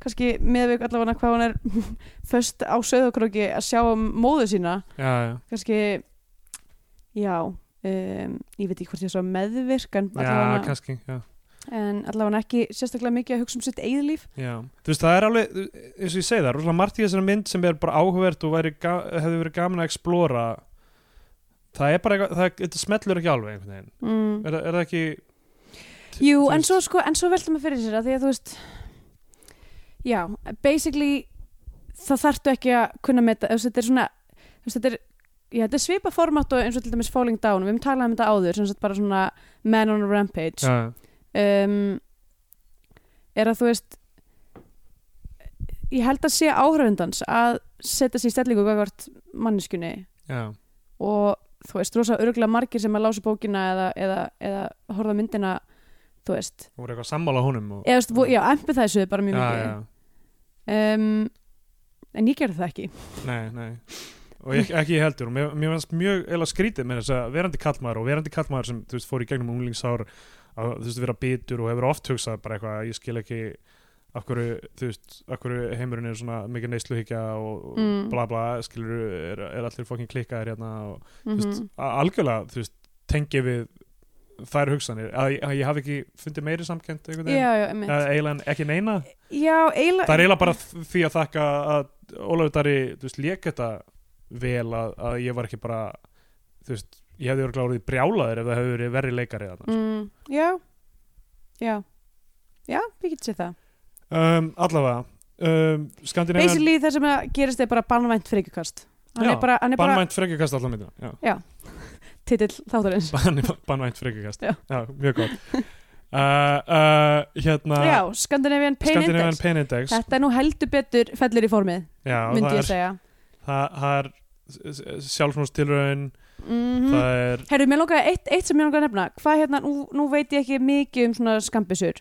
[SPEAKER 3] kannski meðveik allavega hvað hún er föst á söðokróki að sjá um móðu sína
[SPEAKER 2] já, já,
[SPEAKER 3] kannski já, um, ég veit ekki hvort ég svo meðvirk en
[SPEAKER 2] já
[SPEAKER 3] allavega,
[SPEAKER 2] kannski já.
[SPEAKER 3] en allavega ekki sérstaklega mikið að hugsa um sitt eigðlíf
[SPEAKER 2] Já, þú veist það er alveg eins og ég segi það, rosalega margt í þessari mynd sem er bara áhugavert og væri, ga- hefði verið gaman að explora það er bara eitthvað, það, þetta smellur ekki alveg einhvern veginn,
[SPEAKER 3] mm.
[SPEAKER 2] er, það- er það ekki
[SPEAKER 3] Jú,
[SPEAKER 2] þú
[SPEAKER 3] en
[SPEAKER 2] veist-
[SPEAKER 3] svo, sko, en svo veltum við fyrir sér að því að þú veist Já, basically það þarftu ekki að kunna meta þú veist, þetta er svona þú veist, þetta er, já, þetta er svipa format og eins og til dæmis Falling Down við höfum talað um þetta áður, sem sagt bara svona Man on a Rampage
[SPEAKER 2] já,
[SPEAKER 3] um, er að þú veist ég held að sé áhrifundans að setja sér í stellingu gagvart manneskjunni
[SPEAKER 2] já,
[SPEAKER 3] og þú veist, rosa örgulega margir sem að lása bókina eða, eða, eða horfa á myndina þú veist
[SPEAKER 2] þú voru eitthvað sammála honum og,
[SPEAKER 3] eða, þú veist, vo- já, empathize við bara mjög
[SPEAKER 2] já,
[SPEAKER 3] mikið
[SPEAKER 2] já,
[SPEAKER 3] Um, en ég gerði það ekki
[SPEAKER 2] nei, nei og ekki, ekki ég heldur, og mér, mér fannst mjög eða skrítið með þess að verandi kallmaður og verandi kallmaður sem þú veist fór í gegnum unglingsár að þú veist vera bitur og hefur oft hugsað bara eitthvað, ég skil ekki af hverju, þú veist, af hverju heimurinn er svona mikið neysluhyggja og
[SPEAKER 3] Mm.
[SPEAKER 2] mm. bla bla, skilur, er, er allir fokkin klikkaðir hérna og
[SPEAKER 3] mm
[SPEAKER 2] þú veist, a- algjörlega, þú veist, tengi við þær hugsanir, að, að ég hafi ekki fundið meiri samkend einhvern veginn
[SPEAKER 3] já, já, einmitt
[SPEAKER 2] eða eiginlega ekki neina
[SPEAKER 3] já, eiginlega
[SPEAKER 2] það er eiginlega bara þ- því að þakka að Ólafur Dari, þú veist, lék þetta vel að, að ég var ekki bara þú veist, ég hefði örgla orðið brjálaður ef það hefði verið verri leikari þarna sko.
[SPEAKER 3] mm, já já, já, við getum séð það
[SPEAKER 2] um, allavega um, Skandinavian,
[SPEAKER 3] basically það sem að gerist er bara banvænt frekjukast hann
[SPEAKER 2] Já,
[SPEAKER 3] er bara, hann er bara
[SPEAKER 2] bannvænt frekjukast allan myndina já.
[SPEAKER 3] titill þáttarins
[SPEAKER 2] Bann- bannvænt frekjukast
[SPEAKER 3] Já.
[SPEAKER 2] mjög gott uh, uh, hérna
[SPEAKER 3] já, Scandinavian Pain
[SPEAKER 2] Skandinavian
[SPEAKER 3] Index
[SPEAKER 2] Pain Index já,
[SPEAKER 3] þetta er nú heldur betur fellur í formið
[SPEAKER 2] það
[SPEAKER 3] myndi ég
[SPEAKER 2] er,
[SPEAKER 3] segja
[SPEAKER 2] það, það er s- s- sjálfsmóðstilraun
[SPEAKER 3] mm
[SPEAKER 2] það er
[SPEAKER 3] Herru, mér langaði eitt, eitt sem mér langaði að nefna hvað hérna, nú, nú veit ég ekki mikið um svona skambisur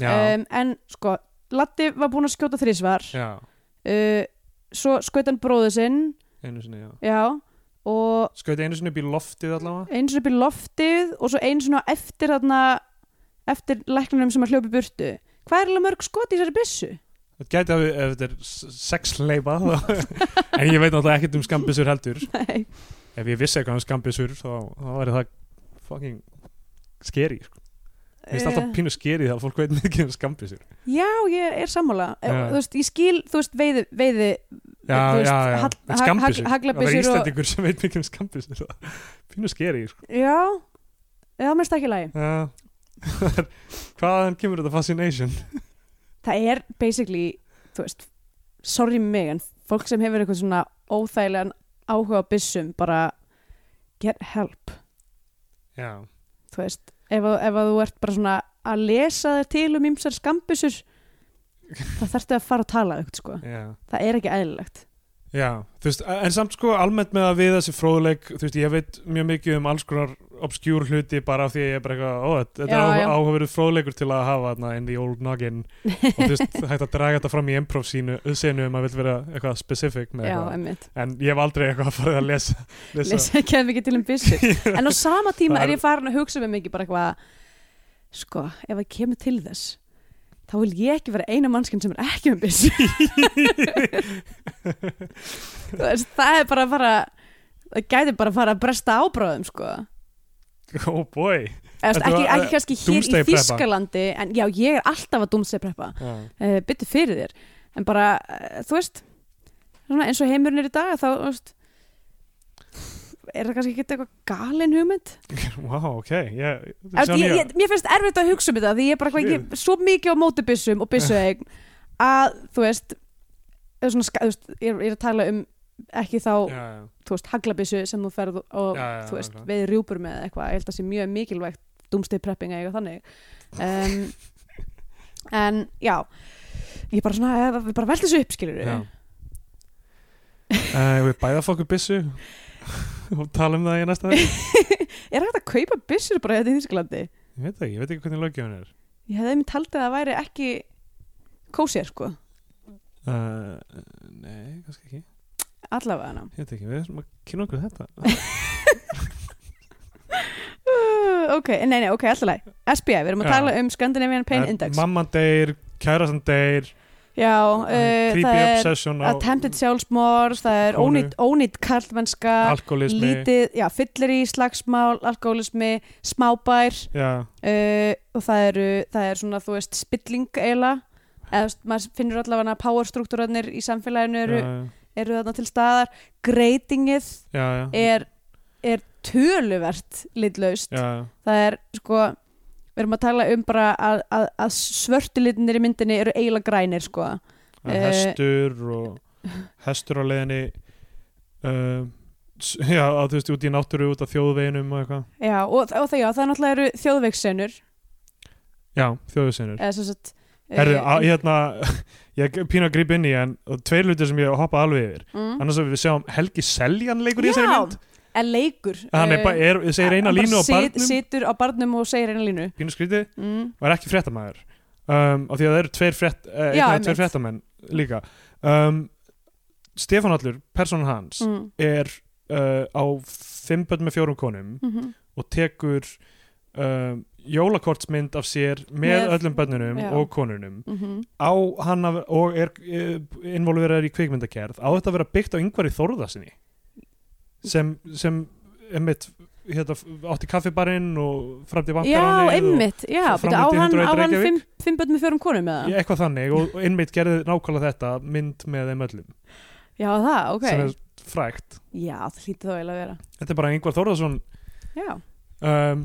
[SPEAKER 2] já,
[SPEAKER 3] um, en sko, Latti var búinn að skjóta þrísvar
[SPEAKER 2] já,
[SPEAKER 3] uh, svo skaut hann bróður sinn
[SPEAKER 2] einu sinni já.
[SPEAKER 3] já, og
[SPEAKER 2] skauti einu sinni upp í loftið allavega
[SPEAKER 3] eins og upp í loftið og svo eins og eftir þarna eftir læknunum sem að hljópi burtu hvað er alveg mörg skot í þessari byssu?
[SPEAKER 2] Þetta gæti að ef þetta er s- sexleipa þá- en ég veit náttúrulega ekkert um skambisur heldur
[SPEAKER 3] Nei.
[SPEAKER 2] ef ég vissi eitthvað um skambisur þá, þá væri það fucking skeri sko. Mér finnst alltaf
[SPEAKER 3] Eh,
[SPEAKER 2] pínu skeri þegar fólk veit mikið um skambisur
[SPEAKER 3] já, ég er sammála
[SPEAKER 2] Já.
[SPEAKER 3] ja. þú veist, ég skil, þú veist, veiði, veiði
[SPEAKER 2] Já,
[SPEAKER 3] þú
[SPEAKER 2] já,
[SPEAKER 3] veist,
[SPEAKER 2] já,
[SPEAKER 3] hall-
[SPEAKER 2] En
[SPEAKER 3] hag-
[SPEAKER 2] skambysur.
[SPEAKER 3] hag- haglabysur
[SPEAKER 2] Það er
[SPEAKER 3] og-
[SPEAKER 2] Íslandingur sem veit mikið um skambisur Pínu skeri sko.
[SPEAKER 3] já, það mest ekki í lagi
[SPEAKER 2] Já. Hvaðan kemur þetta fascination?
[SPEAKER 3] það er basically, þú veist sorry mig, en fólk sem hefur eitthvað svona óþægilegan áhuga á byssum bara get help
[SPEAKER 2] Já,
[SPEAKER 3] þú veist, ef, að- ef að þú ert bara svona að lesa þér til um ymsar skambusur þá þarftu að fara að tala aukt sko.
[SPEAKER 2] Já.
[SPEAKER 3] það er ekki eðlilegt
[SPEAKER 2] Já, þú veist, en samt sko almennt með að við þessi fróðleik, þú veist, ég veit mjög mikið um alls konar obskjúr hluti bara af því að ég er bara eitthvað, ó, þetta- þetta
[SPEAKER 3] Já,
[SPEAKER 2] er
[SPEAKER 3] já.
[SPEAKER 2] áhugaverið fróðleikur til að hafa þarna in the old noggin og þú veist, hægt að draga þetta fram í improv sínu, senu um að vil vera eitthvað specific með
[SPEAKER 3] já,
[SPEAKER 2] eitthvað,
[SPEAKER 3] emmitt,
[SPEAKER 2] en ég hef aldrei eitthvað að fara að lesa, lesa.
[SPEAKER 3] lesa ekki að mikið til um byssur en á sama tíma
[SPEAKER 2] Það er-
[SPEAKER 3] er ég farin að hugsa með mikið bara eitthvað sko, ef það kemur til þess þá vil ég ekki vera eina mannskinn sem er ekki með byssur Þú veist, það er bara að fara það gæti bara að fara að bresta ábráðum sko.
[SPEAKER 2] oh boy
[SPEAKER 3] Eða, þú veist,
[SPEAKER 2] Þetta
[SPEAKER 3] ekki,
[SPEAKER 2] var,
[SPEAKER 3] ekki
[SPEAKER 2] eh,
[SPEAKER 3] kannski hér í
[SPEAKER 2] doomsday preppa.
[SPEAKER 3] Þískalandi en já, ég er alltaf að dúmstepreppa
[SPEAKER 2] Já,
[SPEAKER 3] uh, byttu fyrir þér en bara, uh, þú veist svona, eins og heimurinn er í dag þá, þú veist er það kannski ekki eitthvað galin hugmynd
[SPEAKER 2] wow, ok ég,
[SPEAKER 3] Eftir,
[SPEAKER 2] sjá
[SPEAKER 3] ég,
[SPEAKER 2] nýja-
[SPEAKER 3] ég, mér finnst erfitt að hugsa um þetta því ég er bara hvað, ég, er svo mikið á móti byssum og byssu eign að þú veist, eða svona, ska- þú veist ég, er- ég er að tala um ekki þá
[SPEAKER 2] Já, já,
[SPEAKER 3] þú veist, haglabissu sem þú ferð og
[SPEAKER 2] Já, já,
[SPEAKER 3] þú veist,
[SPEAKER 2] nákvæmlega.
[SPEAKER 3] okay. veið rjúpur með eða eitthvað, ég held að sé mjög mikilvægt doomsday prepping eða eitthvað þannig um, en já ég bara svona, eh, við bara veldi þessu upp skilur
[SPEAKER 2] já. Uh, við bæða fokkur byssu og tala um það í næsta þætti.
[SPEAKER 3] er hægt að kaupa byssur bara þetta í Þýskalandi
[SPEAKER 2] ég veit það ekki, ég veit ekki hvernig löggjöfun er
[SPEAKER 3] ég hefði einmitt haldið að það væri ekki kósér sko,
[SPEAKER 2] Uh, nei, kannski ekki
[SPEAKER 3] allavega hana
[SPEAKER 2] Ég veit ekki, við erum að kynna okkur þetta
[SPEAKER 3] uh, ok, nei, nei, ok, allavega SBI, við erum að
[SPEAKER 2] Já.
[SPEAKER 3] tala um Scandinavian Pain
[SPEAKER 2] En
[SPEAKER 3] Index
[SPEAKER 2] Mamman deyr, kærasan deyr
[SPEAKER 3] já, uh,
[SPEAKER 2] Creepy
[SPEAKER 3] það er
[SPEAKER 2] obsession á
[SPEAKER 3] attempted sjálfsmór það er
[SPEAKER 2] Konu.
[SPEAKER 3] ónýtt, ónýtt karlmennska
[SPEAKER 2] alkoholismi
[SPEAKER 3] lítið, já, fyllir í slagsmál alkoholismi, smábær
[SPEAKER 2] Já,
[SPEAKER 3] uh, og það eru það er svona, þú veist, spilling eiginlega, eða þú veist, maður finnur allavega powerstruktúrarnir í samfélaginu eru,
[SPEAKER 2] já,
[SPEAKER 3] eru þarna til staðar greitingið
[SPEAKER 2] já, já, já,
[SPEAKER 3] er, er töluvert litlaust,
[SPEAKER 2] já,
[SPEAKER 3] það er sko, við erum að tala um bara að, að, að svörtulitinir í myndinni eru eiginlega grænir, sko
[SPEAKER 2] já Hestur og Hestur á leiðinni uh, s- Já, að þú veist, út í náttúru út af þjóðveginum og eitthvað
[SPEAKER 3] já, og, og það, já, það náttúrulega eru þjóðveikssönur
[SPEAKER 2] Já, þjóðveginur
[SPEAKER 3] eða sem sagt eh,
[SPEAKER 2] Herru, á- hérna, ég er pínu að grípa inn í en og tveir hlutir sem ég hoppa alveg yfir
[SPEAKER 3] mm.
[SPEAKER 2] annars að við sjáum Helgi Seljan leikur í þessari
[SPEAKER 3] Já,
[SPEAKER 2] mynd
[SPEAKER 3] en leikur
[SPEAKER 2] hann er
[SPEAKER 3] eh,
[SPEAKER 2] bara, er, segir eina
[SPEAKER 3] hann bara
[SPEAKER 2] línu á
[SPEAKER 3] sit-
[SPEAKER 2] barnum
[SPEAKER 3] situr á barnum og segir eina línu
[SPEAKER 2] pínu skrítið
[SPEAKER 3] mm.
[SPEAKER 2] og er ekki fréttamaður um, af því að það eru tveir, frétt, eh, einn
[SPEAKER 3] Já,
[SPEAKER 2] eða
[SPEAKER 3] einmitt.
[SPEAKER 2] tveir fréttamenn líka um, Stefán Allur, personan hans
[SPEAKER 3] Mm.
[SPEAKER 2] er uh, á fimm börn með fjórum konum
[SPEAKER 3] mhm.
[SPEAKER 2] og tekur um, jólakortsmynd af sér með,
[SPEAKER 3] Með-
[SPEAKER 2] öllum börnunum
[SPEAKER 3] já.
[SPEAKER 2] og konunum
[SPEAKER 3] Mhm.
[SPEAKER 2] á hann að, og er uh, involverið í kvikmyndakerð á þetta að vera byggt á yngvar í Þórðarsinni sem, sem einmitt, hérna, átti kaffibarinn og framdi
[SPEAKER 3] Já,
[SPEAKER 2] vantarannig
[SPEAKER 3] einmitt já,
[SPEAKER 2] framleiddi
[SPEAKER 3] byrja, á hann,
[SPEAKER 2] 101
[SPEAKER 3] á hann
[SPEAKER 2] Reykjavík.
[SPEAKER 3] fimm, fimm börn með fjórum konum með
[SPEAKER 2] Ég- eitthvað þannig og og einmitt gerði nákvæmlega þetta mynd með þeim öllum
[SPEAKER 3] Já, það, ok
[SPEAKER 2] sem er frægt
[SPEAKER 3] Já, það hlýtti þá eiginlega að vera
[SPEAKER 2] þetta er bara einhver Þórðarsson
[SPEAKER 3] Já,
[SPEAKER 2] um,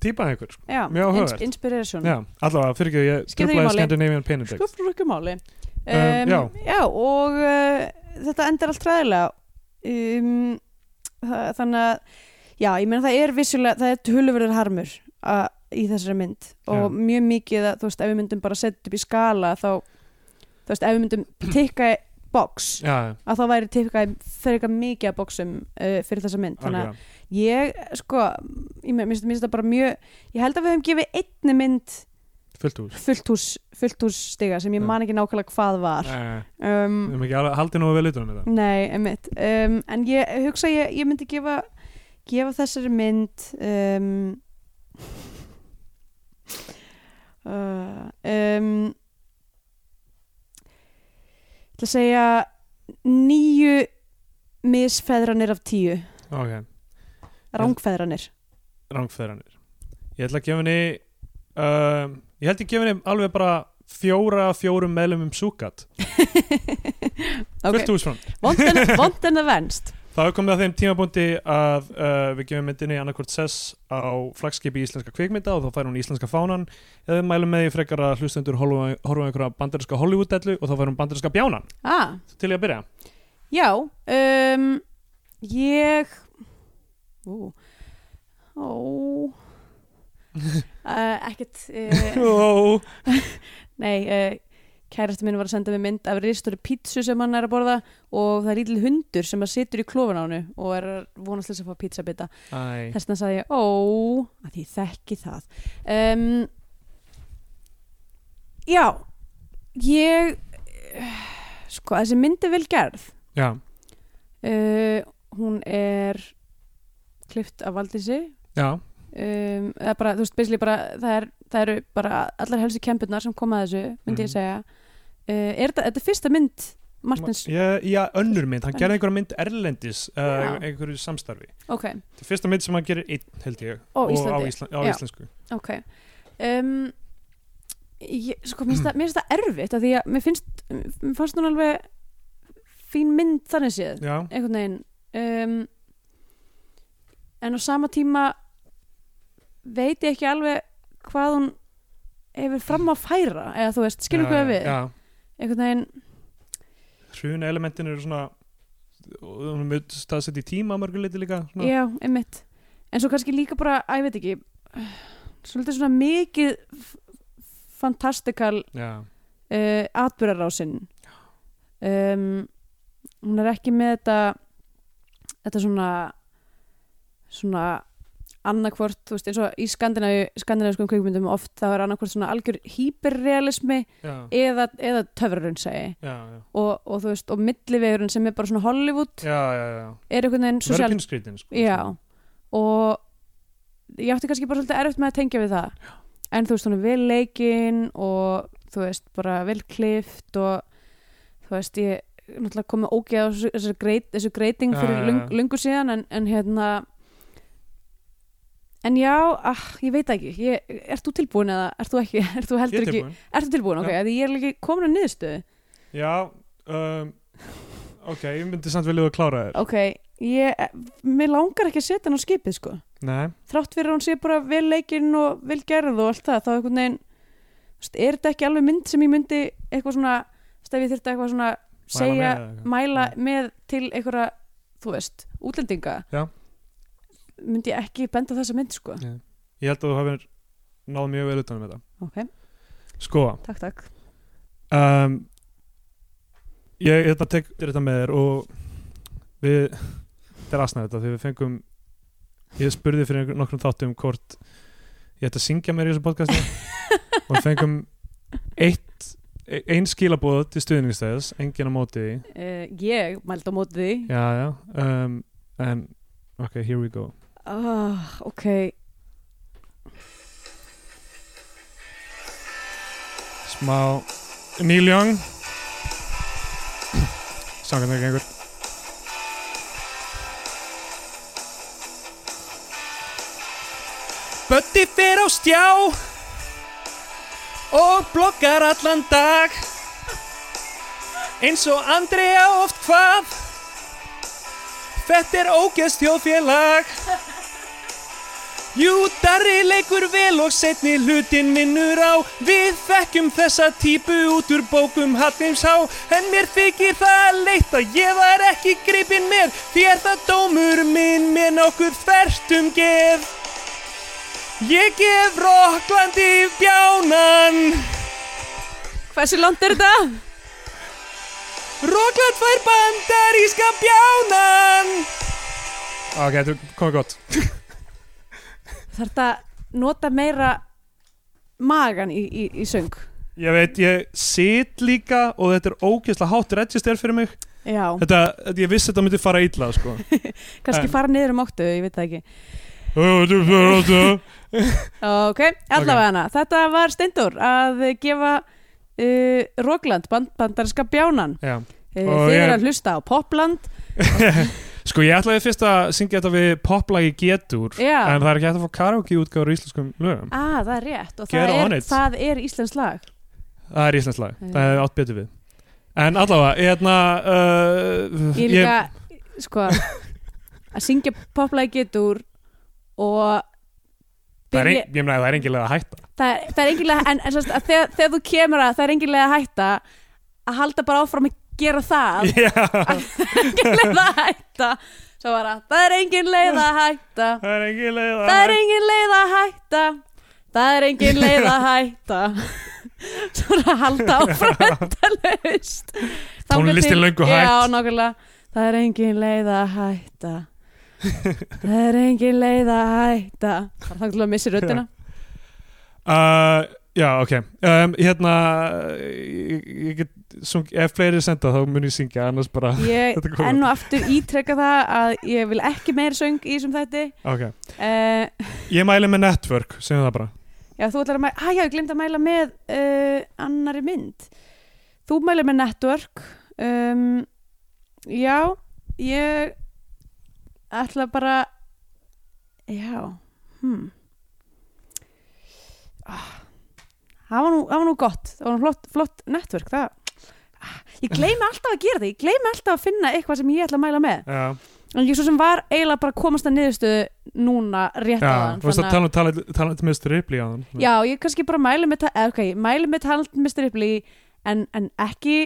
[SPEAKER 2] típað einhver sko.
[SPEAKER 3] já,
[SPEAKER 2] Mjög áhugavert.
[SPEAKER 3] inspiration
[SPEAKER 2] já, allavega fyrir ekki ég
[SPEAKER 3] Skiptir ekki
[SPEAKER 2] trublaði
[SPEAKER 3] máli.
[SPEAKER 2] Scandinavian Penindex
[SPEAKER 3] Sko frú ekki máli um,
[SPEAKER 2] Um, já.
[SPEAKER 3] já, og uh, þetta endar allt ræðilega um, það, Þannig að Já, ég meina það er vissulega það er tölverður harmur að, í þessari mynd og
[SPEAKER 2] Já.
[SPEAKER 3] mjög mikið að, þú veist, ef við myndum bara setja upp í skala þá, þú veist, ef við myndum tikka í box,
[SPEAKER 2] já,
[SPEAKER 3] að þá væri tikka í frekar mikið að boxum uh, fyrir þessa mynd, þannig að
[SPEAKER 2] algjörlega.
[SPEAKER 3] ég, sko, ég me- minnst þetta bara mjög, ég held að við höfum gefið einni mynd
[SPEAKER 2] fullt hús
[SPEAKER 3] fullt hús, fullt hús stiga sem
[SPEAKER 2] Já.
[SPEAKER 3] ég man ekki nákvæmlega hvað var
[SPEAKER 2] Nei, við
[SPEAKER 3] um,
[SPEAKER 2] erum Eh, ekki alveg- haldið nú vel ytur um þetta
[SPEAKER 3] nei, emitt um, en ég hugsa ég, ég myndi gefa gefa þessari mynd um, uh, um ég ætla að segja nýju misfeðranir af tíu
[SPEAKER 2] ok,
[SPEAKER 3] rángfeðranir
[SPEAKER 2] rangfæðranir ég ætla að gefa henni um, ég held ég gefa henni alveg bara fjóra af fjórum meðlum um súkat
[SPEAKER 3] ok,
[SPEAKER 2] fullt hús fram
[SPEAKER 3] vond en- vond en það venst
[SPEAKER 2] Þá er komið að þeim tímabúndi að uh, við gefum myndinni annarkvort sess á flagskipi íslenska kvikmynda og þá fær hún íslenska fánan eða við mælum með því frekar að hlustendur horfa horfa á einhverja bandarinska Hollywood-dellu og þá fær hún bandarinska bjánan
[SPEAKER 3] ah,
[SPEAKER 2] til ég að byrja.
[SPEAKER 3] Já, um, ég Ó, ó uh, ekkert uh,
[SPEAKER 2] Ó,
[SPEAKER 3] Nei, uh, kærastu minn var að senda mig mynd af ristóri pítsu sem hann er að borða og það er lítil hundur sem að situr í klófun á hannu og er að vonast til þess að fá pítsabita
[SPEAKER 2] Æ,
[SPEAKER 3] þess vegna sagði ég, ó, að ég þekki það um, Já ég sko, þessi mynd er vel gerð
[SPEAKER 2] já,
[SPEAKER 3] uh, hún er klift af valdísi
[SPEAKER 2] já,
[SPEAKER 3] um, eða bara, þú veist, basically bara það, er, það eru bara allar helstu kempurnar sem koma að þessu, myndi
[SPEAKER 2] Mhm.
[SPEAKER 3] ég segja uh, er þetta, þetta er fyrsta mynd Martins,
[SPEAKER 2] já, já, önnur mynd hann gerði einhverja mynd erlendis uh,
[SPEAKER 3] Já.
[SPEAKER 2] einhverju samstarfi
[SPEAKER 3] ok,
[SPEAKER 2] Þetta er fyrsta mynd sem hann gerir einn, held ég
[SPEAKER 3] Ó,
[SPEAKER 2] og á,
[SPEAKER 3] Íslandi.
[SPEAKER 2] Ísla, á
[SPEAKER 3] Já.
[SPEAKER 2] íslensku
[SPEAKER 3] ok um, ég, sko, mér finnst það- mér finnst það erfitt að því að mér finnst, mér fannst hún alveg fín mynd þannig séð
[SPEAKER 2] Já,
[SPEAKER 3] einhvern veginn um, en á sama tíma veit ég ekki alveg hvað hún hefur fram að færa eða þú veist, skilur
[SPEAKER 2] já,
[SPEAKER 3] hvað ég á við
[SPEAKER 2] Já,
[SPEAKER 3] einhvern veginn
[SPEAKER 2] hruna elementin eru svona og hún er mjög staðsett í tíma að mörguleiti líka svona.
[SPEAKER 3] Já, einmitt En svo kannski líka bara, að ég veit ekki Svolítið svona mikið f- Fantastikal
[SPEAKER 2] já.
[SPEAKER 3] uh, Atbyrðarásinn um, Hún er ekki með þetta Þetta svona Svona annarkvort, þú veist, eins og í skandinavíu skandinavískum kvikmyndum oft þá er annarkvort svona algjör hýperrealismi
[SPEAKER 2] já,
[SPEAKER 3] eða, eða töfrarun segi
[SPEAKER 2] já,
[SPEAKER 3] og, og þú veist, og millivegurinn sem er bara svona Hollywood
[SPEAKER 2] já, já, já, já.
[SPEAKER 3] er einhvern veginn
[SPEAKER 2] Verður
[SPEAKER 3] sosial
[SPEAKER 2] pínu skrýtin, sko.
[SPEAKER 3] Já, og ég átti kannski bara svolítið erfitt með að tengja við það en þú veist, hún er vel leikinn og þú veist, bara vel klift og þú veist, ég náttúrulega komið ógeð á þessu, þessu, greit, þessu greiting
[SPEAKER 2] Já,
[SPEAKER 3] fyrir
[SPEAKER 2] já, já.
[SPEAKER 3] lung, lungu síðan en, en hérna en já, ah, ég veit það ekki ég, ert þú tilbúin eða ert þú ekki ert þú
[SPEAKER 2] Ég er
[SPEAKER 3] heldur ekki,
[SPEAKER 2] tilbúin.
[SPEAKER 3] ert þú tilbúin ok,
[SPEAKER 2] Já.
[SPEAKER 3] ja. því ég er ekki komin að niðurstöðu
[SPEAKER 2] Já, um, ok, ég myndi samt velja að klára þér.
[SPEAKER 3] ok, ég, mér langar ekki að setja hann á skipið sko
[SPEAKER 2] Nei,
[SPEAKER 3] þrátt fyrir að hún sé bara vel leikinn og vel gerð og allt það þá einhvern veginn, þú veist, er þetta ekki alveg mynd sem ég myndi eitthvað svona þú veist, ef ég þyrfti eitthvað svona segja,
[SPEAKER 2] með,
[SPEAKER 3] mæla með til einhverja, þú veist, útlendinga
[SPEAKER 2] Já.
[SPEAKER 3] myndi ég ekki benda á þessa mynd sko
[SPEAKER 2] ég held að þú hafir náð mjög vel utanum þetta.
[SPEAKER 3] ok,
[SPEAKER 2] Sko,
[SPEAKER 3] takk takk
[SPEAKER 2] um, ég hérna tek þetta með þér og við, þetta er aðsnað þetta, því við fengum, ég spurði fyrir einhver- nokkrum þáttum hvort ég ætti að syngja mér í þessu podcasti og við fengum eitt, e-, ein skilabóð til stuðningstæðis, engin á móti því.
[SPEAKER 3] uh, ég mældi á móti því
[SPEAKER 2] Já, já, um, en, ok, here we go.
[SPEAKER 3] ah, ok,
[SPEAKER 2] smá Neil Young sangan það gengur Bötti fer á stjá og blokkar allan dag eins og Andrea oft hvað Þetta er ógeðst þjóðfélag Jú, Darri leikur vel og setni hlutin vinnur á Við þekkjum þessa típu út úr bókum Hallinsá En mér þykir það leitt að ég var ekki gripinn mér Því er það dómur minn með nokkuð þvertum geð Ég gef Rokklandi bjánan
[SPEAKER 3] hversu land er þetta?
[SPEAKER 2] Rokkland fær bandaríska bjánan Ok, þetta komið gott
[SPEAKER 3] þarf þetta nota meira magan í, í, í söng
[SPEAKER 2] Ég veit, ég sit líka og þetta er ógeðslega hátt register fyrir mig
[SPEAKER 3] já,
[SPEAKER 2] Þetta, þetta- ég vissi þetta myndi fara illa sko.
[SPEAKER 3] kannski
[SPEAKER 2] en-
[SPEAKER 3] fara niður um óttu, ég veit það ekki
[SPEAKER 2] Þetta
[SPEAKER 3] Ok, allavega hana. Þetta var Steindur að gefa uh, Rókland, band, bandarska bjánan.
[SPEAKER 2] Já.
[SPEAKER 3] Uh,
[SPEAKER 2] Og
[SPEAKER 3] þið
[SPEAKER 2] ég-
[SPEAKER 3] eru að hlusta á Popland.
[SPEAKER 2] Sko ég ætlaði fyrst að syngja þetta við poplagi getur
[SPEAKER 3] Já,
[SPEAKER 2] En það er ekki hægt að fá karaoke útgáður í íslenskum lögum
[SPEAKER 3] ah, það er rétt og
[SPEAKER 2] Get
[SPEAKER 3] það
[SPEAKER 2] on
[SPEAKER 3] er,
[SPEAKER 2] it.
[SPEAKER 3] það er íslensk lag.
[SPEAKER 2] Það er íslensk lag,
[SPEAKER 3] Já.
[SPEAKER 2] það er átt betur við En allavega, ég hérna uh,
[SPEAKER 3] Ég er líka, sko, að syngja poplagi getur og
[SPEAKER 2] það er,
[SPEAKER 3] byrja,
[SPEAKER 2] ein, ég meina, það er engilega að hætta
[SPEAKER 3] það er, það er engilega, en, en sérst, að þegar, þegar þú kemur að það er engilega að hætta að halda bara áfram að gera það.
[SPEAKER 2] Já,
[SPEAKER 3] Engin leið að hætta. Svo var það, það er engin leið að hætta.
[SPEAKER 2] það er engilega
[SPEAKER 3] Það er engin leið að hætta það er engin leið að hætta svona halda áfram endalaust Þangað
[SPEAKER 2] Tónlist er
[SPEAKER 3] til-
[SPEAKER 2] löngu
[SPEAKER 3] já,
[SPEAKER 2] hætt.
[SPEAKER 3] nákvæmlega, það er engin leið að hætta það er engin leið að hætta það er þannig til að missi röddina
[SPEAKER 2] Uh, já, ok um, Hérna ég, ég get, sung, Ef fleiri senda þá mun ég syngja annars bara
[SPEAKER 3] ég
[SPEAKER 2] Þetta er komið.
[SPEAKER 3] enn og aftur ítreka það að ég vil ekki meira söng í þessum þætti
[SPEAKER 2] okay.
[SPEAKER 3] uh,
[SPEAKER 2] Ég mæli með Network, segjum það bara
[SPEAKER 3] Já, þú ætlar að mæla, að já, ég glemt að mæla með uh, annari mynd. Þú mælir með network. Um, já, ég ætla bara, já, hmm. Ah, Það var nú, það var nú gott, það var nú flott, flott network, það. Ah, Ég gleymi alltaf að gera því, ég gleymi alltaf að finna eitthvað sem ég ætla að mæla með.
[SPEAKER 2] Já,
[SPEAKER 3] En ég svo sem var eiginlega bara að komast að niðurstöðu núna rétt
[SPEAKER 2] já
[SPEAKER 3] áðan,
[SPEAKER 2] þú veist
[SPEAKER 3] þannig
[SPEAKER 2] að tala um tala- tala um Mr. Ripley á hann
[SPEAKER 3] Já, ég kannski bara mæli með, ta- eða, okay, mæli með talent Mr. Ripley en, en ekki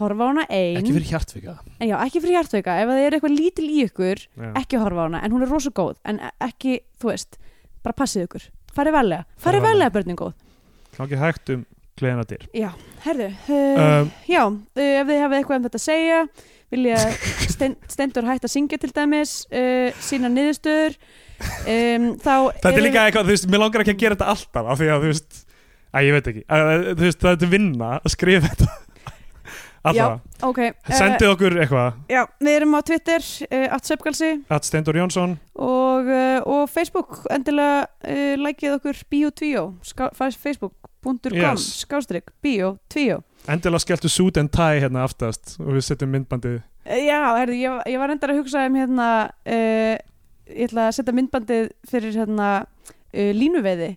[SPEAKER 3] horfa á hana ein
[SPEAKER 2] Ekki fyrir hjartfika
[SPEAKER 3] en já, ekki fyrir hjartveika, ef það er eitthvað lítil í ykkur
[SPEAKER 2] já.
[SPEAKER 3] ekki horfa á hana, en hún er rosa góð en e- ekki, þú veist, bara passið ykkur farið varlega, farið
[SPEAKER 2] Farið varlega.
[SPEAKER 3] varlega börnin góð
[SPEAKER 2] Gangi hægt um gleðina dyr
[SPEAKER 3] Já, herðu, uh,
[SPEAKER 2] um,
[SPEAKER 3] já, uh, ef þið hafið eitthvað um þetta að segja vilja stend, stendur hægt að syngja til dæmis uh, sína niðurstöður um, þá
[SPEAKER 2] Þetta er
[SPEAKER 3] eru-
[SPEAKER 2] líka eitthvað, þú veist, mér langar ekki að gera þetta alltaf af því að, þú veist, að ég veit ekki að, þú veist, það er til vinna að skrifa þetta Alltaf,
[SPEAKER 3] ok, uh,
[SPEAKER 2] sendið okkur eitthvað
[SPEAKER 3] já, við erum á Twitter uh, atsöpgalsi
[SPEAKER 2] At Steindur Jónsson
[SPEAKER 3] og, uh, og Facebook endilega uh, likeið okkur bio2 facebook.com
[SPEAKER 2] Yes.
[SPEAKER 3] yes. skástrík bio2
[SPEAKER 2] Endilega skelltu suit and tie hérna aftast og við setjum myndbandið
[SPEAKER 3] Eh, já, herri, ég, ég var endar að hugsa um hérna uh, ég ætla að setja myndbandið fyrir hérna uh, línuveiði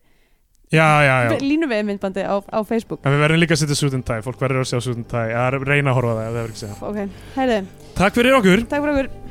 [SPEAKER 2] Já, já, já
[SPEAKER 3] línuveiði myndbandið á, á Facebook
[SPEAKER 2] En við verðum líka að setja suit and tie, fólk verður að sjá suit and tie, að reyna að horfa á það, ef það verður ekki að segja.
[SPEAKER 3] ok, herri,
[SPEAKER 2] Takk fyrir okkur!
[SPEAKER 3] takk fyrir okkur